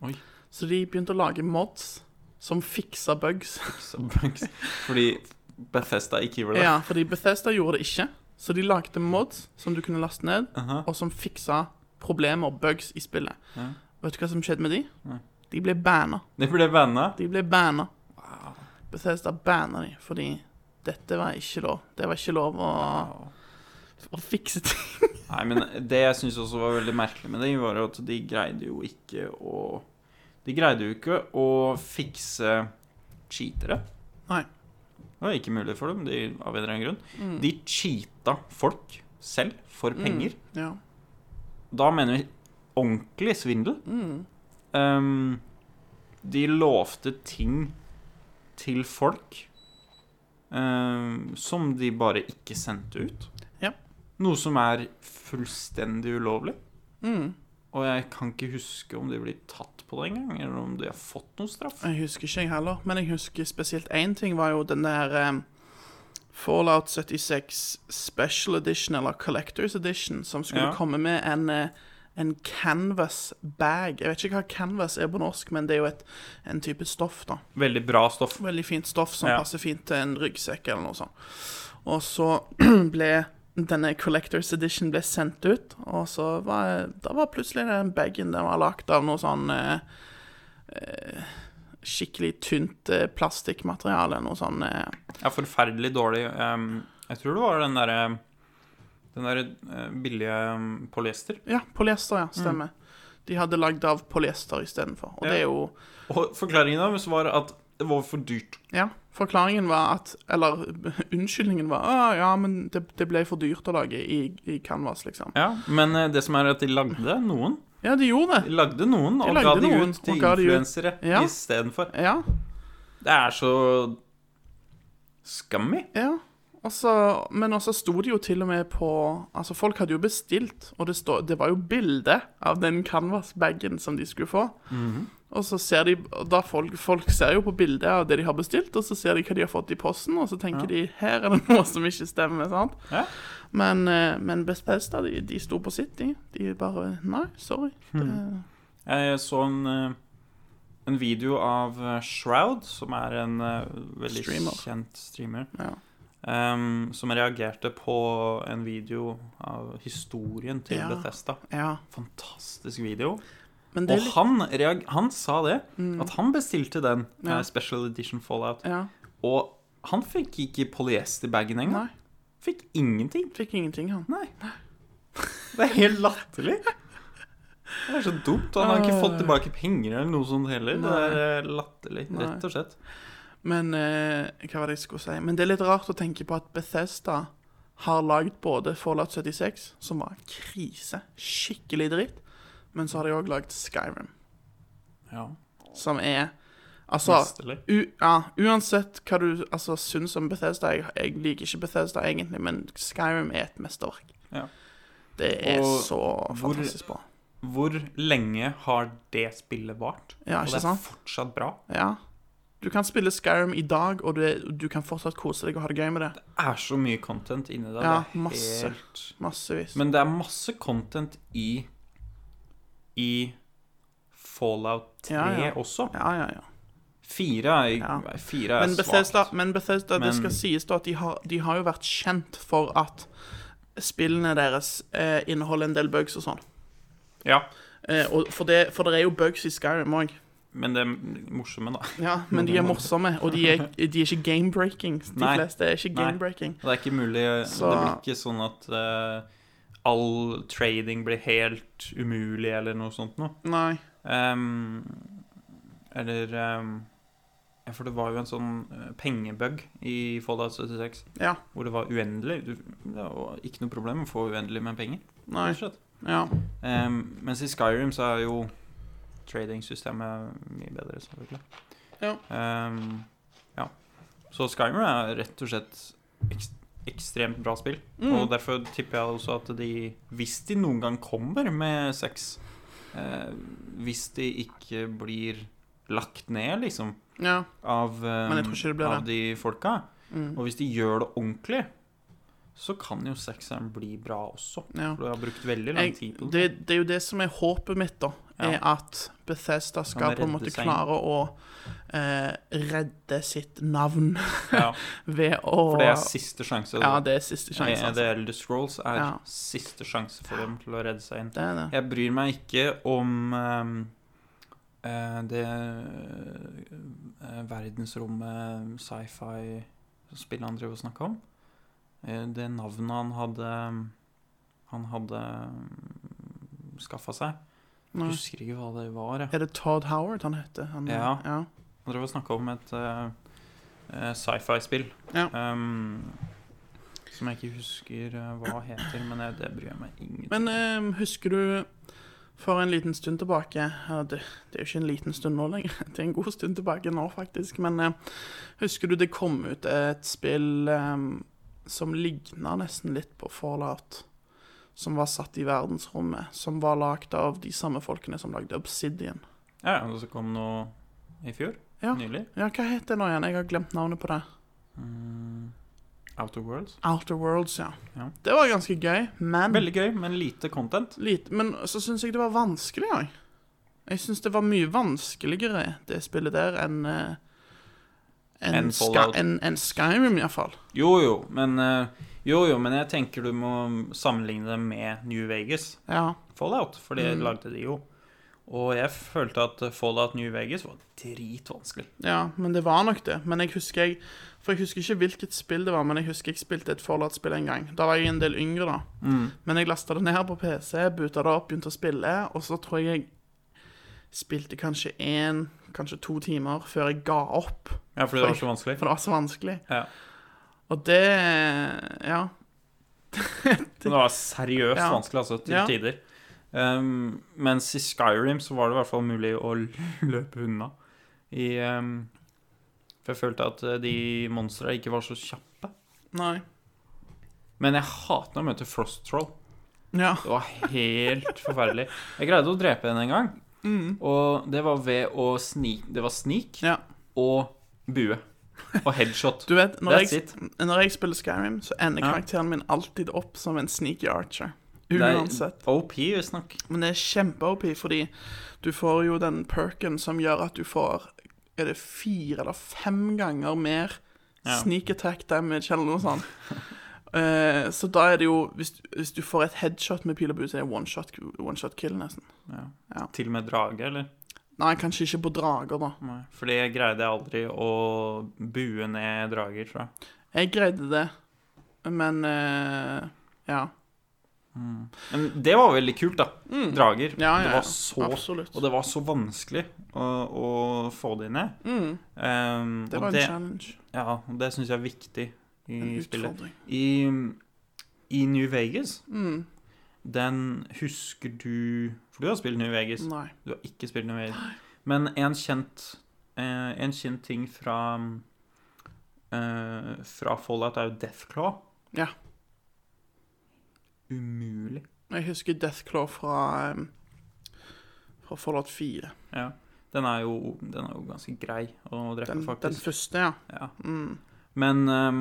Speaker 1: Oi.
Speaker 2: Så de begynte å lage mods som fiksa bugs.
Speaker 1: som bugs. Fordi Bethesda ikke gjorde det.
Speaker 2: ja, fordi Bethesda gjorde det ikke. Så de lagde mods som du kunne laste ned,
Speaker 1: Aha.
Speaker 2: og som fiksa problemer og bugs i spillet.
Speaker 1: Ja.
Speaker 2: Vet du hva som skjedde med de?
Speaker 1: Nei.
Speaker 2: De ble banna.
Speaker 1: Det ble banna.
Speaker 2: De ble banna. Bethesda banna de fordi dette var ikke lov. Det var ikke lov å,
Speaker 1: Wow.
Speaker 2: å fikse ting.
Speaker 1: Nei, men det jeg syns også var veldig merkelig med det, var jo at de greide jo ikke å De greide jo ikke å fikse cheatere.
Speaker 2: Nei.
Speaker 1: Det var ikke mulig for dem, de, av en eller annen grunn. De cheata folk selv for penger.
Speaker 2: Mm, ja.
Speaker 1: Da mener vi ordentlig svindel.
Speaker 2: Mm,
Speaker 1: Ehm, de lovte ting til folk ehm, som de bare ikke sendte ut.
Speaker 2: Ja.
Speaker 1: Noe som er fullstendig ulovlig.
Speaker 2: mm.
Speaker 1: Og jeg kan ikke huske om de blir tatt på det engang, eller om de har fått noen straff.
Speaker 2: Jeg husker ikke, jeg heller. Men jeg husker spesielt én ting, var jo den der eh, Fallout 76 Special Edition, eller Collectors Edition, som
Speaker 1: Ja.
Speaker 2: skulle komme med en eh, en canvas bag. Jeg vet ikke hva canvas er på norsk, men det er jo et, en type stoff, da.
Speaker 1: Veldig bra stoff.
Speaker 2: Veldig fint stoff som
Speaker 1: Ja.
Speaker 2: passer fint til en ryggsekk eller noe sånt. Og så ble denne Collectors Edition ble sendt ut, og så var, da var plutselig den bagen den var lagd av noe sånn eh, eh, skikkelig tynt eh, plastikkmateriale. Noe sånn eh,
Speaker 1: Ja, forferdelig dårlig. ehm, jeg tror det var den derre den der eh, billige ehm, polyester.
Speaker 2: Ja, polyester,
Speaker 1: Mm.
Speaker 2: ja. Stemmer. De hadde lagd av polyester istedenfor. Og
Speaker 1: Ja.
Speaker 2: det er jo
Speaker 1: Og forklaringen deres var at det var for dyrt.
Speaker 2: Ja. Forklaringen var at Eller unnskyldningen var Å, ja, men det, det ble for dyrt å lage i, i canvas, liksom.
Speaker 1: Ja, Men eh, det som er at de lagde noen,
Speaker 2: Ja, de gjorde
Speaker 1: de
Speaker 2: det.
Speaker 1: lagde noen
Speaker 2: De
Speaker 1: og
Speaker 2: lagde
Speaker 1: ga de
Speaker 2: noen,
Speaker 1: ut til
Speaker 2: og ga de ut.
Speaker 1: influensere
Speaker 2: Ja.
Speaker 1: istedenfor.
Speaker 2: Ja.
Speaker 1: Det er så skammy.
Speaker 2: Ja, og så- men også sto det jo til og med på Altså, folk hadde jo bestilt, og det, stå, det var jo bilde av den canvasbagen som de skulle få.
Speaker 1: Mhm.
Speaker 2: Og så ser de og da folk, folk ser jo på bildet av det de har bestilt, og så ser de hva de har fått i posten, og så tenker de her er det noe som ikke stemmer. sant?
Speaker 1: Ja.
Speaker 2: Men, eh, men Bethesda, de, de sto på sitt, de. De bare Nei, sorry. Det,
Speaker 1: Mhm. Jeg så en, eh, en video av eh, Shroud, som er en eh, veldig
Speaker 2: Streamer.
Speaker 1: kjent streamer.
Speaker 2: ja.
Speaker 1: ehm, som reagerte på en video av historien til
Speaker 2: Ja.
Speaker 1: Bethesda.
Speaker 2: Ja.
Speaker 1: Fantastisk video.
Speaker 2: Men det
Speaker 1: Og
Speaker 2: er litt
Speaker 1: han, reag han sa det,
Speaker 2: mm,
Speaker 1: at han bestilte den eh,
Speaker 2: Ja.
Speaker 1: special edition Fallout.
Speaker 2: Ja.
Speaker 1: Og han fikk ikke polyesterbagen engang.
Speaker 2: Nei.
Speaker 1: Fikk ingenting.
Speaker 2: Fikk ingenting, han.
Speaker 1: Nei. Det er helt latterlig. Det er så dumt. og Han har
Speaker 2: Ah.
Speaker 1: ikke fått tilbake penger eller noe sånt heller. Det er eh, latterlig, rett og slett.
Speaker 2: Men eh, hva var det jeg skulle si? Men det er litt rart å tenke på at Bethesda har lagd både Fallout 76, som var krise, skikkelig dritt, men så har de òg lagd Skyrim,
Speaker 1: Ja,
Speaker 2: som er Altså
Speaker 1: mesterlig.
Speaker 2: u ja, Uansett hva du altså, syns om Bethesda jeg, jeg liker ikke Bethesda egentlig, men Skyrim er et mesterverk.
Speaker 1: Ja.
Speaker 2: Det er
Speaker 1: Og
Speaker 2: så
Speaker 1: hvor-
Speaker 2: fantastisk bra.
Speaker 1: Hvor lenge har det spillet vart?
Speaker 2: Ja,
Speaker 1: Og det
Speaker 2: ikke
Speaker 1: er
Speaker 2: sant?
Speaker 1: fortsatt bra.
Speaker 2: Ja. Du kan spille Skyrim i dag, og du, er- du kan fortsatt kose deg og ha det gøy med det.
Speaker 1: Det er så mye content inni der.
Speaker 2: Ja,
Speaker 1: det er
Speaker 2: masse.
Speaker 1: Helt...
Speaker 2: Massevis.
Speaker 1: Men det er masse content i I Fallout 3
Speaker 2: Ja, ja.
Speaker 1: også.
Speaker 2: ja, ja, ja.
Speaker 1: Fire er,
Speaker 2: Ja.
Speaker 1: nei, fire er
Speaker 2: Men Bethesda,
Speaker 1: svakt.
Speaker 2: men Bethesda
Speaker 1: Men-
Speaker 2: det skal sies da at de har, de har jo vært kjent for at spillene deres eh, inneholder en del bugs og sånn.
Speaker 1: Ja,
Speaker 2: Eh, og for, det, for det er jo bugs i Skyrim òg.
Speaker 1: men det morsomme, da.
Speaker 2: Ja, men de er morsomme, og de er, de er ikke game-breaking. De
Speaker 1: Nei.
Speaker 2: fleste er ikke
Speaker 1: Nei.
Speaker 2: game-breaking.
Speaker 1: Det er ikke mulig
Speaker 2: Så-
Speaker 1: Det blir ikke sånn at eh, all trading blir helt umulig, eller noe sånt noe.
Speaker 2: Nei.
Speaker 1: Ehm, eller ehm, ja, For det var jo en sånn eh, pengebug i Fallout 76
Speaker 2: Ja.
Speaker 1: hvor det var uendelig. Du, det var ikke noe problem å få uendelig med penger.
Speaker 2: Nei.
Speaker 1: rett og slett.
Speaker 2: Ja.
Speaker 1: Ehm, mens i Skyrim så er jo tradingsystemet mye bedre, selvfølgelig.
Speaker 2: Ja.
Speaker 1: Ehm, ja. Så Skyrim er rett og slett ekst ekstremt bra spill. Og
Speaker 2: Mm.
Speaker 1: derfor tipper jeg også at de, hvis de noen gang kommer med sex eh, Hvis de ikke blir lagt ned, liksom,
Speaker 2: ja.
Speaker 1: av,
Speaker 2: jeg
Speaker 1: ehm,
Speaker 2: tror ikke det blir
Speaker 1: av de folka,
Speaker 2: Mm.
Speaker 1: og hvis de gjør det ordentlig, så kan jo sexeren bli bra også.
Speaker 2: ja.
Speaker 1: For du har brukt veldig lang
Speaker 2: Jeg,
Speaker 1: tid på
Speaker 2: det, det er jo det som er håpet mitt, da.
Speaker 1: Ja.
Speaker 2: Er at Bethesda skal på en
Speaker 1: redde
Speaker 2: måte
Speaker 1: seg.
Speaker 2: klare å eh, redde sitt navn
Speaker 1: Ja,
Speaker 2: ved å
Speaker 1: for det er siste sjanse.
Speaker 2: Ja, det er siste sjanse.
Speaker 1: Eh,
Speaker 2: Altså.
Speaker 1: The Elder Scrolls er
Speaker 2: Ja.
Speaker 1: siste sjanse for dem til å redde seg inn.
Speaker 2: Det er det.
Speaker 1: Jeg bryr meg ikke om eh, eh, det eh, verdensrommet, sci-fi-spillet han driver og snakker om. Eh, det navnet han hadde Han hadde skaffa seg.
Speaker 2: Nei.
Speaker 1: Husker ikke hva det var. jeg.
Speaker 2: Er det Todd Howard han heter? Han,
Speaker 1: Ja.
Speaker 2: ja.
Speaker 1: Han drev og snakka om et eh, eh, sci-fi-spill.
Speaker 2: Ja.
Speaker 1: Ehm, som jeg ikke husker eh, hva heter, men jeg, det bryr jeg meg ingenting
Speaker 2: Men
Speaker 1: om.
Speaker 2: eh, husker du for en liten stund tilbake ja, det, det er jo ikke en liten stund nå lenger. Det er en god stund tilbake nå, faktisk. Men eh, husker du det kom ut et spill eh, som ligna nesten litt på Fallout? Som var satt i verdensrommet. Som var lagd av de samme folkene som lagde Obsidian.
Speaker 1: Ja, ja, og så kom noe i fjor.
Speaker 2: Ja.
Speaker 1: Nylig.
Speaker 2: Ja, hva het det nå igjen? Jeg har glemt navnet på det.
Speaker 1: Mm, Outer Worlds.
Speaker 2: Outer Worlds, ja.
Speaker 1: Ja.
Speaker 2: Det var ganske gøy, men
Speaker 1: Veldig gøy, men lite content.
Speaker 2: Lite, men så syns jeg det var vanskelig, jeg. Jeg syns det var mye vanskeligere, det spillet der, enn eh, enn
Speaker 1: Enn
Speaker 2: Sky-
Speaker 1: Fallout.
Speaker 2: enn- enn Skyrim, iallfall.
Speaker 1: Jo jo, men eh, Jo jo, men jeg tenker du må sammenligne det med New Vegas
Speaker 2: Ja.
Speaker 1: Fallout, for det
Speaker 2: Mm.
Speaker 1: lagde de jo. Og jeg følte at Fallout New Vegas var dritvanskelig.
Speaker 2: ja, men det var nok det. Men jeg husker jeg For jeg husker ikke hvilket spill det var, men jeg husker jeg spilte et Fallout-spill en gang. Da var jeg en del yngre, da.
Speaker 1: Mm.
Speaker 2: Men jeg lasta det ned på PC, buta det opp, begynte å spille, og så tror jeg jeg spilte kanskje én, kanskje to timer før jeg ga opp.
Speaker 1: Ja, fordi det var så vanskelig.
Speaker 2: For det var så vanskelig.
Speaker 1: Ja.
Speaker 2: Og det Ja.
Speaker 1: Men det var seriøst
Speaker 2: Ja.
Speaker 1: vanskelig, altså, til
Speaker 2: Ja.
Speaker 1: tider. Um, mens i Skyrim så var det i hvert fall mulig å løpe unna. I, um, for jeg følte at eh, de monstra ikke var så kjappe.
Speaker 2: Nei.
Speaker 1: Men jeg hater å møte Frost Troll.
Speaker 2: Ja.
Speaker 1: Det var helt forferdelig. Jeg greide å drepe henne en gang,
Speaker 2: Mm.
Speaker 1: og det var ved å snik... Det var snik
Speaker 2: Ja.
Speaker 1: og bue. Og headshot.
Speaker 2: Du vet, når
Speaker 1: That's
Speaker 2: jeg,
Speaker 1: it.
Speaker 2: når jeg spiller Skyrim, så ender
Speaker 1: Ja.
Speaker 2: karakteren min alltid opp som en sneaky archer.
Speaker 1: Det er
Speaker 2: Uansett.
Speaker 1: OP, visstnok.
Speaker 2: Men det er kjempe-OP, fordi du får jo den perken som gjør at du får Er det fire eller fem ganger mer
Speaker 1: Ja.
Speaker 2: Sneak attack damage eller noe sånt. Eh, så da er det jo Hvis, hvis du får et headshot med pil og bue, så er det one-shot one shot kill, nesten.
Speaker 1: Ja.
Speaker 2: Ja.
Speaker 1: Til og med drage, eller?
Speaker 2: Nei, kanskje ikke på drager, da.
Speaker 1: Nei. For det greide jeg aldri å bue ned drager, tror jeg.
Speaker 2: Jeg greide det, men eh, Ja.
Speaker 1: Men det var veldig kult, da. Drager.
Speaker 2: Ja, ja,
Speaker 1: Det
Speaker 2: ja.
Speaker 1: var så
Speaker 2: Absolutt.
Speaker 1: Og det var så vanskelig å, å få de ned.
Speaker 2: mm,
Speaker 1: Um,
Speaker 2: det
Speaker 1: og
Speaker 2: var en
Speaker 1: det,
Speaker 2: challenge.
Speaker 1: ja, og det syns jeg er viktig i
Speaker 2: En
Speaker 1: spillet.
Speaker 2: utfordring.
Speaker 1: I, I New Vegas,
Speaker 2: Mm,
Speaker 1: den husker du For du har spilt New Vegas.
Speaker 2: nei.
Speaker 1: Du har ikke spilt New Vegas. Men en kjent, eh, en kjent ting fra eh, Fra Fallout er jo Deathclaw.
Speaker 2: Ja.
Speaker 1: Umulig.
Speaker 2: Jeg husker Deathclaw fra um, Fra Fallout 4.
Speaker 1: Ja. Den er jo, den er jo ganske grei å drepe,
Speaker 2: Den, den
Speaker 1: faktisk.
Speaker 2: første, ja.
Speaker 1: ja.
Speaker 2: Mm.
Speaker 1: Men ehm,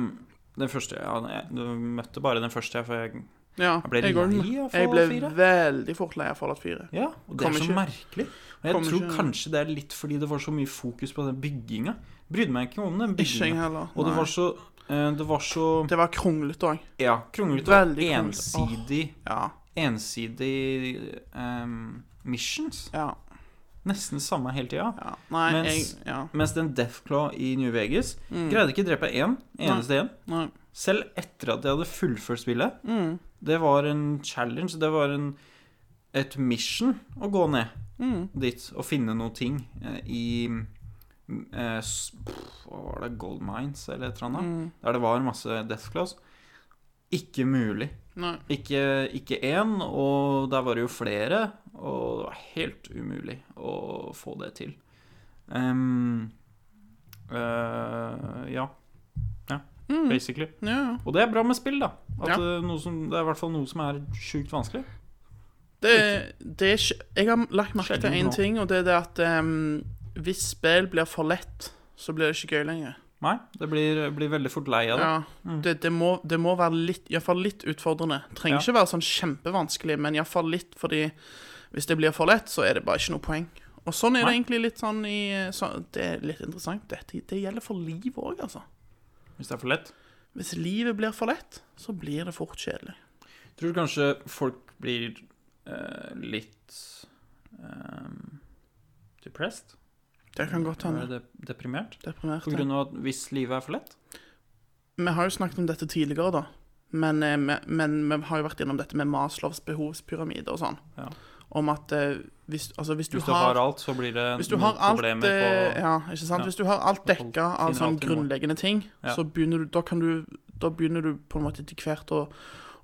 Speaker 1: den første ja, jeg, Du møtte bare den første, for jeg,
Speaker 2: ja.
Speaker 1: jeg ble
Speaker 2: går den.
Speaker 1: lei av
Speaker 2: Jeg ble
Speaker 1: Fallout 4.
Speaker 2: veldig fort lei av Fallout 4.
Speaker 1: Ja, og det
Speaker 2: Kom
Speaker 1: er så
Speaker 2: ikke.
Speaker 1: merkelig. Og jeg
Speaker 2: Kom
Speaker 1: tror
Speaker 2: ikke.
Speaker 1: kanskje det er litt fordi det var så mye fokus på den bygginga. Brydde meg ikke om den
Speaker 2: Ikke jeg
Speaker 1: bygginga.
Speaker 2: heller.
Speaker 1: Og det
Speaker 2: Nei.
Speaker 1: var så eh, Det var så
Speaker 2: Det var kronglete òg.
Speaker 1: Ja, kronglete og
Speaker 2: Veldig kronglete. Åh.
Speaker 1: ensidig
Speaker 2: Ja.
Speaker 1: Ensidig ehm, missions.
Speaker 2: Ja.
Speaker 1: Nesten samme hele tida.
Speaker 2: ja. Nei,
Speaker 1: Mens-
Speaker 2: jeg Ja.
Speaker 1: Mens den Deathclaw i New Vegas
Speaker 2: Mm.
Speaker 1: greide ikke drepe én eneste en.
Speaker 2: Nei.
Speaker 1: Selv etter at jeg hadde fullført spillet,
Speaker 2: Mm.
Speaker 1: Det var en challenge, det var en, et mission å gå ned
Speaker 2: Mm.
Speaker 1: dit og finne noe ting eh, i eh, s- pff, Hva var det? Gold Mines eller et eller annet?
Speaker 2: Mm.
Speaker 1: Der det var masse death claws. Ikke mulig.
Speaker 2: Nei.
Speaker 1: Ikke, ikke én, og der var det jo flere, og det var helt umulig å få det til. Ehm, eh, ja,
Speaker 2: Mm.
Speaker 1: basically.
Speaker 2: Ja, ja.
Speaker 1: Og det er bra med spill, da. At
Speaker 2: Ja.
Speaker 1: eh, noe som, det er i hvert fall noe som er sjukt vanskelig.
Speaker 2: Det, det er ikke Jeg har lagt merke til
Speaker 1: Sjelden
Speaker 2: én
Speaker 1: nå.
Speaker 2: ting, og det er det at em, hvis spill blir for lett, så blir det ikke gøy lenger.
Speaker 1: Nei, det blir, blir veldig fort lei av det.
Speaker 2: Ja,
Speaker 1: Mm.
Speaker 2: det, det, må, det må være litt, i hvert fall litt utfordrende.
Speaker 1: Ja.
Speaker 2: Trenger ikke være sånn kjempevanskelig, men i hvert fall litt, fordi hvis det blir for lett, så er det bare ikke noe poeng. Og sånn er det
Speaker 1: Nei.
Speaker 2: egentlig litt sånn i så, Det er litt interessant. Dette, det gjelder for livet òg, altså.
Speaker 1: Hvis det er for lett.
Speaker 2: Hvis livet blir for lett, så blir det fort kjedelig.
Speaker 1: Tror du kanskje folk blir eh, litt um, depressed?
Speaker 2: Det kan godt hende.
Speaker 1: Er det deprimert?
Speaker 2: Deprimert.
Speaker 1: På grunn av at hvis livet er for lett?
Speaker 2: Vi har jo snakket om dette tidligere, da. Men, eh, me- men vi har jo vært innom dette med Maslows behovspyramide og sånn.
Speaker 1: Ja.
Speaker 2: Om at eh, hvis, altså, hvis,
Speaker 1: Hvis du har, alt, så blir det
Speaker 2: Hvis du
Speaker 1: noen
Speaker 2: har alt
Speaker 1: problemer
Speaker 2: eh,
Speaker 1: på
Speaker 2: Ja, ikke sant?
Speaker 1: Ja.
Speaker 2: Hvis du har alt
Speaker 1: At folk
Speaker 2: dekka
Speaker 1: finner
Speaker 2: av sånn
Speaker 1: alt i mål.
Speaker 2: grunnleggende ting,
Speaker 1: Ja.
Speaker 2: så begynner du Da kan du Da begynner du på en måte etter hvert å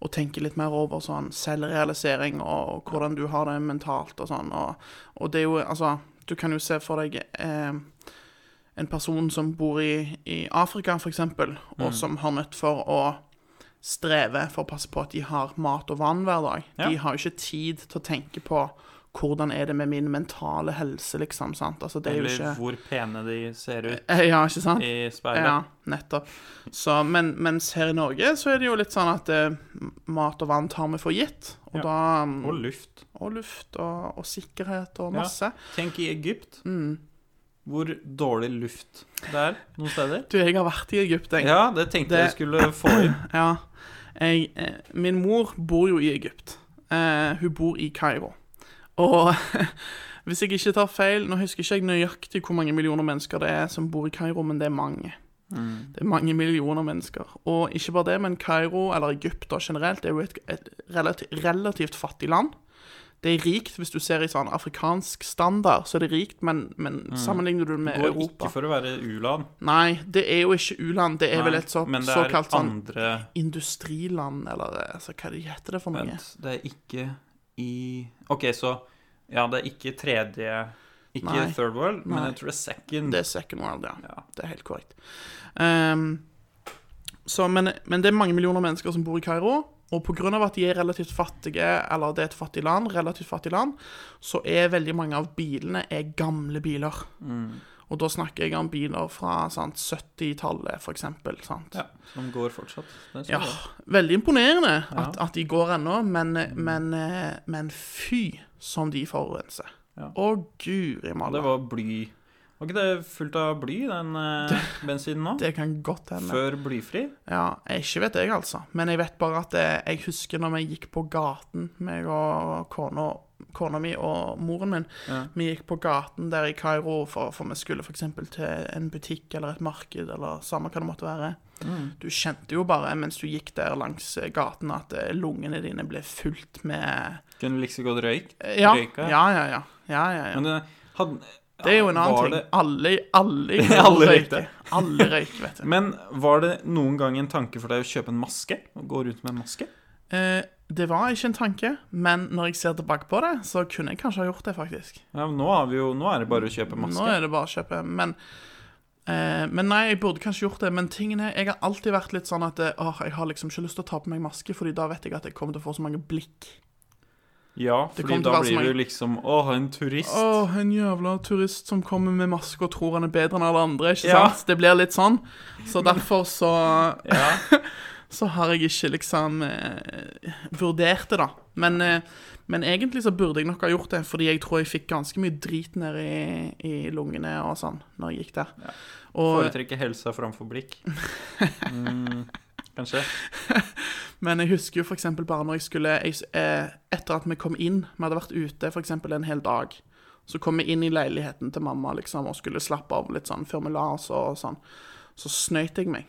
Speaker 2: å tenke litt mer over sånn selvrealisering og, og hvordan du har det mentalt og sånn. Og, og det er jo Altså, du kan jo se for deg eh, en person som bor i, i Afrika, for eksempel, og
Speaker 1: Mm.
Speaker 2: som har nødt for å streve for å passe på at de har mat og vann hver dag.
Speaker 1: Ja.
Speaker 2: De har jo ikke tid til å tenke på hvordan er det med min mentale helse, liksom. sant? Altså, det er jo
Speaker 1: Eller
Speaker 2: ikke
Speaker 1: hvor pene de ser ut
Speaker 2: Eh, Ja, ikke sant?
Speaker 1: i
Speaker 2: Ja,
Speaker 1: speilet.
Speaker 2: nettopp. Så, men, mens her i Norge så er det jo litt sånn at eh, mat og vann tar vi for gitt. Og
Speaker 1: Ja.
Speaker 2: da mm,
Speaker 1: Og luft.
Speaker 2: Og luft og, og sikkerhet og
Speaker 1: Ja.
Speaker 2: masse.
Speaker 1: Tenk i Egypt,
Speaker 2: Mm.
Speaker 1: hvor dårlig luft det er noen steder.
Speaker 2: Du, jeg har vært i Egypt, jeg.
Speaker 1: Ja, det tenkte jeg
Speaker 2: Det-
Speaker 1: skulle få inn.
Speaker 2: Ja. Jeg, eh, min mor bor jo i Egypt. Eh, hun bor i Kairo. Og hvis jeg ikke tar feil Nå husker ikke jeg nøyaktig hvor mange millioner mennesker det er som bor i Kairo, men det er mange.
Speaker 1: Mm.
Speaker 2: Det er mange millioner mennesker. Og ikke bare det, men Kairo, eller Egypt da generelt, er jo et, et relativt, relativt fattig land. Det er rikt, hvis du ser i sånn afrikansk standard, så er det rikt, men, men sammenligner du det med
Speaker 1: Mm. Går
Speaker 2: Europa
Speaker 1: ikke for å være u-land.
Speaker 2: Nei, det er jo ikke u-land. Det er vel
Speaker 1: Nei,
Speaker 2: et så,
Speaker 1: Men det er
Speaker 2: såkalt sånn
Speaker 1: andre
Speaker 2: industriland, eller eh, altså, hva det heter det for noe?
Speaker 1: Vent, det er ikke i OK, så Ja, det er ikke tredje Ikke
Speaker 2: Nei.
Speaker 1: third world, men
Speaker 2: Nei.
Speaker 1: jeg tror det er second.
Speaker 2: Det er Second World, ja.
Speaker 1: Ja.
Speaker 2: Det er helt korrekt. Ehm, så, men, men det er mange millioner mennesker som bor i Kairo, og pga. at de er relativt fattige, eller det er et fattig land, relativt fattig land, så er veldig mange av bilene er gamle biler.
Speaker 1: Mm,
Speaker 2: Og da snakker jeg om biler fra sant, 70-tallet, for eksempel. Sant?
Speaker 1: ja, som går fortsatt. Det er så
Speaker 2: Ja,
Speaker 1: bra.
Speaker 2: veldig imponerende
Speaker 1: Ja. Mm.
Speaker 2: at, at de går ennå, men, men, eh, men fy som de forurenser.
Speaker 1: Ja.
Speaker 2: Å, guri
Speaker 1: Og det
Speaker 2: malla.
Speaker 1: var bly Var ikke det fullt av bly, den eh, bensinen nå?
Speaker 2: Det kan godt hende.
Speaker 1: Før blyfri?
Speaker 2: Ja, jeg- ikke vet jeg, altså. Men jeg vet bare at eh, jeg husker når vi gikk på gaten, meg og kona, kona mi og moren min.
Speaker 1: Ja.
Speaker 2: Vi gikk på gaten der i Kairo, for, for vi skulle f.eks. til en butikk eller et marked, eller samme hva det måtte være. Du kjente jo bare mens du gikk der langs eh, gaten, at eh, lungene dine ble fylt med eh,
Speaker 1: Kunne like så godt røyk.
Speaker 2: Ja,
Speaker 1: Røyka,
Speaker 2: ja,
Speaker 1: ja.
Speaker 2: ja. ja, ja, ja, ja.
Speaker 1: Men det, hadde,
Speaker 2: Det er jo en annen
Speaker 1: var
Speaker 2: ting.
Speaker 1: det-
Speaker 2: Alle, alle,
Speaker 1: Alle
Speaker 2: røyker. Alle røyker, vet du.
Speaker 1: Men var det noen gang en tanke for deg å kjøpe en maske? Å gå rundt med en maske?
Speaker 2: Eh, det var ikke en tanke, men når jeg ser tilbake på det, så kunne jeg kanskje ha gjort det, faktisk.
Speaker 1: Ja, men nå, har vi jo, nå er det bare å kjøpe
Speaker 2: Nå
Speaker 1: maske.
Speaker 2: er det bare å kjøpe. Men, eh, men nei, jeg burde kanskje gjort det. Men tingen er, jeg har alltid vært litt sånn at eh, åh, jeg har liksom ikke lyst til å ta på meg maske, Fordi da vet jeg at jeg kommer til å få så mange blikk.
Speaker 1: Ja,
Speaker 2: Det
Speaker 1: fordi
Speaker 2: kommer til å
Speaker 1: da
Speaker 2: være så
Speaker 1: blir
Speaker 2: mange-
Speaker 1: du liksom Å, en turist.
Speaker 2: Åh, en jævla turist som kommer med maske og tror han er bedre enn alle andre. Ikke
Speaker 1: Ja.
Speaker 2: sant? Det blir litt sånn. Så derfor så,
Speaker 1: Ja.
Speaker 2: så har jeg ikke liksom eh, vurdert det, da. Men, eh, men egentlig så burde jeg nok ha gjort det, fordi jeg tror jeg fikk ganske mye drit ned i, i lungene og sånn når jeg gikk der.
Speaker 1: Ja.
Speaker 2: Og,
Speaker 1: Foretrekke helsa framfor blikk. Mm, kanskje.
Speaker 2: men jeg husker jo f.eks. bare når jeg skulle jeg, s- eh, Etter at vi kom inn, vi hadde vært ute for eksempel en hel dag. Så kom vi inn i leiligheten til mamma liksom, og skulle slappe av litt sånn før vi la oss. og sånn. Så snøyt jeg meg.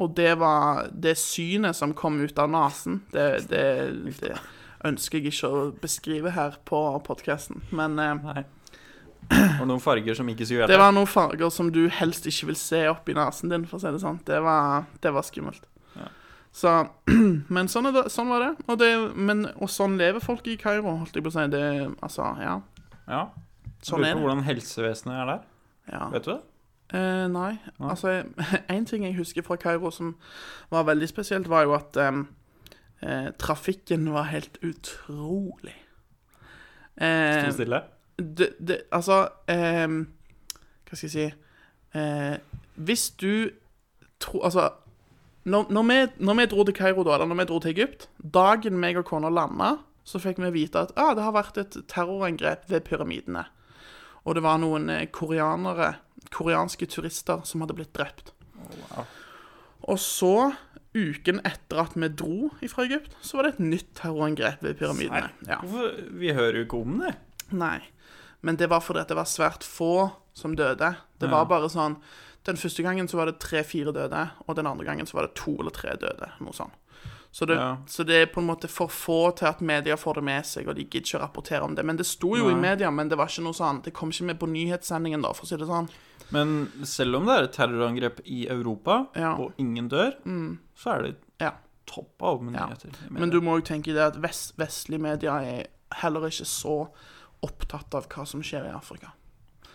Speaker 2: Og det var det synet som kom ut av nesen. Det, det, det ønsker jeg ikke å beskrive her på podkasten. Men eh,
Speaker 1: Nei. Og noen farger som ikke skulle gjøre
Speaker 2: det
Speaker 1: det.
Speaker 2: var noen farger som du helst ikke vil se opp i nesen din, for å si det sånn. Det var, det var skummelt.
Speaker 1: Ja.
Speaker 2: Så, men sånn, er det, sånn var det. Og, det men, og sånn lever folk i Kairo, holdt jeg på å si. Det, altså, ja.
Speaker 1: Ja.
Speaker 2: Sånn
Speaker 1: Lurer på
Speaker 2: er det.
Speaker 1: hvordan helsevesenet er der.
Speaker 2: Ja.
Speaker 1: Vet du det?
Speaker 2: Eh, nei.
Speaker 1: Nei.
Speaker 2: Altså, jeg- en ting jeg husker fra Kairo som var veldig spesielt, var jo at em, eh, trafikken var helt utrolig. Eh,
Speaker 1: Stå stille.
Speaker 2: det, det, altså em, Hva skal jeg si eh, Hvis du tror Altså når, når, vi, når vi dro til Kairo, da, eller når vi dro til Egypt Dagen meg og kona landa, så fikk vi vite at ah, det har vært et terrorangrep ved pyramidene. Og det var noen eh, koreanere, koreanske turister, som hadde blitt drept.
Speaker 1: Wow.
Speaker 2: Og så, uken etter at vi dro fra Egypt, så var det et nytt terrorangrep ved pyramidene. Ja.
Speaker 1: Hvorfor? Vi hører jo ikke om det.
Speaker 2: Nei. Men det var fordi at det var svært få som døde. Det
Speaker 1: Ja.
Speaker 2: var bare sånn Den første gangen så var det tre-fire døde, og den andre gangen så var det to eller tre døde. Noe sånt. Så det,
Speaker 1: Ja.
Speaker 2: så det er på en måte for få til at media får det med seg, og de gidder ikke å rapportere om det. Men det sto jo
Speaker 1: Nei.
Speaker 2: i media, men det var ikke noe sånn Det kom ikke med på nyhetssendingen, da, for å si det sånn.
Speaker 1: Men selv om det er et terrorangrep i Europa,
Speaker 2: Ja.
Speaker 1: og ingen dør, så er det
Speaker 2: Ja.
Speaker 1: topp av med
Speaker 2: Ja.
Speaker 1: nyheter. i media.
Speaker 2: Men du må jo tenke det at vest, vestlige media er heller ikke så opptatt av hva som skjer i Afrika.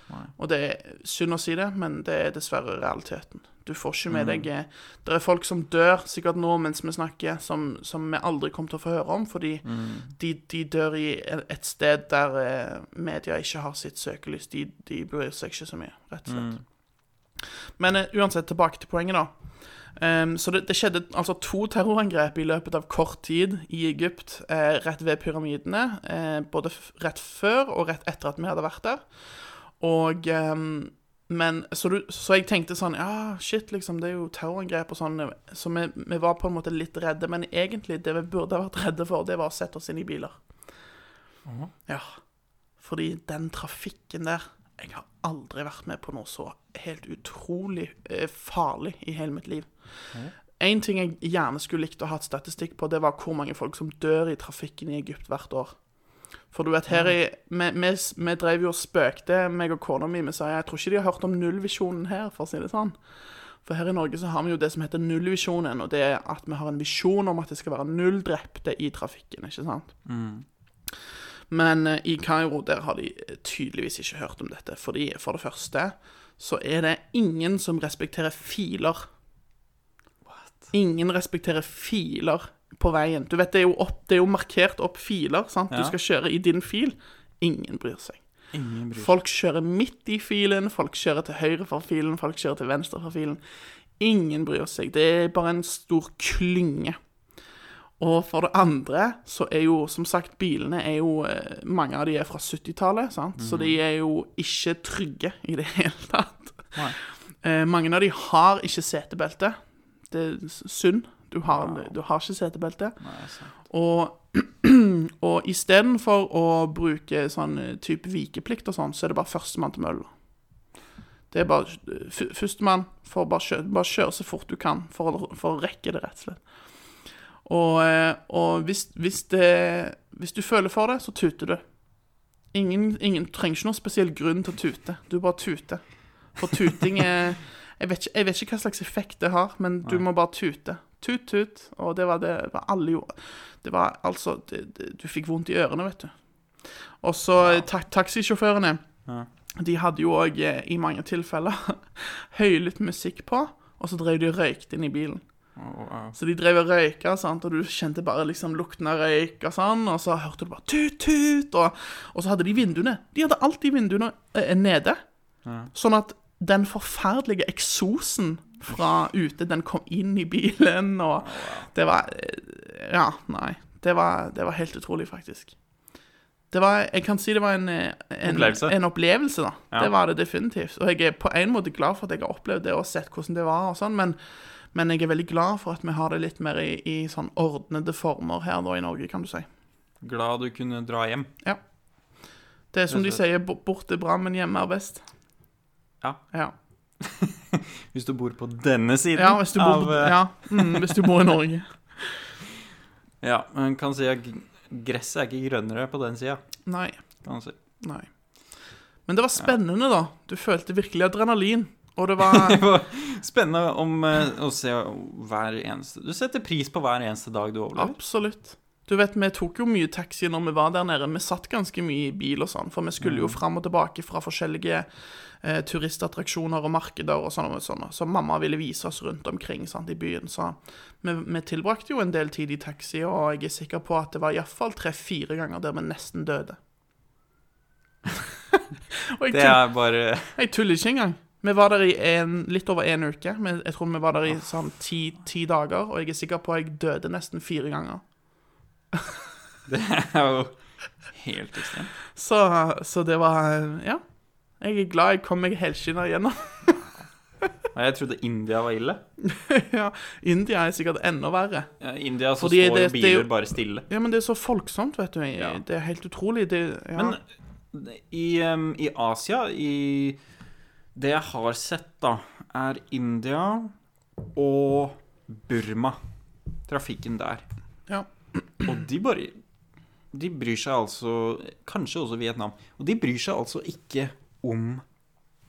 Speaker 1: Nei.
Speaker 2: Og det er synd å si det, men det er dessverre realiteten. Du får ikke med deg eh, Det er folk som dør, sikkert nå mens vi snakker, som, som vi aldri kommer til å få høre om, fordi
Speaker 1: Mm,
Speaker 2: de, de dør i e, et sted der eh, media ikke har sitt søkelys. De, de bryr seg ikke så mye, rett og
Speaker 1: Mm.
Speaker 2: slett. Men eh, uansett, tilbake til poenget, da. Ehm, så det, det skjedde altså to terrorangrep i løpet av kort tid i Egypt, eh, rett ved pyramidene. Eh, både f rett før og rett etter at vi hadde vært der. Og ehm, men, så, du, så jeg tenkte sånn Ja, shit, liksom, det er jo terrorangrep og sånn. Så vi, vi var på en måte litt redde. Men egentlig, det vi burde ha vært redde for, det var å sette oss inn i biler.
Speaker 1: Åh.
Speaker 2: Ja. Fordi den trafikken der Jeg har aldri vært med på noe så helt utrolig eh, farlig i hele mitt liv. Én ting jeg gjerne skulle likt å ha et statistikk på, det var hvor mange folk som dør i trafikken i Egypt hvert år. For du vet, her i Vi, vi, vi drev jo og spøkte, meg og kona mi. Vi sa jeg tror ikke de har hørt om nullvisjonen her, for å si det sånn. For her i Norge så har vi jo det som heter nullvisjonen, og det er at vi har en visjon om at det skal være null drepte i trafikken, ikke sant?
Speaker 1: Mm.
Speaker 2: Men eh, i Kairo der har de eh, tydeligvis ikke hørt om dette, fordi for det første så er det ingen som respekterer filer. Ingen respekterer filer på veien. Du vet, det er jo, opp, det er jo markert opp filer, sant?
Speaker 1: Ja.
Speaker 2: Du skal kjøre i din fil. Ingen bryr seg.
Speaker 1: Ingen bryr seg.
Speaker 2: Folk kjører midt i filen, folk kjører til høyre for filen, folk kjører til venstre for filen. Ingen bryr seg. Det er bare en stor klynge. Og for det andre så er jo, som sagt, bilene er jo eh, Mange av de er fra 70-tallet, sant?
Speaker 1: Mhm.
Speaker 2: så de er jo ikke trygge i det hele tatt.
Speaker 3: Nei.
Speaker 2: Eh, mange av de har ikke setebelte. Det er s- synd. Du har, du har ikke setebelte.
Speaker 1: altså.
Speaker 2: Og, og istedenfor å bruke sånn eh, type vikeplikt og sånn, så er det bare førstemann til mølla. Det er bare eh, f- Førstemann får bare kjøre, bare kjøre så fort du kan for å, for å rekke det, rett og slett. Og, eh, og hvis, hvis, det, hvis du føler for det, så tuter du. Ingen, ingen trenger ikke noen spesiell grunn til å tute. Du bare tuter. For tuting er jeg vet, ikke, jeg vet ikke hva slags effekt det har, men du må bare tute. Tut, tut. Og det var det var alle gjorde. Det var altså det, det, Du fikk vondt i ørene, vet du. Og så eh, ta, taxisjåførene.
Speaker 1: Ja.
Speaker 2: De hadde jo òg i mange tilfeller høylytt musikk på, og så drev de og røykte inn i bilen. Så de drev og røyka, sant? og du kjente bare liksom lukten av røyk og sånn, og så hørte du bare tut-tut, og, og så hadde de vinduene. De hadde alltid vinduene eh, nede, sånn at den forferdelige eksosen fra ute, den kom inn i bilen, og det var eh, Ja, nei. Det var, det var helt utrolig, faktisk. Det var, jeg kan si det var en, eh, en
Speaker 1: Opplevelse.
Speaker 2: En opplevelse da.
Speaker 1: Ja.
Speaker 2: Det var det definitivt. Og jeg er på en måte glad for at jeg har opplevd det og sett hvordan det var, og sånn, men, men jeg er veldig glad for at vi har det litt mer i, i sånn ordnede former her da i Norge, kan du si.
Speaker 1: Glad du kunne dra hjem.
Speaker 2: Det er som de
Speaker 1: Rett og
Speaker 2: sier, bo- borte er bra, men hjemme er best.
Speaker 1: Ja.
Speaker 2: Ja,
Speaker 1: Hvis du bor på denne siden
Speaker 2: ja, hvis, du bor,
Speaker 1: av
Speaker 2: på-
Speaker 1: eh,
Speaker 2: ja mm, hvis du bor i Norge.
Speaker 1: ja, man kan si at g- gresset er ikke grønnere på den sida.
Speaker 2: Nei.
Speaker 1: Kan man si.
Speaker 2: Nei. Men det var spennende, da. Du følte virkelig adrenalin. Og det var
Speaker 1: Det var spennende om, eh, å se hver eneste Du setter pris på hver eneste dag du overlever.
Speaker 2: Absolutt. Du vet, Vi tok jo mye taxi når vi var der nede. Vi satt ganske mye i bil, og sånn, for vi skulle jo fram og tilbake fra forskjellige eh, turistattraksjoner og markeder. og sånn og sånn, Så mamma ville vise oss rundt omkring sant, i byen. Så vi, vi tilbrakte jo en del tid i taxi, og jeg er sikker på at det var iallfall tre-fire ganger der vi nesten døde. og jeg,
Speaker 1: Det
Speaker 2: tull,
Speaker 1: er bare
Speaker 2: jeg tuller ikke engang. Vi var der i en, litt over en uke. Men jeg tror vi var der i sånn ti, ti dager, og jeg er sikker på at jeg døde nesten fire ganger.
Speaker 1: Det er jo helt ekstremt.
Speaker 2: Så, så det var Ja. Jeg er glad jeg kom meg helskinna gjennom.
Speaker 1: Nei, Jeg trodde India var ille.
Speaker 2: ja, India er sikkert enda verre.
Speaker 1: Ja, I India så
Speaker 2: Fordi
Speaker 1: står
Speaker 2: det-
Speaker 1: jo
Speaker 2: det er jo-
Speaker 1: biler bare stille.
Speaker 2: Ja, men det er så folksomt, vet du.
Speaker 1: Ja.
Speaker 2: Det er helt utrolig. Det, ja.
Speaker 1: Men i, em, i Asia, i Det jeg har sett, da, er India og Burma. Trafikken der.
Speaker 2: Ja.
Speaker 1: Og de bare De bryr seg altså Kanskje også Vietnam. Og de bryr seg altså ikke om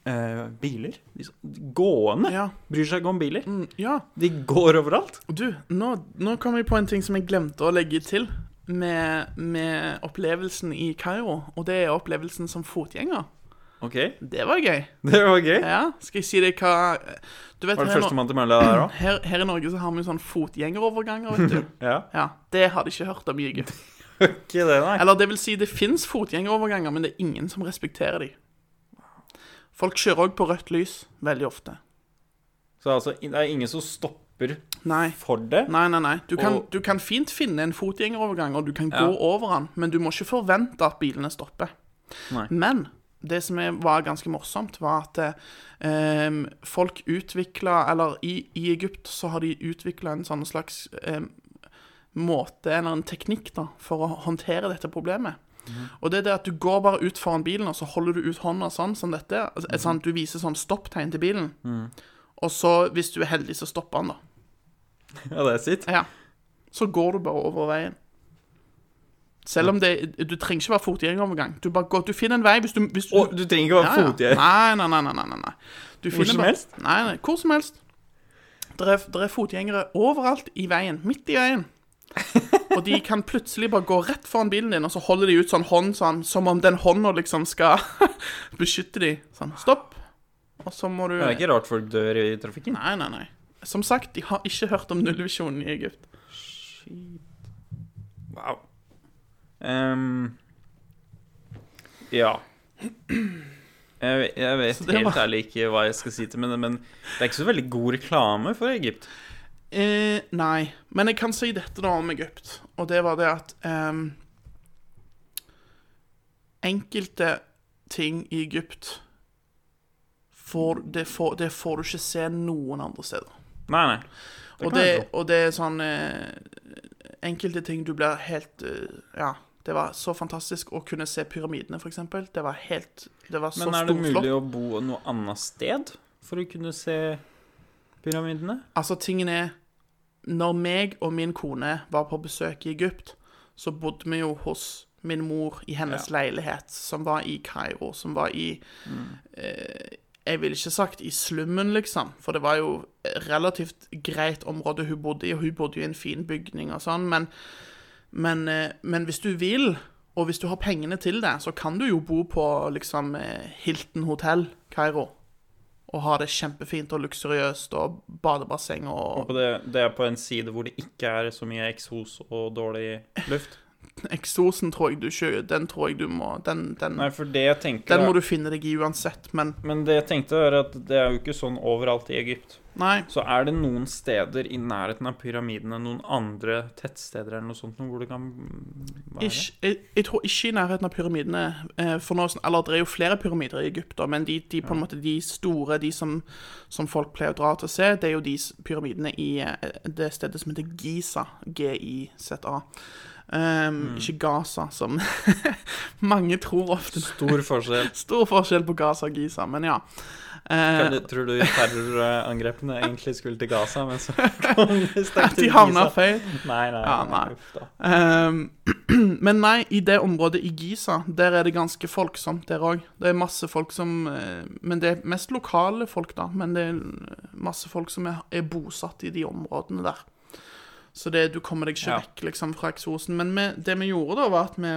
Speaker 1: eh, biler. De s- Gående
Speaker 2: ja.
Speaker 1: bryr seg ikke om biler.
Speaker 2: Mm, ja.
Speaker 1: De går overalt.
Speaker 2: Du, nå, nå kom jeg på en ting som jeg glemte å legge til med, med opplevelsen i Kairo. Og det er opplevelsen som fotgjenger.
Speaker 1: OK,
Speaker 2: Det var gøy.
Speaker 1: det var gøy.
Speaker 2: Ja, Skal jeg si deg hva du vet,
Speaker 1: Var det
Speaker 2: her, nå,
Speaker 1: førstemann til mølla der òg?
Speaker 2: her, her i Norge så har vi jo sånn fotgjengeroverganger, vet du.
Speaker 1: Ja.
Speaker 2: Ja, Det har de ikke hørt om i Egypt.
Speaker 1: Ikke det, nei.
Speaker 2: Eller det vil si, det fins fotgjengeroverganger, men det er ingen som respekterer dem. Folk kjører òg på rødt lys veldig ofte.
Speaker 1: Så altså, det er ingen som stopper
Speaker 2: Nei.
Speaker 1: for det.
Speaker 2: Nei, nei, nei. Du kan,
Speaker 1: Og-
Speaker 2: du kan fint finne en fotgjengerovergang, og du kan
Speaker 1: Ja.
Speaker 2: gå over den, men du må ikke forvente at bilene stopper.
Speaker 1: Nei.
Speaker 2: Men det som er, var ganske morsomt, var at eh, folk utvikla Eller i, i Egypt så har de utvikla en sånn slags eh, måte, eller en teknikk, da, for å håndtere dette problemet.
Speaker 1: Mhm.
Speaker 2: Og det er det at du går bare ut foran bilen, og så holder du ut hånda sånn som dette. Altså,
Speaker 1: Mhm.
Speaker 2: sånn, du viser sånn stopptegn til bilen. Og så, hvis du er heldig, så stopper han, da.
Speaker 1: Ja, det er sitt.
Speaker 2: Ja. Så går du bare over veien. Selv om det Du trenger ikke være fotgjengerovergang. Du bare går, du finner en vei hvis du, hvis du
Speaker 1: Og du trenger ikke å være fotgjeng.
Speaker 2: Nei, nei, nei, nei, nei, nei, nei. Du
Speaker 1: Hvor
Speaker 2: finner
Speaker 1: som
Speaker 2: bare-
Speaker 1: helst?
Speaker 2: Nei, nei, hvor som helst. Det er, der er fotgjengere overalt i veien. Midt i veien. Og de kan plutselig bare gå rett foran bilen din, og så holder de ut sånn hånd sånn, som om den hånda liksom skal beskytte de. Sånn, stopp. Og så må du
Speaker 1: Det er ikke rart folk dør i trafikken.
Speaker 2: Nei, nei, nei. Som sagt, de har ikke hørt om nullvisjonen i Egypt.
Speaker 1: Wow. Ehm, ja. Jeg, jeg vet
Speaker 2: Så det
Speaker 1: helt
Speaker 2: var-
Speaker 1: ærlig ikke hva jeg skal si til men, men det er ikke så veldig god reklame for Egypt.
Speaker 2: Eh, nei, men jeg kan si dette da om Egypt, og det var det at ehm, Enkelte ting i Egypt får, det, får, det får du ikke se noen andre steder.
Speaker 1: Nei, nei. Det
Speaker 2: og,
Speaker 1: kan jeg
Speaker 2: det, og det er sånn eh, Enkelte ting du blir helt eh, Ja. Det var så fantastisk å kunne se pyramidene, for eksempel. Det var helt Det var
Speaker 1: tro.
Speaker 2: så
Speaker 1: Men er det
Speaker 2: storslått.
Speaker 1: mulig å bo noe annet sted for å kunne se pyramidene?
Speaker 2: Altså, tingen er Når meg og min kone var på besøk i Egypt, så bodde vi jo hos min mor i hennes leilighet, som var i Kairo, som var i eh, Jeg ville ikke sagt i slummen, liksom, for det var jo relativt greit område hun bodde i, og hun bodde jo i en fin bygning og sånn, men, men, eh, men hvis du vil, og hvis du har pengene til det, så kan du jo bo på liksom eh, Hilton hotell, Kairo og har det kjempefint og luksuriøst og badebasseng
Speaker 1: Og
Speaker 2: og
Speaker 1: på det, det er på en side hvor det ikke er så mye eksos og dårlig luft?
Speaker 2: Eksosen tror jeg du ikke Den tror jeg du må Den, den,
Speaker 1: Nei, for det jeg tenker
Speaker 2: den
Speaker 1: er-
Speaker 2: må du finne deg i uansett, men
Speaker 1: Men det jeg tenkte er at det er jo ikke sånn overalt i Egypt.
Speaker 2: nei.
Speaker 1: Så er det noen steder i nærheten av pyramidene, noen andre tettsteder eller noe sånt, noe hvor det kan være?
Speaker 2: Ikke, jeg, jeg tror ikke i nærheten av pyramidene eh, for nå, sn- Eller det er jo flere pyramider i Egypt, da, men de, de på en måte de store, de som, som folk pleier å dra til å se, det er jo de s- pyramidene i eh, det stedet som heter Giza. G-I-Z-A. Um,
Speaker 1: Mm.
Speaker 2: Ikke Gaza, som mange tror ofte.
Speaker 1: Stor forskjell.
Speaker 2: Stor forskjell på Gaza og Giza, men ja. Eh,
Speaker 1: Kan du- Tror du terrorangrepene egentlig skulle til Gaza, men så kom de sterkt
Speaker 2: Eh, at de
Speaker 1: til
Speaker 2: havna
Speaker 1: Giza?
Speaker 2: feil.
Speaker 1: Nei, nei.
Speaker 2: Ja,
Speaker 1: nei.
Speaker 2: nei.
Speaker 1: Uff, da.
Speaker 2: Ehm, men nei, i det området i Giza, der er det ganske folksomt der òg. Det er masse folk som eh, Men det er mest lokale folk, da. Men det er masse folk som er, er bosatt i de områdene der. Så det, du kommer deg ikke
Speaker 1: Ja.
Speaker 2: vekk liksom, fra eksosen. Men vi, det vi gjorde da, var at vi,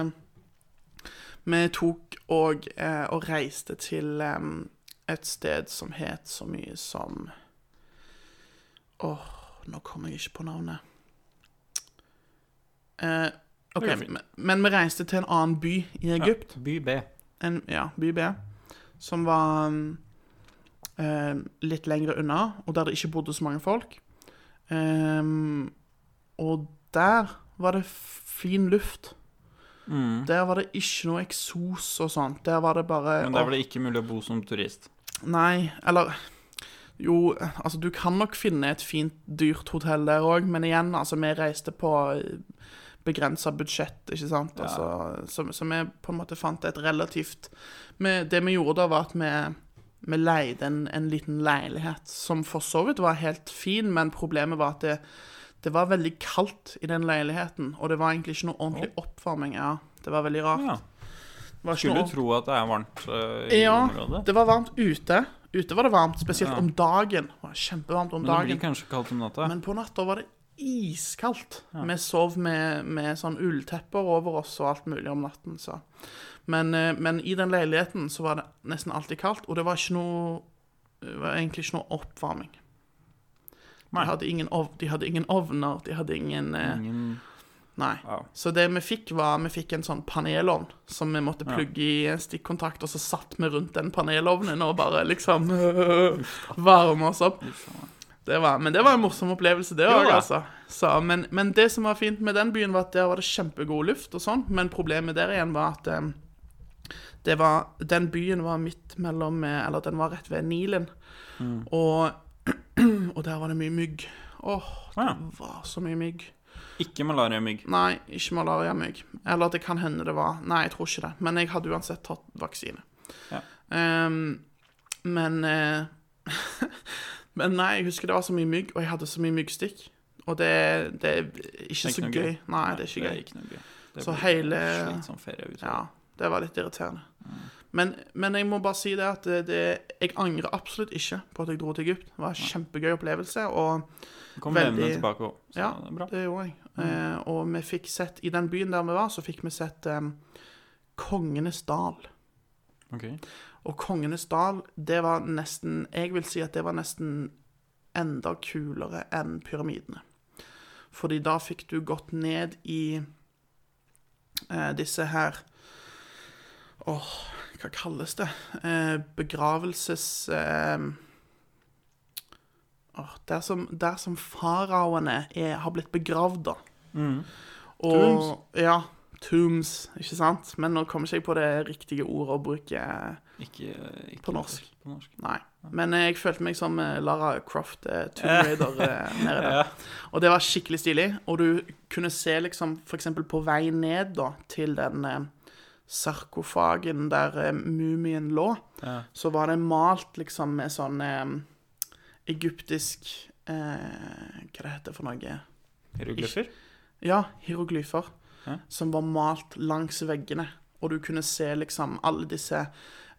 Speaker 2: vi tok og, eh, og reiste til ehm, em, et sted som het så mye som Åh, nå kommer jeg ikke på navnet. Eh,
Speaker 1: Det
Speaker 2: ok,
Speaker 1: går fint.
Speaker 2: men, men vi reiste til en annen by i Egypt.
Speaker 1: Ja, by B.
Speaker 2: En, ja, by B. Som var mm, eh, litt lengre unna, og der det ikke bodde så mange folk. Ehm, og der var det fin luft.
Speaker 1: Mm.
Speaker 2: Der var det ikke noe eksos og sånt. Der var det bare
Speaker 1: Men der var det ikke mulig å bo som turist.
Speaker 2: Nei, eller Jo, altså, du kan nok finne et fint, dyrt hotell der òg, men igjen, altså, vi reiste på begrensa budsjett, ikke sant,
Speaker 1: Ja.
Speaker 2: altså, så, så vi på en måte fant et relativt vi, Det vi gjorde da, var at vi vi leide en, en liten leilighet som for så vidt var helt fin, men problemet var at det, det var veldig kaldt i den leiligheten. Og det var egentlig ikke noe ordentlig oppvarming. ja. Det var veldig rart.
Speaker 1: Ja.
Speaker 2: Det var ikke noe
Speaker 1: Skulle tro at det er varmt eh, i
Speaker 2: Ja,
Speaker 1: området.
Speaker 2: det var varmt ute. Ute var det varmt, spesielt
Speaker 1: Ja.
Speaker 2: om dagen. Det var kjempevarmt om
Speaker 1: Men det blir
Speaker 2: dagen.
Speaker 1: kanskje kaldt om natta.
Speaker 2: Men på natta var det iskaldt. Vi sov med, med sånn ulltepper over oss og alt mulig om natten. Så. Men, eh, men i den leiligheten så var det nesten alltid kaldt, og det var ikke noe det var egentlig ikke noe oppvarming. De
Speaker 1: Nei. Mm.
Speaker 2: hadde, ingen ov de hadde ingen ovner, de hadde ingen eh,
Speaker 1: Ingen
Speaker 2: Nei.
Speaker 1: ja.
Speaker 2: Så det vi fikk var, vi fikk en sånn panelovn som vi måtte plugge i stikkontakt, og så satt vi rundt den panelovnen og bare liksom varme oss opp. Det var, men det var en morsom opplevelse, det
Speaker 1: Ja,
Speaker 2: òg,
Speaker 1: da.
Speaker 2: altså. Så, men, men det som var fint med den byen, var at der var det kjempegod luft og sånn, men problemet der igjen var at eh, det var, den byen var midt mellom eh, Eller den var rett ved Nilen. Mm. Og, og der var det mye mygg. Åh, det
Speaker 1: Ja.
Speaker 2: var så mye mygg.
Speaker 1: Ikke malariamygg.
Speaker 2: Nei, ikke malariamygg. Eller det kan hende det var Nei, jeg tror ikke det. Men jeg hadde uansett tatt vaksine.
Speaker 1: Ja.
Speaker 2: Ehm, men eh, Men nei, jeg husker det var så mye mygg, og jeg hadde så mye myggstikk. Og det, det er ikke så
Speaker 1: noe
Speaker 2: gøy. Nei, det er ikke gøy.
Speaker 1: ikke noe gøy. Det
Speaker 2: Så
Speaker 1: blir
Speaker 2: hele-
Speaker 1: Slitsom ferie ut.
Speaker 2: Ja, det var litt irriterende. Men, men jeg må bare si det at det, det, jeg angrer absolutt ikke på at jeg dro til Egypt. Det var en kjempegøy opplevelse. og...
Speaker 1: Kom
Speaker 2: Veldig-
Speaker 1: levende tilbake òg. Så
Speaker 2: Ja.
Speaker 1: det er bra.
Speaker 2: Det gjorde jeg. Eh, og vi fikk sett, i den byen der vi var, så fikk vi sett eh, Kongenes dal.
Speaker 1: Ok.
Speaker 2: Og Kongenes dal, det var nesten Jeg vil si at det var nesten enda kulere enn pyramidene. Fordi da fikk du gått ned i eh, disse her Åh, hva kalles det? Eh, begravelses... Eh, Åh, dersom, dersom faraoene er, har blitt begravd, da
Speaker 1: Mhm.
Speaker 2: og, Ja. Tombs, ikke sant? Men nå kommer ikke jeg på det riktige ordet å bruke.
Speaker 1: Ikke, ikke
Speaker 2: På norsk.
Speaker 1: På norsk.
Speaker 2: Nei. Men eh, jeg følte meg som eh, Lara Croft, eh, Tomb Raider, eh, nede der.
Speaker 1: Ja.
Speaker 2: Og det var skikkelig stilig. Og du kunne se liksom f.eks. på vei ned da, til den eh, sarkofagen der eh, mumien lå,
Speaker 1: Ja.
Speaker 2: så var det malt liksom med sånn eh, egyptisk eh, Hva det heter det for noe?
Speaker 1: Hieroglyfer?
Speaker 2: Ja, hieroglyfer.
Speaker 1: Ja.
Speaker 2: Som var malt langs veggene. Og du kunne se liksom alle disse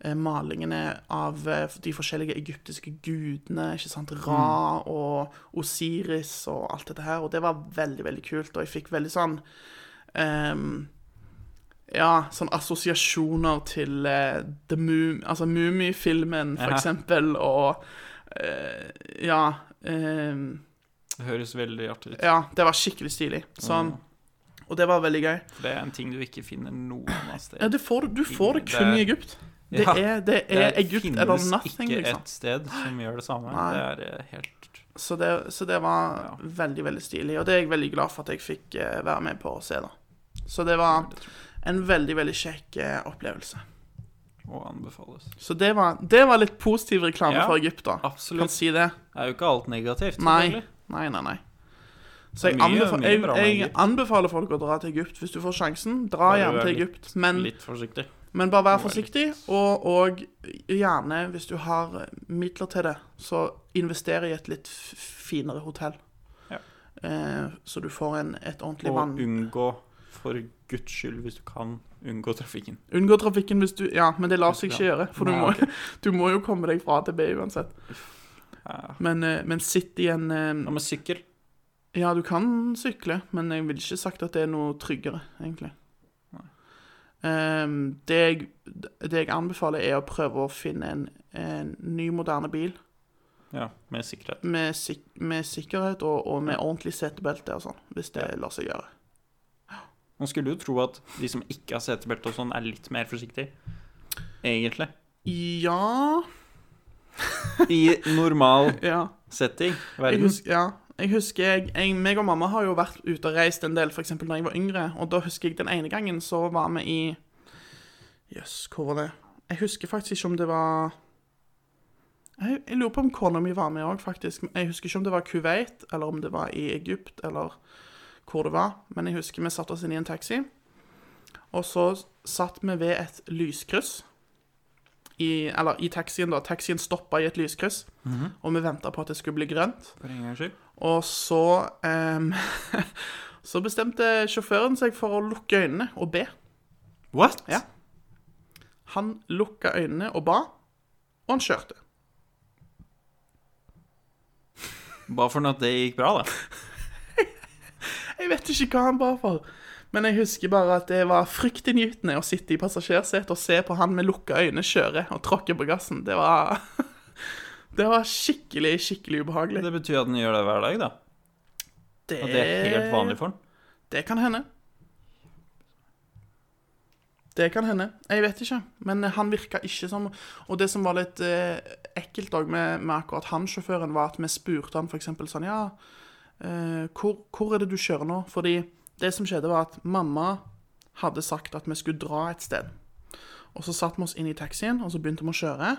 Speaker 2: eh, malingene av eh, de forskjellige egyptiske gudene. ikke sant? Ra
Speaker 1: Mm.
Speaker 2: og Osiris og alt dette her. Og det var veldig, veldig kult. Og jeg fikk veldig sånn ehm, ja, sånn assosiasjoner til eh, The Mum... Altså Mumifilmen, for
Speaker 1: Ja.
Speaker 2: eksempel, og eh, Ja. ehm,
Speaker 1: Det høres veldig artig ut.
Speaker 2: ja, det var skikkelig stilig. Sånn.
Speaker 1: Mm.
Speaker 2: Og det var veldig gøy.
Speaker 1: For det er en ting du ikke finner noe annet sted.
Speaker 2: Ja, det får, du- du får det kun i Egypt. Det
Speaker 1: Ja,
Speaker 2: er, det er Egypt eller
Speaker 1: finnes
Speaker 2: nothing,
Speaker 1: ikke
Speaker 2: liksom.
Speaker 1: et sted som gjør det samme.
Speaker 2: Nei.
Speaker 1: Det er eh, helt
Speaker 2: Så det, så det var
Speaker 1: Ja.
Speaker 2: veldig, veldig stilig. Og det er jeg veldig glad for at jeg fikk eh, være med på å se, da. Så det var en veldig, veldig kjekk eh, opplevelse.
Speaker 1: å anbefales.
Speaker 2: Så det var, det var litt positiv reklame
Speaker 1: Ja,
Speaker 2: for Egypt, da. Kan
Speaker 1: Absolutt.
Speaker 2: si det.
Speaker 1: Det er jo ikke alt negativt.
Speaker 2: Nei.
Speaker 1: selvfølgelig.
Speaker 2: Nei, nei, nei. Så jeg,
Speaker 1: Det er mye-
Speaker 2: anbefaler,
Speaker 1: mye
Speaker 2: jeg,
Speaker 1: bra med
Speaker 2: jeg
Speaker 1: Egypt.
Speaker 2: anbefaler folk å dra til Egypt hvis du får sjansen. Dra
Speaker 1: Bare
Speaker 2: gjerne
Speaker 1: vær
Speaker 2: til
Speaker 1: litt-
Speaker 2: Egypt, men
Speaker 1: Litt forsiktig.
Speaker 2: Men bare vær
Speaker 1: Må være
Speaker 2: forsiktig, og, og gjerne, hvis du har eh, midler til det, så invester i et litt f- finere hotell.
Speaker 1: Ja.
Speaker 2: Eh, så du får en, et ordentlig vann.
Speaker 1: Og unngå, for guds skyld, hvis du kan, unngå trafikken.
Speaker 2: Unngå trafikken hvis du Ja, men det lar seg
Speaker 1: Ja.
Speaker 2: ikke gjøre, for du
Speaker 1: Nei,
Speaker 2: må, du må jo komme deg fra A til B uansett.
Speaker 1: Ja.
Speaker 2: Men, eh, men sitt i en
Speaker 1: Hva
Speaker 2: eh,
Speaker 1: med sykkel?
Speaker 2: Ja, du kan sykle, men jeg ville ikke sagt at det er noe tryggere, egentlig.
Speaker 1: Nei.
Speaker 2: Eh, det, jeg, det jeg anbefaler, er å prøve å finne en, en ny, moderne bil.
Speaker 1: Ja, med sikkerhet.
Speaker 2: med, sik med sikkerhet og, og med ordentlig setebelte og sånn, hvis det lar seg gjøre.
Speaker 1: Man skulle jo tro at de som ikke har setebelte og sånn, er litt mer forsiktige. Egentlig.
Speaker 2: Ja
Speaker 1: I normal
Speaker 2: Ja.
Speaker 1: setting.
Speaker 2: Jeg
Speaker 1: Verden.
Speaker 2: husker, ja. Jeg husker jeg, jeg, meg og mamma har jo vært ute og reist en del, f.eks. da jeg var yngre. Og da husker jeg den ene gangen så var vi i Jøss, hvor var det? Jeg husker faktisk ikke om det var Jeg, jeg lurer på om kona mi var med òg, faktisk. Men Jeg husker ikke om det var Kuwait, eller om det var i Egypt, eller hvor det var. Men jeg husker vi satte oss inn i en taxi, og så satt vi ved et lyskryss. I, eller i taxien, da. Taxien stoppa i et lyskryss,
Speaker 1: Mhm.
Speaker 2: og vi venta på at det skulle bli grønt.
Speaker 1: For en gangs skyld.
Speaker 2: Og så ehm, Så bestemte sjåføren seg for å lukke øynene og be.
Speaker 1: What?!
Speaker 2: Ja. Han lukka øynene og ba, og han kjørte.
Speaker 1: Bare for at det gikk bra, da.
Speaker 2: Jeg vet ikke hva han ba for, men jeg husker bare at det var fryktinngytende å sitte i passasjersetet og se på han med lukka øyne kjøre og tråkke på gassen. Det var Det var skikkelig, skikkelig ubehagelig.
Speaker 1: Det betyr at den gjør det hver dag, da. Og det er helt vanlig for den.
Speaker 2: Det kan hende. Det kan hende. Jeg vet ikke. Men han virka ikke som Og det som var litt eh, ekkelt også med, med akkurat han sjåføren, var at vi spurte han f.eks. sånn Ja, eh, hvor, hvor er det du kjører nå? Fordi det som skjedde, var at mamma hadde sagt at vi skulle dra et sted. Og så satte vi oss inn i taxien, og så begynte vi å kjøre.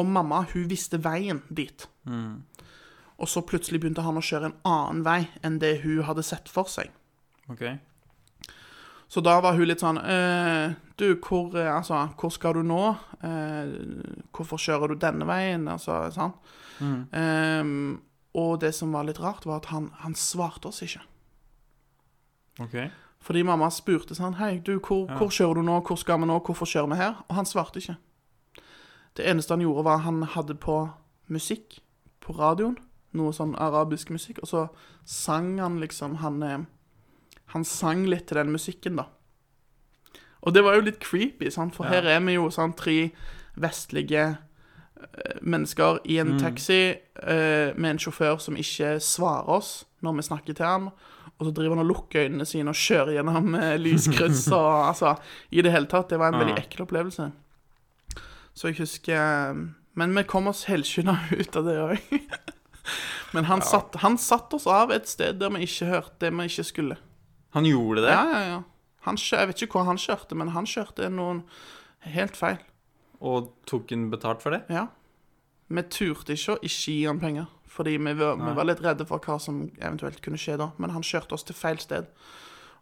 Speaker 2: Og mamma, hun visste veien dit. Og så plutselig begynte han å kjøre en annen vei enn det hun hadde sett for seg.
Speaker 1: Ok.
Speaker 2: Så da var hun litt sånn «Eh, Du, hvor, eh, altså, hvor skal du nå? Eh, hvorfor kjører du denne veien? Altså, sant?
Speaker 1: Mhm.
Speaker 2: Ehm, og det som var litt rart, var at han, han svarte oss ikke.
Speaker 1: Ok.
Speaker 2: Fordi mamma spurte sånn Hei, du, hvor, hvor kjører du nå? Hvor skal vi nå? Hvorfor kjører vi her? Og han svarte ikke. Det eneste han gjorde, var han hadde på musikk på radioen. Noe sånn arabisk musikk. Og så sang han liksom Han, eh, han sang litt til den musikken, da. Og det var jo litt creepy, sant? for
Speaker 1: Ja.
Speaker 2: her er vi jo sånn tre vestlige eh, mennesker i en taxi eh, med en sjåfør som ikke svarer oss når vi snakker til han. Og så driver han og lukker øynene sine og kjører gjennom eh, lyskryss og altså I det hele tatt. Det var en
Speaker 1: Ja.
Speaker 2: veldig ekkel opplevelse. eh, Så jeg husker Men vi kom oss helskinna ut av det òg. Men han, satt, han satt oss av et sted der vi ikke hørte det vi ikke skulle.
Speaker 1: Han gjorde det,
Speaker 2: Ja, ja, ja. Han, kjø- jeg vet ikke hvor han kjørte, men han kjørte noen helt feil.
Speaker 1: og tok han betalt for det?
Speaker 2: Ja. Vi turte ikke å ikke gi han penger, fordi vi var, vi
Speaker 1: Nei.
Speaker 2: var litt redde for hva som eventuelt kunne skje da. Men han kjørte oss til feil sted.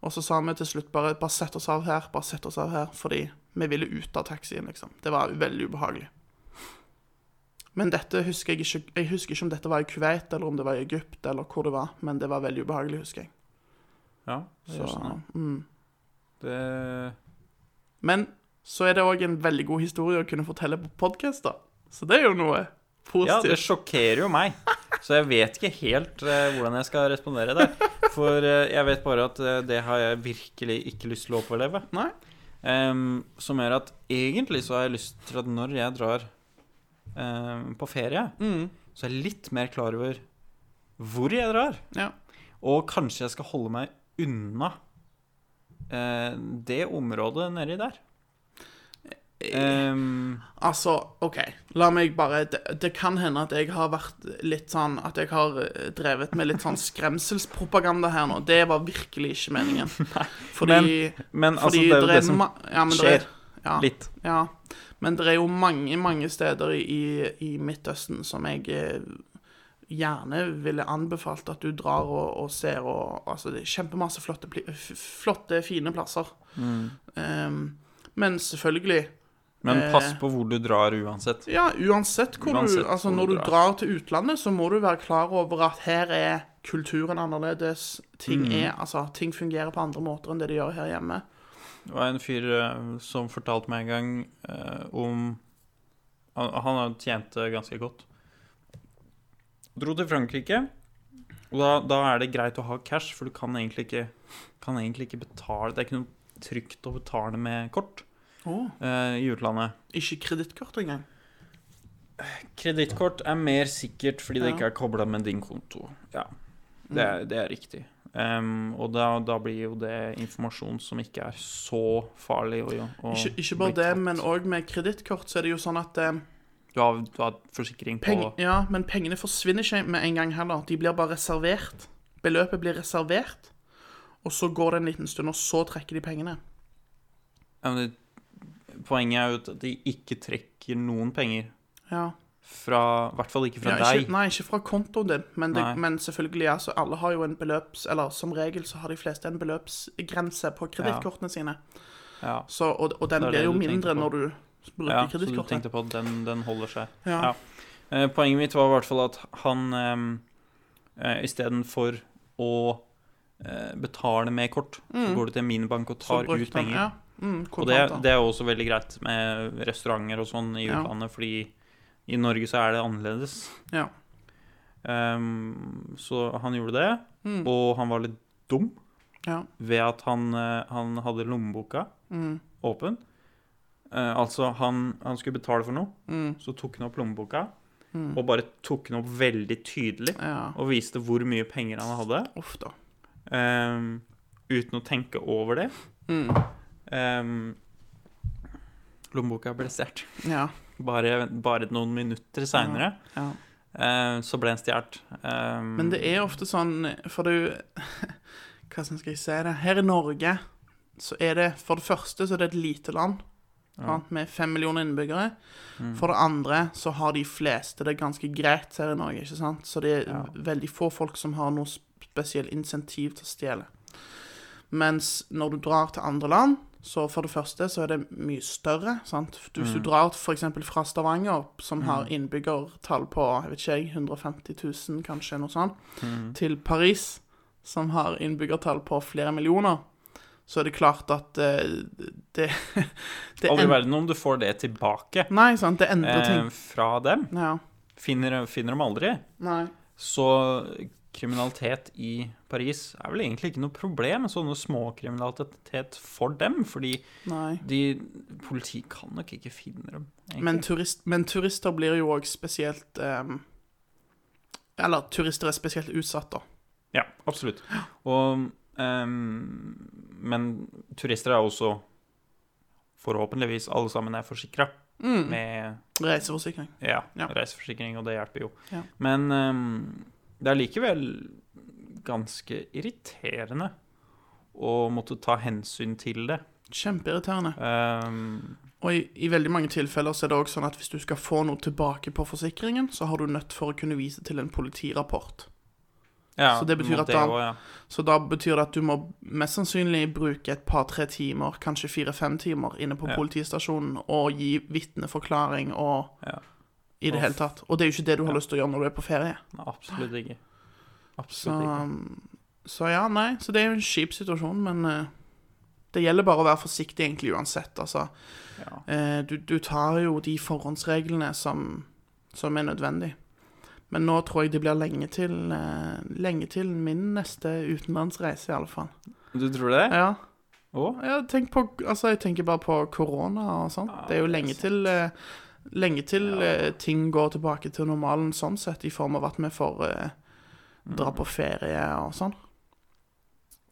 Speaker 2: Og så sa vi til slutt bare 'bare sett oss av her', bare sett oss av her, fordi vi ville ut av taxien, liksom. Det var veldig ubehagelig. Men dette husker jeg ikke Jeg husker ikke om dette var i Kuwait, eller om det var i Egypt, eller hvor det var, men det var veldig ubehagelig, husker jeg.
Speaker 1: Ja, det
Speaker 2: Så,
Speaker 1: gjør sånn, ja.
Speaker 2: mm.
Speaker 1: det
Speaker 2: Men så er det òg en veldig god historie å kunne fortelle på podkast, da. Så det er jo noe
Speaker 1: Ja, det
Speaker 2: positivt.
Speaker 1: sjokkerer jo meg. Så jeg vet ikke helt eh, hvordan jeg skal respondere der. For eh, jeg vet bare at eh, det har jeg virkelig ikke lyst til å overleve.
Speaker 2: Nei.
Speaker 1: Em, som gjør at egentlig så har jeg lyst til at når jeg drar em, på ferie,
Speaker 2: Mm.
Speaker 1: så er jeg litt mer klar over hvor jeg drar.
Speaker 2: Ja.
Speaker 1: Og kanskje jeg skal holde meg unna eh, det området nedi der.
Speaker 2: Eh,
Speaker 1: Eh, Em,
Speaker 2: Altså, OK, la meg bare det, det kan hende at jeg har vært litt sånn At jeg har eh, drevet med litt sånn skremselspropaganda her nå. Det var virkelig ikke meningen. Fordi,
Speaker 1: men altså,
Speaker 2: fordi
Speaker 1: det er jo
Speaker 2: der
Speaker 1: det som
Speaker 2: ma- ja, men der
Speaker 1: skjer.
Speaker 2: Er, ja,
Speaker 1: Litt.
Speaker 2: ja. Men det er jo mange, mange steder i, i- i Midtøsten som jeg eh, gjerne ville anbefalt at du drar og, og ser og Altså, det er kjempemasse flotte, pli- f- flotte fine plasser.
Speaker 1: Mm.
Speaker 2: Ehm, men selvfølgelig
Speaker 1: Men
Speaker 2: Eh,
Speaker 1: pass på hvor du drar uansett.
Speaker 2: Ja, uansett hvor
Speaker 1: Uansett
Speaker 2: du
Speaker 1: hvor
Speaker 2: Altså, når
Speaker 1: du
Speaker 2: du
Speaker 1: drar.
Speaker 2: drar til utlandet, så må du være klar over at her er kulturen annerledes. Ting
Speaker 1: Mm.
Speaker 2: er Altså, ting fungerer på andre måter enn det de gjør her hjemme.
Speaker 1: Det var en fyr eh, som fortalte meg en gang eh, om Han, han hadde tjent det ganske godt. Dro til Frankrike. Og da, da er det greit å ha cash, for du kan egentlig ikke, kan egentlig ikke betale Det er ikke noe trygt å betale med kort
Speaker 2: Å,
Speaker 1: eh, i utlandet.
Speaker 2: Ikke kredittkort engang.
Speaker 1: Kredittkort er mer sikkert fordi det
Speaker 2: Ja.
Speaker 1: ikke er kobla med din konto. Ja,
Speaker 2: Mm.
Speaker 1: Det er, det er riktig. Em, og da, da blir jo det informasjon som ikke er så farlig å, å
Speaker 2: Ikke,
Speaker 1: bli
Speaker 2: ikke bare det,
Speaker 1: tatt.
Speaker 2: men òg med kredittkort så er det jo sånn at eh,
Speaker 1: Du har, du har forsikring på
Speaker 2: peng, Ja, men pengene forsvinner ikke med en gang heller. De blir bare reservert. Beløpet blir reservert, og så går det en liten stund, og så trekker de pengene.
Speaker 1: ja, men det, Poenget er jo at de ikke trekker noen penger.
Speaker 2: Ja.
Speaker 1: Fra, I hvert fall ikke fra
Speaker 2: ja,
Speaker 1: deg.
Speaker 2: Ikke, nei, ikke fra kontoen din, men, det,
Speaker 1: Nei.
Speaker 2: men selvfølgelig, altså, alle har jo en beløps... Eller som regel så har de fleste en beløpsgrense på kredittkortene sine.
Speaker 1: Ja.
Speaker 2: Så, og, og
Speaker 1: Det
Speaker 2: den
Speaker 1: er
Speaker 2: blir
Speaker 1: det
Speaker 2: jo
Speaker 1: du
Speaker 2: mindre
Speaker 1: tenkte på.
Speaker 2: når du bruker
Speaker 1: ja, så du
Speaker 2: kredittkortet.
Speaker 1: tenkte på at den, den holder seg.
Speaker 2: Ja.
Speaker 1: ja. Eh, poenget mitt var i hvert fall at han um, uh, istedenfor å eh, betale med kort, så
Speaker 2: Mm.
Speaker 1: går du til minibank og
Speaker 2: Så
Speaker 1: tar
Speaker 2: brukte
Speaker 1: ut
Speaker 2: han-
Speaker 1: penger.
Speaker 2: Ja. Mm,
Speaker 1: Og det,
Speaker 2: kontanter.
Speaker 1: det er jo også veldig greit med restauranter og sånn i
Speaker 2: Ja.
Speaker 1: utlandet, fordi i Norge så er det annerledes.
Speaker 2: Ja.
Speaker 1: Ehm, så han gjorde det,
Speaker 2: Mm.
Speaker 1: og han var litt dum
Speaker 2: Ja.
Speaker 1: ved at han, eh, han hadde lommeboka
Speaker 2: Mm.
Speaker 1: åpen. Eh, altså, han, han skulle betale for noe,
Speaker 2: Mm.
Speaker 1: så tok han opp lommeboka,
Speaker 2: Mm.
Speaker 1: og bare tok den opp veldig tydelig,
Speaker 2: Ja.
Speaker 1: og viste hvor mye penger han hadde,
Speaker 2: Uff, da.
Speaker 1: ehm, uten å tenke over det.
Speaker 2: Mm.
Speaker 1: Ehm, lommeboka ble stjålet.
Speaker 2: Ja.
Speaker 1: Bare, bare noen minutter seinere
Speaker 2: ja.
Speaker 1: så ble han stjålet. Um,
Speaker 2: Men det er ofte sånn, for du Hva skal jeg si det? Her i Norge så er det for det første så er det et lite land
Speaker 1: ja.
Speaker 2: sant, med fem millioner innbyggere.
Speaker 1: Mm.
Speaker 2: For det andre så har de fleste det ganske greit her i Norge, ikke sant? Så det er
Speaker 1: Ja.
Speaker 2: veldig få folk som har noe spesielt insentiv til å stjele. Mens når du drar til andre land, så for det første så er det mye større, sant? Du- Hvis
Speaker 1: Mm.
Speaker 2: du drar for eksempel fra Stavanger, som har
Speaker 1: Mm.
Speaker 2: innbyggertall på, jeg vet ikke jeg, 150 000 kanskje, noe sånt,
Speaker 1: Mm.
Speaker 2: til Paris, som har innbyggertall på flere millioner, så er det klart at eh, det, det
Speaker 1: Aldri i
Speaker 2: en-
Speaker 1: verden om du får det tilbake
Speaker 2: Nei, sant, det endrer
Speaker 1: eh,
Speaker 2: ting.
Speaker 1: fra dem.
Speaker 2: Ja,
Speaker 1: Finner, finner de aldri.
Speaker 2: nei.
Speaker 1: Så kriminalitet i Paris er vel egentlig ikke noe problem, sånne småkriminalitet for dem, fordi
Speaker 2: nei.
Speaker 1: de Politiet kan nok ikke finne dem. egentlig.
Speaker 2: Men, turist, men turister blir jo òg spesielt eh, Eller turister er spesielt utsatt, da.
Speaker 1: Ja, absolutt. Og, ehm, men turister er også Forhåpentligvis alle sammen er forsikra
Speaker 2: Mm.
Speaker 1: med
Speaker 2: Reiseforsikring.
Speaker 1: ja,
Speaker 2: Ja.
Speaker 1: reiseforsikring, og det hjelper jo.
Speaker 2: Ja.
Speaker 1: Men ehm, Det er likevel ganske irriterende å måtte ta hensyn til det.
Speaker 2: Kjempeirriterende.
Speaker 1: Ehm,
Speaker 2: Og i, i veldig mange tilfeller så er det også sånn at hvis du skal få noe tilbake på forsikringen, så har du nødt for å kunne vise til en politirapport.
Speaker 1: ja,
Speaker 2: Så det betyr
Speaker 1: må
Speaker 2: at da-
Speaker 1: også, ja.
Speaker 2: Så da betyr det at du må mest sannsynlig bruke et par-tre timer, kanskje fire-fem timer, inne på
Speaker 1: Ja.
Speaker 2: politistasjonen og gi vitneforklaring og
Speaker 1: Ja.
Speaker 2: I det
Speaker 1: Og
Speaker 2: hele tatt. Og det er jo ikke det du har
Speaker 1: Ja.
Speaker 2: lyst til å gjøre når du er på ferie.
Speaker 1: Nei, Absolutt ikke.
Speaker 2: Så, um,
Speaker 1: Absolutt ikke.
Speaker 2: så ja, nei. Så det er jo en kjip situasjon, men eh, det gjelder bare å være forsiktig egentlig uansett. Altså,
Speaker 1: Ja.
Speaker 2: eh, du, du tar jo de forhåndsreglene som, som er nødvendig. Men nå tror jeg det blir lenge til, eh, lenge til min neste utenlandsreise, i alle fall.
Speaker 1: Du tror det?
Speaker 2: Ja,
Speaker 1: Å?
Speaker 2: ja tenk på, altså, jeg tenker bare på korona og sånt.
Speaker 1: Ja,
Speaker 2: det er jo
Speaker 1: det er
Speaker 2: lenge
Speaker 1: sant.
Speaker 2: til, eh, lenge
Speaker 1: Ja.
Speaker 2: til eh, ting går tilbake til normalen sånn sett, i form av at vi får eh,
Speaker 1: Mm.
Speaker 2: dra på ferie og sånn.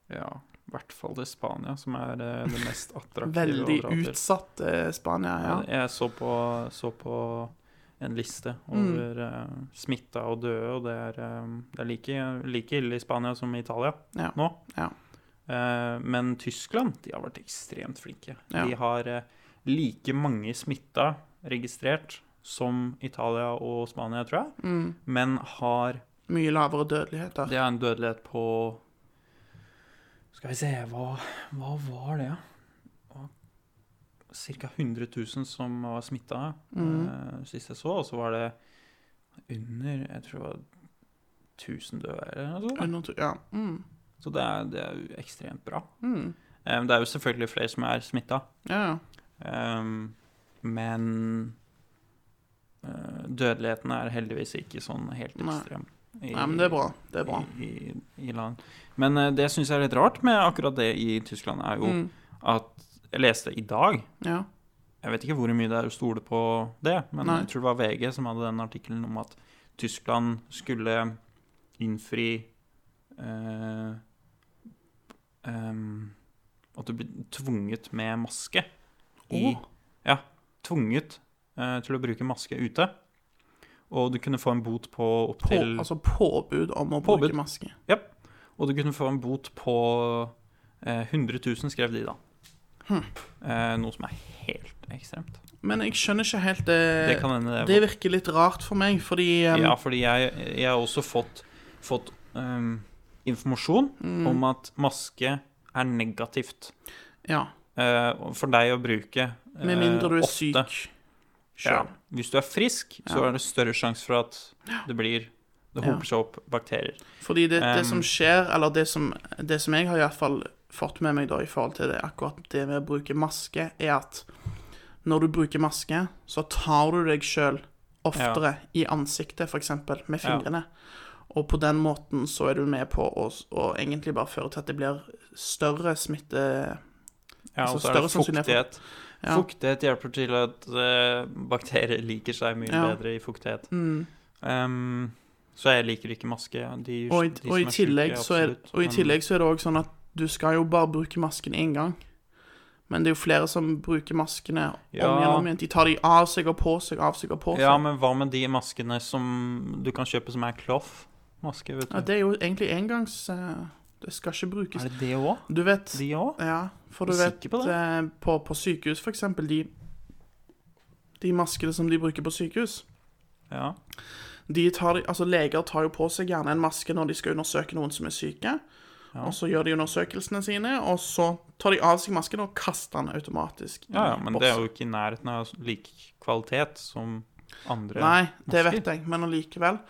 Speaker 1: Ja. I hvert fall til Spania, som er eh, det mest attraktive å
Speaker 2: Veldig
Speaker 1: dra til.
Speaker 2: utsatt eh, Spania, ja.
Speaker 1: Jeg så på, så på en liste
Speaker 2: Mm.
Speaker 1: over mm. smitta og døde, og det er, eh, det er like, like ille i Spania som i Italia
Speaker 2: Ja,
Speaker 1: nå.
Speaker 2: ja.
Speaker 1: Eh, men Tyskland de har vært ekstremt flinke.
Speaker 2: Ja.
Speaker 1: De har eh, like mange smitta registrert som Italia og Spania, tror jeg,
Speaker 2: Mm.
Speaker 1: men har
Speaker 2: Mye lavere dødelighet der.
Speaker 1: Det er en dødelighet på Skal vi se Hva, hva var det, da? Ca. 100 000 som var smitta
Speaker 2: Mhm.
Speaker 1: eh, sist jeg så, og så var det under Jeg tror det var 1000 døde eller noe sånt.
Speaker 2: Under to- ja. Mm.
Speaker 1: Så det er, det er jo ekstremt bra.
Speaker 2: Mm.
Speaker 1: Eh, det er jo selvfølgelig flere som er smitta,
Speaker 2: ja. ja.
Speaker 1: Ehm, men eh, dødeligheten er heldigvis ikke sånn helt
Speaker 2: Nei.
Speaker 1: ekstrem. i-
Speaker 2: Nei, men det er bra. Det er bra.
Speaker 1: I, i, i land. Men eh, det syns jeg er litt rart med akkurat det i Tyskland, er jo
Speaker 2: Mm.
Speaker 1: at jeg leste i dag
Speaker 2: Ja.
Speaker 1: Jeg vet ikke hvor mye det er å stole på det, men
Speaker 2: Nei.
Speaker 1: jeg tror det var VG som hadde den artikkelen om at Tyskland skulle innfri eh, em, At du blir tvunget med maske i
Speaker 2: Å.
Speaker 1: Ja, tvunget eh, til å bruke maske ute. Og du kunne få en bot på
Speaker 2: På,
Speaker 1: opptil
Speaker 2: altså påbud om å
Speaker 1: Påbud.
Speaker 2: bruke maske.
Speaker 1: Og du kunne få en bot på eh, 100 000, skrev de da.
Speaker 2: Hm.
Speaker 1: Eh, noe som er helt ekstremt.
Speaker 2: Men jeg skjønner ikke helt det.
Speaker 1: Det
Speaker 2: Eh, Det,
Speaker 1: kan hende det,
Speaker 2: virker litt rart for meg, fordi um,
Speaker 1: Ja, fordi jeg, jeg har også fått, fått ehm, informasjon
Speaker 2: mm,
Speaker 1: om at maske er negativt
Speaker 2: ja.
Speaker 1: eh, for deg å bruke. eh,
Speaker 2: Med mindre du er
Speaker 1: ofte.
Speaker 2: syk
Speaker 1: Ja.
Speaker 2: sjøl.
Speaker 1: Hvis du er frisk, så
Speaker 2: Ja.
Speaker 1: er det større sjanse for at det blir Det
Speaker 2: Ja.
Speaker 1: hoper seg opp bakterier.
Speaker 2: Fordi det, det
Speaker 1: Um,
Speaker 2: som skjer, eller det som, det som jeg har i hvert fall fått med meg da i forhold til det, akkurat det med å bruke maske, er at når du bruker maske, så tar du deg sjøl oftere i ansiktet, f.eks.
Speaker 1: Ja.
Speaker 2: med fingrene. Og på den måten så er du med på å, å egentlig bare føre til at det blir større smitte
Speaker 1: Ja,
Speaker 2: Altså,
Speaker 1: og så er det
Speaker 2: større sannsynlighet
Speaker 1: fuktighet.
Speaker 2: for- Ja.
Speaker 1: Fuktighet hjelper til at eh, bakterier liker seg mye
Speaker 2: Ja.
Speaker 1: bedre i fuktighet.
Speaker 2: Mm.
Speaker 1: Ehm, så jeg liker ikke maske. De,
Speaker 2: Og, i,
Speaker 1: de som
Speaker 2: og, i
Speaker 1: er
Speaker 2: tillegg,
Speaker 1: syke,
Speaker 2: så er,
Speaker 1: absolutt,
Speaker 2: og i
Speaker 1: men-
Speaker 2: tillegg så er det òg sånn at du skal jo bare bruke masken én gang. Men det er jo flere som bruker maskene om
Speaker 1: Ja.
Speaker 2: igjen og om igjen. De tar de av seg og på seg, av seg og på seg.
Speaker 1: Ja, men hva med de maskene som du kan kjøpe som er cloth-maske, vet du?
Speaker 2: Ja, det er jo egentlig engangs eh, Det skal ikke brukes.
Speaker 1: er det det òg?
Speaker 2: Du vet
Speaker 1: De òg?
Speaker 2: Ja, for
Speaker 1: Er
Speaker 2: du
Speaker 1: du
Speaker 2: vet
Speaker 1: sikker på det?
Speaker 2: eh, på, på sykehus, for eksempel, de De maskene som de bruker på sykehus
Speaker 1: Ja.
Speaker 2: de tar, altså Leger tar jo på seg gjerne en maske når de skal undersøke noen som er syke.
Speaker 1: Ja.
Speaker 2: Og så gjør de undersøkelsene sine, og så tar de av seg masken og kaster den automatisk. i
Speaker 1: ja, ja, men
Speaker 2: bossen.
Speaker 1: det er jo ikke i nærheten av lik kvalitet som andre.
Speaker 2: Nei, det
Speaker 1: masker.
Speaker 2: vet jeg, men allikevel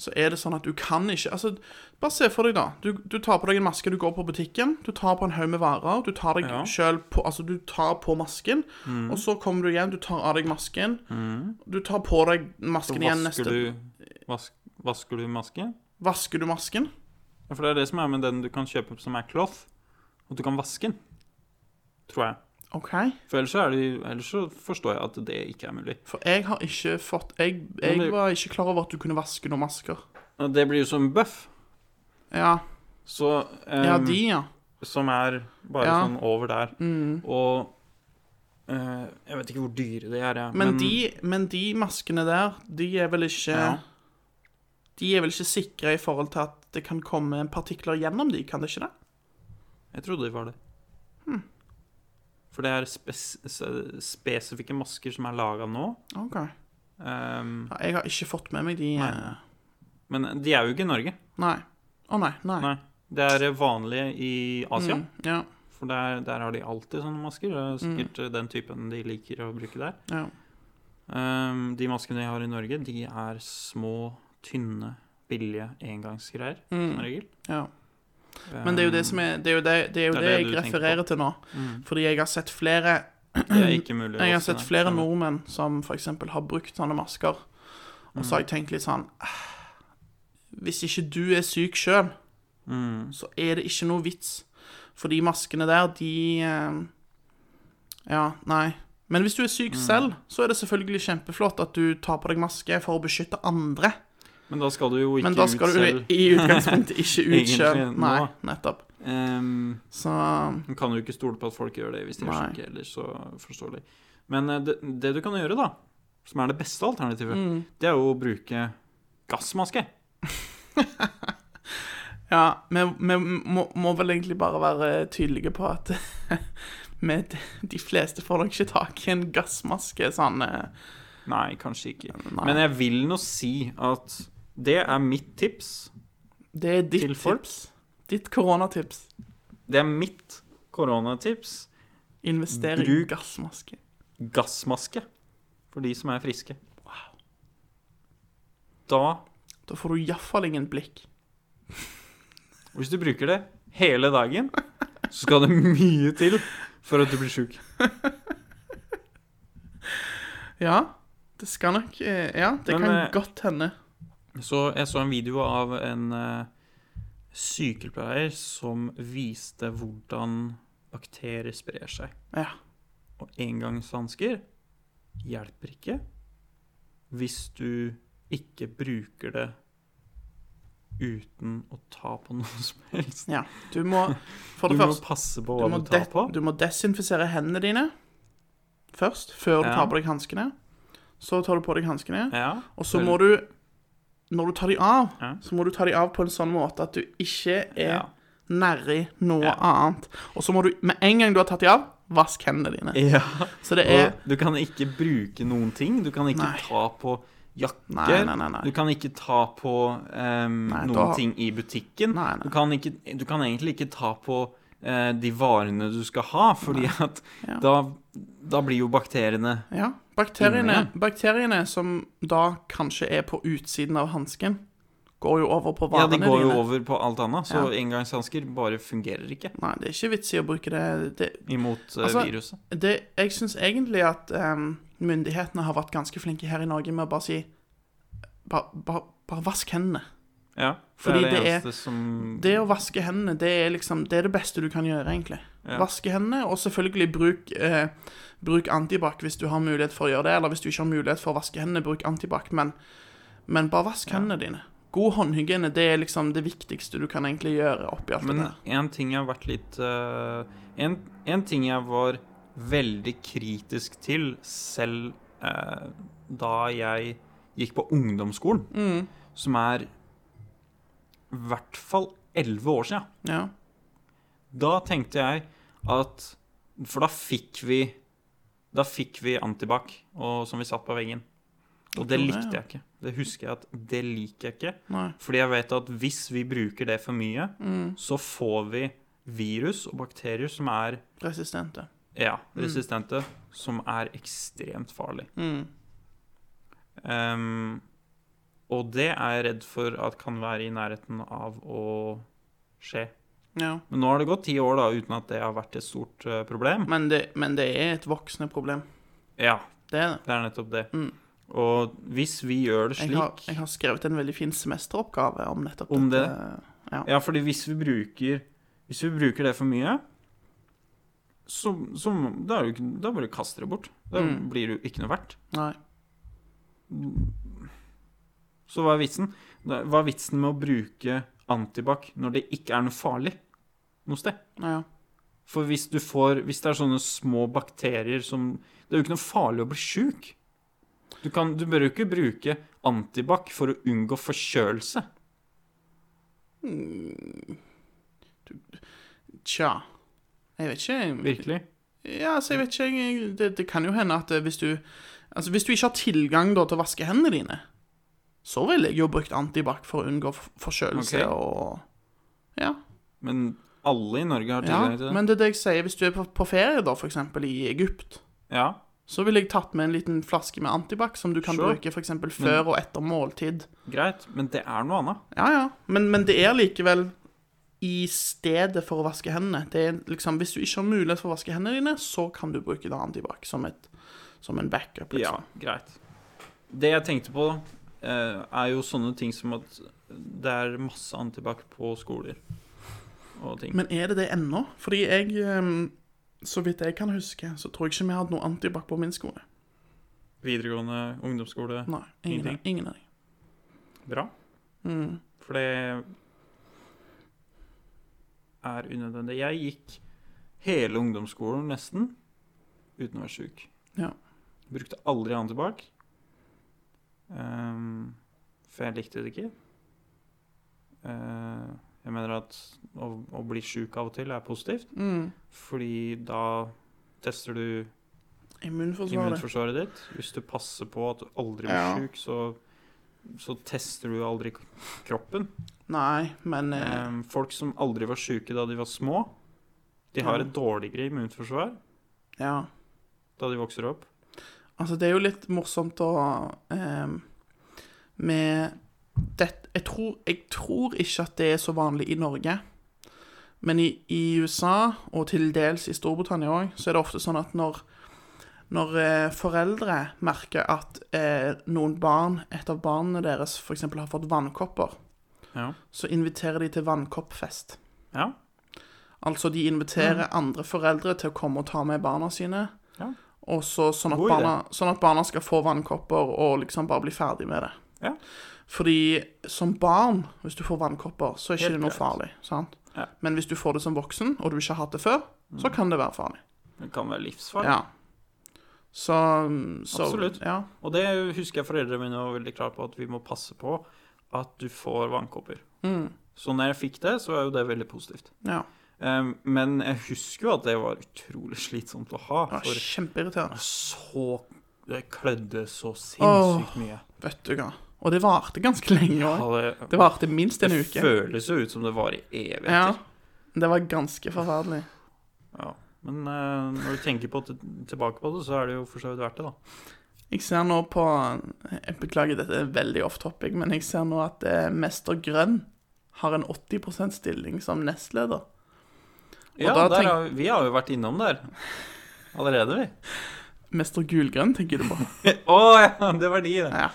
Speaker 2: så er det sånn at du kan ikke Altså, bare se for deg, da. Du, du tar på deg en maske, du går på butikken, du tar på en haug med varer, du tar deg
Speaker 1: Ja. Mm.
Speaker 2: selv på Altså, du tar på masken, og så kommer du hjem, du tar av deg masken, du tar på deg
Speaker 1: Så
Speaker 2: masken igjen
Speaker 1: vasker
Speaker 2: neste
Speaker 1: du, vask, vasker du masken?
Speaker 2: Vasker du masken?
Speaker 1: Ja, for det er det som er med den du kan kjøpe som er cloth, og du kan vaske den. Tror jeg.
Speaker 2: OK.
Speaker 1: For ellers så, er det, ellers så forstår jeg at det ikke er mulig.
Speaker 2: For jeg har ikke fått Jeg,
Speaker 1: Men
Speaker 2: jeg
Speaker 1: det-
Speaker 2: var ikke klar over at du kunne vaske noen masker.
Speaker 1: Og det blir jo som buff.
Speaker 2: Ja,
Speaker 1: Så, eh,
Speaker 2: ja de, ja.
Speaker 1: Som er bare
Speaker 2: Ja.
Speaker 1: sånn over der.
Speaker 2: Mm.
Speaker 1: Og eh, jeg vet ikke hvor dyre de er, jeg.
Speaker 2: Men, de, men de maskene der, de er vel ikke
Speaker 1: Ja.
Speaker 2: De er vel ikke sikre i forhold til at det kan komme partikler gjennom de, kan det ikke det?
Speaker 1: Jeg trodde de var det.
Speaker 2: Hm.
Speaker 1: For det er spes s- spesifikke masker som er laga nå.
Speaker 2: Ok.
Speaker 1: ehm,
Speaker 2: Ja, jeg har ikke fått med meg de
Speaker 1: Nei.
Speaker 2: eh,
Speaker 1: men de er jo ikke i Norge.
Speaker 2: Nei. Å nei, nei.
Speaker 1: Nei. Det er vanlige i Asia.
Speaker 2: Mm, ja,
Speaker 1: For der, der har de alltid sånne masker. Det er sikkert eh, den typen de liker å bruke der.
Speaker 2: ja.
Speaker 1: Ehm, de maskene jeg har i Norge, de er små, tynne, billige engangsgreier. Som
Speaker 2: Mm,
Speaker 1: regel.
Speaker 2: ja. Men det er jo det som er Det er jo det, det, er jo
Speaker 1: Det
Speaker 2: det,
Speaker 1: er det du
Speaker 2: jeg
Speaker 1: tenker på.
Speaker 2: refererer til nå.
Speaker 1: Mm.
Speaker 2: Fordi jeg har sett flere
Speaker 1: Det er ikke mulig. å
Speaker 2: Jeg har
Speaker 1: vaske
Speaker 2: sett
Speaker 1: det.
Speaker 2: flere
Speaker 1: Skjønner.
Speaker 2: nordmenn som f.eks. har brukt sånne masker.
Speaker 1: Mm.
Speaker 2: Og så har jeg tenkt litt sånn «Ah, Hvis ikke du er syk sjøl,
Speaker 1: Mm.
Speaker 2: så er det ikke noe vits. For de maskene der, de eh, Ja, nei. Men hvis du er
Speaker 1: Mm.
Speaker 2: syk selv, så er det selvfølgelig kjempeflott at du tar på deg maske for å beskytte andre.
Speaker 1: Men da skal du jo ikke
Speaker 2: Men da skal
Speaker 1: ut selv.
Speaker 2: du i utgangspunktet ikke ut sjøl.
Speaker 1: Egentlig, nå.
Speaker 2: Nei, nettopp.
Speaker 1: Ehm,
Speaker 2: Så
Speaker 1: Man kan jo ikke stole på at folk gjør det hvis de er
Speaker 2: Nei.
Speaker 1: syke, ellers så forståelig. Men eh, det, det du kan gjøre, da, som er det beste alternativet,
Speaker 2: mm,
Speaker 1: det er jo å bruke gassmaske.
Speaker 2: Ja, vi, vi må, må vel egentlig bare være tydelige på at med de fleste får nok ikke tak i en gassmaske sånn eh,
Speaker 1: Nei, kanskje ikke.
Speaker 2: Nei.
Speaker 1: Men jeg vil nå si at det er mitt tips.
Speaker 2: Det er ditt
Speaker 1: Til folk?
Speaker 2: tips. Ditt koronatips.
Speaker 1: Det er mitt koronatips.
Speaker 2: Investere i
Speaker 1: Bruk-
Speaker 2: gassmaske.
Speaker 1: Gassmaske. For de som er friske. Da,
Speaker 2: Da får du iallfall ingen blikk.
Speaker 1: hvis du bruker det hele dagen, så skal det mye til for at du blir sjuk.
Speaker 2: Ja, det skal nok eh, Ja, det
Speaker 1: Men,
Speaker 2: kan
Speaker 1: eh,
Speaker 2: godt hende.
Speaker 1: Så jeg så en video av en eh, sykepleier som viste hvordan bakterier sprer seg.
Speaker 2: Ja.
Speaker 1: Og engangshansker hjelper ikke hvis du ikke bruker det uten å ta på noe som helst.
Speaker 2: Du må For
Speaker 1: Du
Speaker 2: det
Speaker 1: må
Speaker 2: første
Speaker 1: passe på
Speaker 2: du
Speaker 1: hva
Speaker 2: må,
Speaker 1: du, tar
Speaker 2: de-
Speaker 1: på.
Speaker 2: du må desinfisere hendene dine først, før du
Speaker 1: Ja.
Speaker 2: tar på deg hanskene. Så tar du på deg hanskene,
Speaker 1: Ja,
Speaker 2: og så
Speaker 1: vel.
Speaker 2: må du Når du tar de av,
Speaker 1: Ja.
Speaker 2: så må du ta de av på en sånn måte at du ikke er
Speaker 1: ja.
Speaker 2: nærri noe
Speaker 1: Ja.
Speaker 2: annet. Og så må du, med en gang du har tatt de av, vask hendene dine.
Speaker 1: ja.
Speaker 2: Så det er
Speaker 1: Og du kan ikke bruke noen ting. Du kan ikke
Speaker 2: Nei.
Speaker 1: ta på jakker.
Speaker 2: Nei, nei, nei.
Speaker 1: Du
Speaker 2: nei.
Speaker 1: kan ikke ta på em,
Speaker 2: Nei,
Speaker 1: noen
Speaker 2: da-
Speaker 1: ting i butikken.
Speaker 2: Nei, nei.
Speaker 1: Du, kan ikke, du kan egentlig ikke ta på eh, de varene du skal ha, fordi at
Speaker 2: Ja.
Speaker 1: da, da blir jo bakteriene
Speaker 2: Ja. Bakteriene,
Speaker 1: Inne.
Speaker 2: bakteriene som da kanskje er på utsiden av hansken, går jo over på
Speaker 1: Ja,
Speaker 2: varene
Speaker 1: de går jo
Speaker 2: dine.
Speaker 1: over på alt annet, så
Speaker 2: Ja.
Speaker 1: engangshansker bare fungerer ikke
Speaker 2: Nei, det er ikke vits i å bruke det. det
Speaker 1: imot eh,
Speaker 2: Altså,
Speaker 1: viruset.
Speaker 2: det, jeg syns egentlig at em, myndighetene har vært ganske flinke her i Norge med å bare si Bare, bare, bare vask hendene.
Speaker 1: Ja, det
Speaker 2: fordi
Speaker 1: er det,
Speaker 2: det er-
Speaker 1: eneste som
Speaker 2: Det å vaske hendene, det er liksom Det er det beste du kan gjøre, egentlig.
Speaker 1: Ja.
Speaker 2: Vaske hendene, og selvfølgelig bruk, eh, bruk antibac hvis du har mulighet for å gjøre det. Eller hvis du ikke har mulighet for å vaske hendene, bruk antibac. Men, men bare vask hendene dine. God håndhygiene det er liksom det viktigste du kan egentlig gjøre oppi alt
Speaker 1: Men
Speaker 2: det der.
Speaker 1: en ting jeg har vært litt eh, en, en ting jeg var veldig kritisk til selv eh, da jeg gikk på ungdomsskolen, som er i hvert fall 11 år siden.
Speaker 2: Ja.
Speaker 1: Da tenkte jeg at For da fikk vi Da fikk vi antibac og, som vi satt på veggen. Og det
Speaker 2: Dere, ja.
Speaker 1: likte jeg ikke. Det husker jeg at det liker jeg ikke.
Speaker 2: Nei.
Speaker 1: Fordi jeg vet at hvis vi bruker det for mye,
Speaker 2: Mm.
Speaker 1: så får vi virus og bakterier som er
Speaker 2: Resistente.
Speaker 1: ja, resistente, som er ekstremt farlig.
Speaker 2: Mm.
Speaker 1: Ehm, og det er jeg redd for at kan være i nærheten av å skje.
Speaker 2: Ja.
Speaker 1: Men nå har det gått ti år da, uten at det har vært et stort eh, problem.
Speaker 2: Men det, men det er et voksende problem.
Speaker 1: Ja,
Speaker 2: Det er det.
Speaker 1: det er nettopp det.
Speaker 2: Mm.
Speaker 1: Og hvis vi gjør det
Speaker 2: Jeg har,
Speaker 1: slik
Speaker 2: jeg har skrevet en veldig fin semesteroppgave om nettopp
Speaker 1: Om det?
Speaker 2: dette.
Speaker 1: Ja, fordi hvis vi bruker Hvis vi bruker det for mye så, så da, er det jo ikke, da bare kaster det bort. Da
Speaker 2: Mm.
Speaker 1: blir det jo ikke noe verdt.
Speaker 2: Nei.
Speaker 1: Så hva er vitsen? Da- Hva er vitsen med å bruke antibac når det ikke er noe farlig noe sted?
Speaker 2: Ja.
Speaker 1: For hvis du får Hvis det er sånne små bakterier som Det er jo ikke noe farlig å bli sjuk. Du, kan, du bør jo ikke bruke antibac for å unngå forkjølelse.
Speaker 2: Hmm. Tja. Jeg vet ikke. jeg-
Speaker 1: Virkelig.
Speaker 2: Ja, altså, jeg vet ikke, jeg, det, det kan jo hende at eh, hvis du Altså, hvis du ikke har tilgang da, til å vaske hendene dine, så ville jeg jo brukt antibac for å unngå f- forkjølelse
Speaker 1: Ok.
Speaker 2: og Ja.
Speaker 1: Men alle i Norge har
Speaker 2: ja.
Speaker 1: tilgang til det.
Speaker 2: Men det er det jeg sier, hvis du er på, på ferie, da, f.eks. i Egypt,
Speaker 1: Ja,
Speaker 2: så ville jeg tatt med en liten flaske med antibac som du kan
Speaker 1: Sure.
Speaker 2: bruke f.eks. før og etter måltid.
Speaker 1: greit. Men det er noe annet.
Speaker 2: Ja, ja. Men, men det er likevel i stedet for å vaske hendene. Det er liksom, Hvis du ikke har mulighet for å vaske hendene dine, så kan du bruke det antibac som, et, som en backup.
Speaker 1: Ja,
Speaker 2: liksom.
Speaker 1: greit. Det jeg tenkte på, eh, er jo sånne ting som at det er masse antibac på skoler og ting.
Speaker 2: Men er det det ennå? Fordi jeg, ehm, så vidt jeg kan huske, så tror jeg ikke vi hadde noe antibac på min skole.
Speaker 1: Videregående, ungdomsskole.
Speaker 2: Nei, ingen,
Speaker 1: Ingenting.
Speaker 2: ingen av dem.
Speaker 1: Bra.
Speaker 2: Mm.
Speaker 1: For det er unødvendig. Jeg gikk hele ungdomsskolen nesten uten å være sjuk.
Speaker 2: Ja.
Speaker 1: Brukte aldri antibac. Ehm, for jeg likte det ikke. Eh, jeg mener at å, å bli sjuk av og til er positivt,
Speaker 2: Mm.
Speaker 1: fordi da tester du
Speaker 2: Immunforsvaret.
Speaker 1: immunforsvaret ditt. Hvis du passer på at du aldri blir
Speaker 2: Ja.
Speaker 1: sjuk, så, så tester du aldri k- kroppen.
Speaker 2: Nei, men eh,
Speaker 1: Ehm, folk som aldri var syke da de var små, de har
Speaker 2: Ja.
Speaker 1: et dårligere immunforsvar
Speaker 2: ja.
Speaker 1: da de vokser opp.
Speaker 2: Altså, det er jo litt morsomt å ehm, Med det, jeg, tror, jeg tror ikke at det er så vanlig i Norge. Men i, i USA, og til dels i Storbritannia òg, så er det ofte sånn at når når eh, foreldre merker at eh, noen barn, et av barna deres f.eks. har fått vannkopper,
Speaker 1: Ja.
Speaker 2: så inviterer de til vannkoppfest.
Speaker 1: Ja. Mm.
Speaker 2: Altså, de inviterer andre foreldre til å komme og ta med barna sine.
Speaker 1: Ja.
Speaker 2: Og så, sånn, at
Speaker 1: God idé.
Speaker 2: barna, sånn at barna skal få vannkopper og liksom bare bli ferdig med det.
Speaker 1: Ja.
Speaker 2: Fordi som barn, hvis du får vannkopper, så er ikke
Speaker 1: Helt
Speaker 2: det noe
Speaker 1: greit.
Speaker 2: farlig. sant?
Speaker 1: Ja. Mm.
Speaker 2: Men hvis du får det som voksen, og du ikke har hatt det før, så kan det være farlig.
Speaker 1: Det kan være livsfarlig.
Speaker 2: Mm. Ja. Så, mm, så
Speaker 1: Absolutt.
Speaker 2: Ja.
Speaker 1: Og det husker jeg foreldrene mine var veldig klare på, at vi må passe på at du får vannkopper.
Speaker 2: Mm,
Speaker 1: Så når jeg fikk det, så er jo det veldig positivt.
Speaker 2: ja.
Speaker 1: Ehm, men jeg husker jo at det var utrolig slitsomt å ha.
Speaker 2: Det var
Speaker 1: For
Speaker 2: kjempeirriterende.
Speaker 1: så Det klødde så sinnssykt mye.
Speaker 2: Vet du hva. Og det varte ganske lenge òg.
Speaker 1: Ja,
Speaker 2: Det varte minst en
Speaker 1: det
Speaker 2: uke.
Speaker 1: føles jo ut som det var i evigheter.
Speaker 2: Ja. Det var ganske forferdelig.
Speaker 1: Ja, men eh, når du tenker på det, tilbake på det, så er det jo for så vidt verdt det, da.
Speaker 2: Jeg ser nå på eh, Jeg beklager, dette er veldig off topic, men jeg ser nå at eh, Mester Grønn har en 80 stilling som nestleder. Og
Speaker 1: Ja,
Speaker 2: da
Speaker 1: der
Speaker 2: tenk-
Speaker 1: har vi, vi har jo vært innom der allerede, vi.
Speaker 2: Mester Gulgrønn, tenker du på?
Speaker 1: Å ja, det var de, det.
Speaker 2: Ja.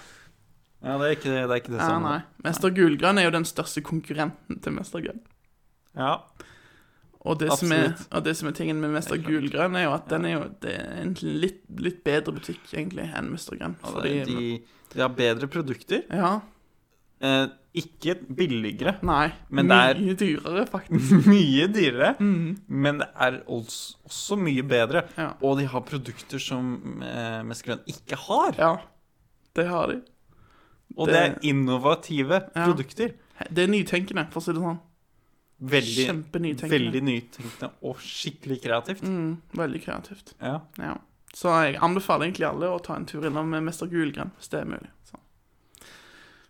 Speaker 1: Ja, det er ikke det, det, er ikke det
Speaker 2: Ja,
Speaker 1: samme.
Speaker 2: nei. Mester Gulgrønn er jo den største konkurrenten til Mester Grønn.
Speaker 1: Ja,
Speaker 2: Og det, som er,
Speaker 1: Absolutt.
Speaker 2: og det som er tingen med Mester
Speaker 1: Det er klart.
Speaker 2: Gulgrønn, er jo at
Speaker 1: Ja.
Speaker 2: den er jo det er en litt, litt bedre butikk, egentlig, enn Mester Grønn.
Speaker 1: og det,
Speaker 2: Fordi
Speaker 1: de, de har bedre produkter.
Speaker 2: Ja.
Speaker 1: Eh, ikke billigere.
Speaker 2: Nei.
Speaker 1: Men det er-
Speaker 2: Mye dyrere, faktisk.
Speaker 1: mye dyrere, men det er også, også mye bedre.
Speaker 2: Ja.
Speaker 1: Og de har produkter som eh, Mest Grønn ikke har.
Speaker 2: Ja. Det har de.
Speaker 1: Og det, er innovative
Speaker 2: Ja.
Speaker 1: produkter.
Speaker 2: Det er nytenkende, for å si det sånn.
Speaker 1: Veldig,
Speaker 2: Kjempenytenkende.
Speaker 1: veldig nytenkende og skikkelig kreativt.
Speaker 2: Mm, veldig kreativt.
Speaker 1: Ja.
Speaker 2: Ja. Så jeg anbefaler egentlig alle å ta en tur innom med Mester Gulgrønn, hvis det er mulig. Så.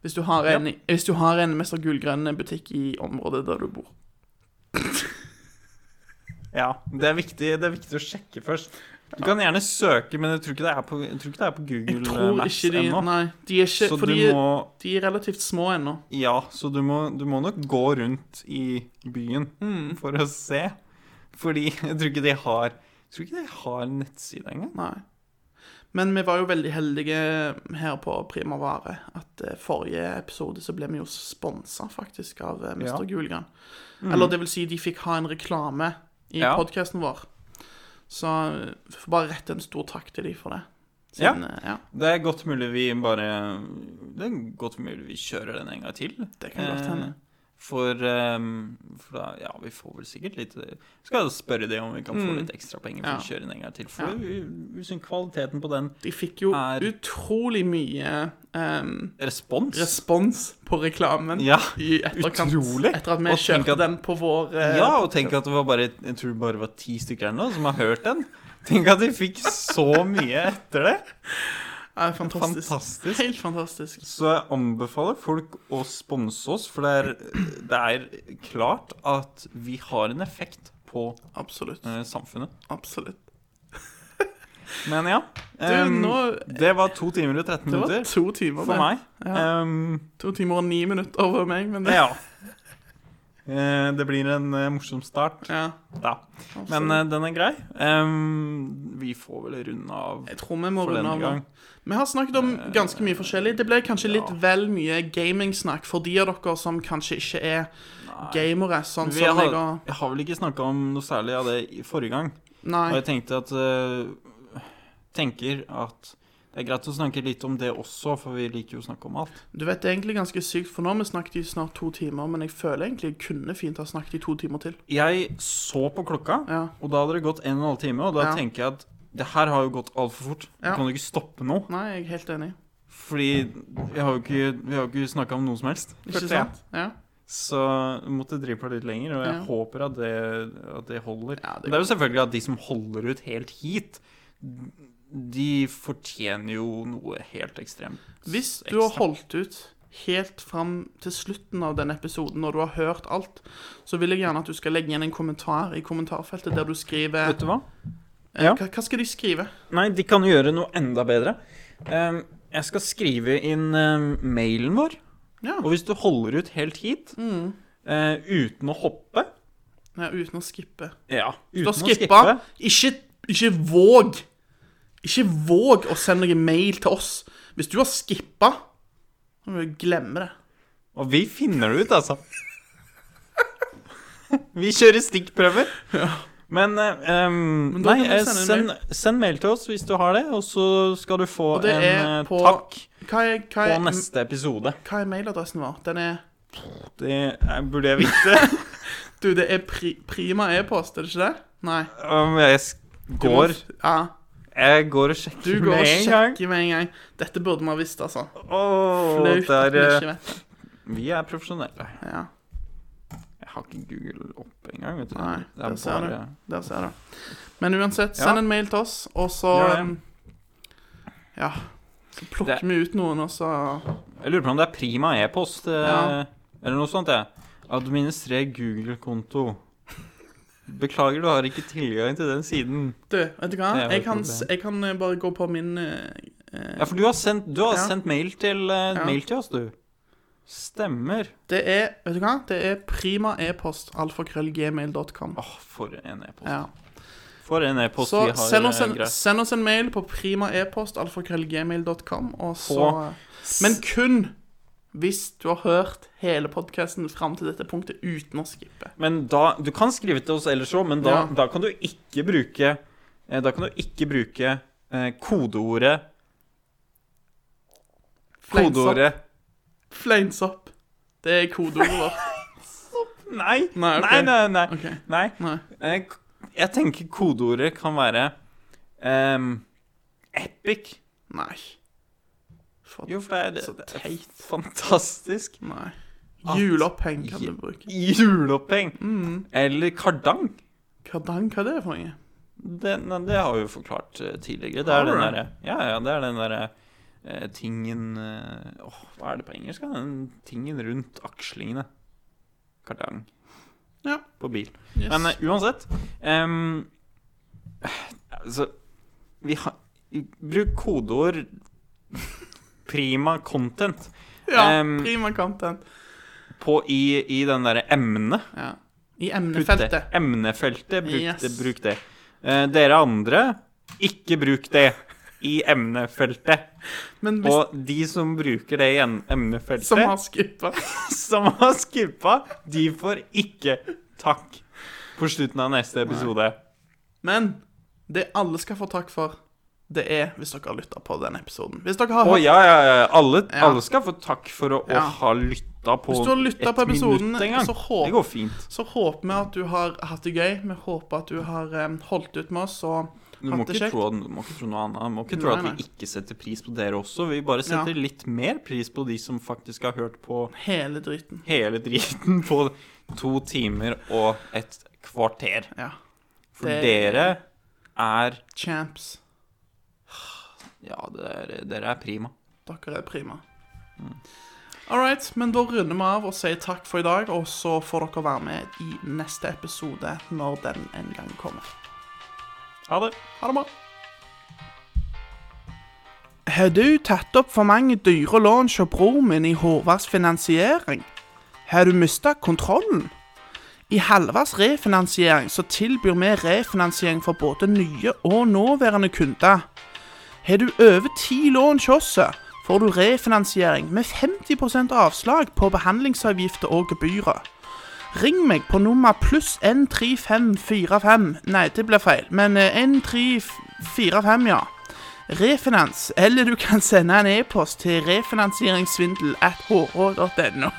Speaker 2: Hvis, du har en, hvis du har en Mester Gulgrønn-butikk i området der du bor.
Speaker 1: ja det, er viktig, det er viktig å sjekke først. Du kan gjerne søke, men jeg tror ikke det er på, jeg tror ikke det er på
Speaker 2: Jeg
Speaker 1: Google
Speaker 2: tror
Speaker 1: Maps
Speaker 2: ikke de
Speaker 1: ennå.
Speaker 2: Nei, de er
Speaker 1: Så
Speaker 2: ikke
Speaker 1: du
Speaker 2: Fordi
Speaker 1: må
Speaker 2: de er relativt små ennå.
Speaker 1: Ja, så du må, du må nok gå rundt i byen
Speaker 2: Mm.
Speaker 1: for å se. Fordi jeg tror ikke de har Jeg tror ikke de har en nettside engang.
Speaker 2: Nei. Men vi var jo veldig heldige her på Primavare. At eh, forrige episode så ble vi jo sponsa faktisk av eh, Mester Gulgrønn. Eller det vil si, de fikk ha en reklame i
Speaker 1: Mm. Ja.
Speaker 2: podkasten vår. Så eh, vi får bare rette en stor takk til de for det.
Speaker 1: Ja.
Speaker 2: eh, ja.
Speaker 1: Det er godt mulig vi bare Det er godt mulig vi kjører den en gang til.
Speaker 2: Det kan godt hende.
Speaker 1: Eh, For, ehm, for da, ja, vi får vel sikkert litt eh, Skal jo spørre det om vi kan få
Speaker 2: Mm.
Speaker 1: litt ekstra penger for
Speaker 2: Ja.
Speaker 1: å kjøre den en gang til.
Speaker 2: Ja.
Speaker 1: For vi, vi synes kvaliteten på den
Speaker 2: De fikk jo
Speaker 1: Er-
Speaker 2: utrolig mye ehm,
Speaker 1: Respons?
Speaker 2: respons på reklamen
Speaker 1: ja.
Speaker 2: i etterkant.
Speaker 1: Utrolig.
Speaker 2: Etter at vi
Speaker 1: Og tenk
Speaker 2: kjørte
Speaker 1: at-
Speaker 2: den på vår eh,
Speaker 1: ja, og tenk at det var bare Jeg tror det bare var ti stykker eller noe som har hørt den. Tenk at de fikk så mye etter det.
Speaker 2: ja, fantastisk.
Speaker 1: Fantastisk.
Speaker 2: Helt fantastisk.
Speaker 1: Så jeg anbefaler folk å sponse oss, for det er, det er klart at vi har en effekt på
Speaker 2: Absolutt.
Speaker 1: eh, samfunnet.
Speaker 2: Absolutt.
Speaker 1: Men ja.
Speaker 2: Du,
Speaker 1: em,
Speaker 2: nå
Speaker 1: Det var to timer og 13
Speaker 2: Det var
Speaker 1: Ehm, minutter
Speaker 2: to timer.
Speaker 1: for
Speaker 2: det.
Speaker 1: meg.
Speaker 2: Ja.
Speaker 1: Em,
Speaker 2: To timer og ni minutter over meg, men det
Speaker 1: ja. Eh, Det blir en eh, morsom start,
Speaker 2: Ja,
Speaker 1: da.
Speaker 2: absolutt.
Speaker 1: Men eh, den er grei. Em, vi får vel runde av
Speaker 2: jeg tror vi må
Speaker 1: for
Speaker 2: runde
Speaker 1: denne
Speaker 2: av. nå.
Speaker 1: gang.
Speaker 2: Vi har snakket om ganske mye forskjellig. Det ble kanskje litt
Speaker 1: Eh, ja.
Speaker 2: vel mye gamingsnakk for de av dere som kanskje ikke er
Speaker 1: Nei.
Speaker 2: gamere, sånn
Speaker 1: Vi
Speaker 2: som
Speaker 1: har,
Speaker 2: jeg og
Speaker 1: jeg har vel ikke snakka om noe særlig av det i forrige gang. Og
Speaker 2: Nei.
Speaker 1: jeg tenkte at eh, Tenker at det er greit å snakke litt om det også, for vi liker jo å snakke om alt.
Speaker 2: Du vet, det er egentlig ganske sykt, for nå har vi snakket i snart to timer, men jeg føler egentlig jeg kunne fint ha snakket i to timer til.
Speaker 1: Jeg så på klokka,
Speaker 2: Ja.
Speaker 1: og da hadde det gått en og en halv time, og da
Speaker 2: Ja.
Speaker 1: tenker jeg at det her har jo gått altfor fort. Vi
Speaker 2: Ja.
Speaker 1: Kan du ikke stoppe nå?
Speaker 2: Nei, jeg er helt enig.
Speaker 1: Fordi vi har jo ikke, vi har jo ikke snakka om noe som helst.
Speaker 2: Ikke
Speaker 1: følte jeg.
Speaker 2: sant? Ja.
Speaker 1: Så måtte drive på litt lenger, og jeg
Speaker 2: Ja.
Speaker 1: håper at det, at det holder.
Speaker 2: Ja,
Speaker 1: Men
Speaker 2: det-
Speaker 1: det er jo selvfølgelig at de som holder ut helt hit, de fortjener jo noe helt ekstremt.
Speaker 2: Hvis du har
Speaker 1: Ekstremt.
Speaker 2: holdt ut helt fram til slutten av den episoden, når du har hørt alt, så vil jeg gjerne at du skal legge igjen en kommentar i kommentarfeltet der du skriver
Speaker 1: Vet du hva?
Speaker 2: Eh,
Speaker 1: ja.
Speaker 2: hva, hva skal de skrive?
Speaker 1: Nei, de kan gjøre noe enda bedre. Ehm, jeg skal skrive inn ehm, mailen vår.
Speaker 2: Ja.
Speaker 1: Og hvis du holder ut helt hit,
Speaker 2: Mm.
Speaker 1: eh, uten å hoppe
Speaker 2: Ja, uten å skippe.
Speaker 1: Ja,
Speaker 2: Du
Speaker 1: uten
Speaker 2: har skippa. Ikke, ikke våg! Ikke våg å sende noen mail til oss. Hvis du har skippa, så må du glemme det.
Speaker 1: Og vi finner det ut, altså. vi kjører stikkprøver. Men, eh, ehm,
Speaker 2: Men da
Speaker 1: Nei,
Speaker 2: kan du
Speaker 1: eh,
Speaker 2: sende en
Speaker 1: send, send mail til oss hvis du har det, og så skal du få
Speaker 2: Og det
Speaker 1: en
Speaker 2: er
Speaker 1: eh,
Speaker 2: på-
Speaker 1: takk
Speaker 2: Hva er, hva
Speaker 1: på
Speaker 2: er,
Speaker 1: neste episode.
Speaker 2: hva er mailadressen vår? Den er
Speaker 1: Det eh, burde jeg vite.
Speaker 2: Du, det er pri, prima e-post, er det ikke det? Nei.
Speaker 1: Om jeg s-
Speaker 2: Du må-
Speaker 1: går
Speaker 2: Ja.
Speaker 1: Jeg går og
Speaker 2: Du
Speaker 1: sjekker
Speaker 2: går og
Speaker 1: med en gang.
Speaker 2: sjekker med en gang. Dette burde vi ha visst, altså.
Speaker 1: Åh,
Speaker 2: Flaut at
Speaker 1: der,
Speaker 2: vi
Speaker 1: eh,
Speaker 2: ikke vet.
Speaker 1: vi er profesjonelle.
Speaker 2: Ja,
Speaker 1: Jeg har ikke Google opp engang. vet du.
Speaker 2: Nei,
Speaker 1: det
Speaker 2: der
Speaker 1: er
Speaker 2: ser du.
Speaker 1: bare...
Speaker 2: der ser du. Men uansett,
Speaker 1: Ja.
Speaker 2: send en mail til oss, og så
Speaker 1: Gjør det.
Speaker 2: um, Ja. Så plukker
Speaker 1: Det-
Speaker 2: vi ut noen, og så
Speaker 1: Jeg lurer på om det er prima e-post eh,
Speaker 2: Ja.
Speaker 1: eller noe sånt. jeg. Administrer Google-konto. Beklager, du har ikke tilgang til den siden.
Speaker 2: Du, vet du
Speaker 1: Det er
Speaker 2: hva?
Speaker 1: jo
Speaker 2: Jeg
Speaker 1: et
Speaker 2: kan, s-
Speaker 1: problem.
Speaker 2: jeg kan eh, bare gå på min eh, eh,
Speaker 1: Ja, for du har sendt, du har
Speaker 2: Ja.
Speaker 1: sendt mail, til, eh,
Speaker 2: Ja.
Speaker 1: mail til oss, du. Stemmer.
Speaker 2: Det er vet du hva? Det er prima e-post alfakrøllgmail.com.
Speaker 1: Åh, for en e-post.
Speaker 2: Ja.
Speaker 1: For en e-post
Speaker 2: Så
Speaker 1: vi har.
Speaker 2: send oss,
Speaker 1: eh,
Speaker 2: en,
Speaker 1: greit.
Speaker 2: send oss en mail på prima e-post alfakrøllgmail.com, og så
Speaker 1: På-
Speaker 2: Men kun hvis du har hørt hele podkasten fram til dette punktet uten å skippe.
Speaker 1: Men da, Du kan skrive til oss ellers òg, men da,
Speaker 2: Ja.
Speaker 1: da kan du ikke bruke eh, Da kan du ikke bruke eh, kodeordet
Speaker 2: Fleins opp.
Speaker 1: Kodeordet
Speaker 2: Fleins opp. Det er kodeordet vårt.
Speaker 1: Nei! Nei,
Speaker 2: Nei, ok.
Speaker 1: nei, nei.
Speaker 2: Ok,
Speaker 1: nei.
Speaker 2: Nei.
Speaker 1: Eh, k- Jeg tenker kodeordet kan være ehm, epic.
Speaker 2: Nei. For,
Speaker 1: Jo, for det er,
Speaker 2: Så
Speaker 1: det er
Speaker 2: teit.
Speaker 1: fantastisk.
Speaker 2: nei.
Speaker 1: At-
Speaker 2: Juleoppheng kan du bruke.
Speaker 1: Juleoppheng.
Speaker 2: Mm.
Speaker 1: Eller kardang.
Speaker 2: Kardang, hva er det for noe?
Speaker 1: Det, nei, det har vi jo forklart eh, tidligere. Det er den
Speaker 2: Alright.
Speaker 1: derre ja, ja, det er den derre eh, tingen eh, Åh, hva er det på engelsk? da? Den tingen rundt akslingene. Kardang.
Speaker 2: Ja.
Speaker 1: På bil.
Speaker 2: Yes.
Speaker 1: Men eh, uansett ehm, Altså vi har, Bruk kodeord prima content
Speaker 2: ja,
Speaker 1: ehm,
Speaker 2: prima content.
Speaker 1: på, i, i den derre emnet.
Speaker 2: Ja. I
Speaker 1: Putt
Speaker 2: emnefeltet.
Speaker 1: det. Emnefeltet. Bruk,
Speaker 2: Yes.
Speaker 1: det, bruk det. Eh, dere andre, ikke bruk det i emnefeltet.
Speaker 2: Men hvis
Speaker 1: Og de som bruker det i em- emnefeltet,
Speaker 2: som har skippa
Speaker 1: som har skippa, de får ikke takk på slutten av neste episode.
Speaker 2: Men det alle skal få takk for, det er hvis dere har lytta på den episoden. Hvis dere har
Speaker 1: Å
Speaker 2: hørt
Speaker 1: ja, ja, ja. Alle,
Speaker 2: Ja.
Speaker 1: alle skal få takk for å,
Speaker 2: Ja.
Speaker 1: å ha lytta lytta på
Speaker 2: Hvis du har lytta på episoden,
Speaker 1: engang.
Speaker 2: så,
Speaker 1: Det
Speaker 2: håp,
Speaker 1: går fint.
Speaker 2: så håper vi at du har hatt det gøy. Vi håper at du har eh, holdt ut med oss. Og
Speaker 1: Du må,
Speaker 2: Hatt det
Speaker 1: ikke
Speaker 2: kjekt.
Speaker 1: tro, at- du må ikke tro noe annet. Du må ikke tro at
Speaker 2: Nei,
Speaker 1: vi ikke setter pris på dere også. Vi bare setter litt mer pris på de som faktisk har hørt på
Speaker 2: hele driten.
Speaker 1: hele driten på to timer og et kvarter.
Speaker 2: Ja.
Speaker 1: For
Speaker 2: Det-
Speaker 1: dere er
Speaker 2: Champs.
Speaker 1: Ja, dere, dere er prima.
Speaker 2: Dere er prima.
Speaker 1: Mm.
Speaker 2: All right, men da runder vi av og sier takk for i dag. Og så får dere være med i neste episode når den en gang kommer.
Speaker 1: Ha det.
Speaker 2: Ha det bra. Har du tatt opp for mange dyre lån hos bror min i Håvards finansiering? Har du mista kontrollen? I Halvards refinansiering så tilbyr vi refinansiering for både nye og nåværende kunder. Har du over ti lån hos oss, får du refinansiering med 50 avslag på behandlingsavgifter og gebyrer. Ring meg på nummer pluss 13545. Nei, det ble feil, men eh, 1345, ja. Refinans, eller du kan sende en e-post til refinansieringssvindel at hh.no.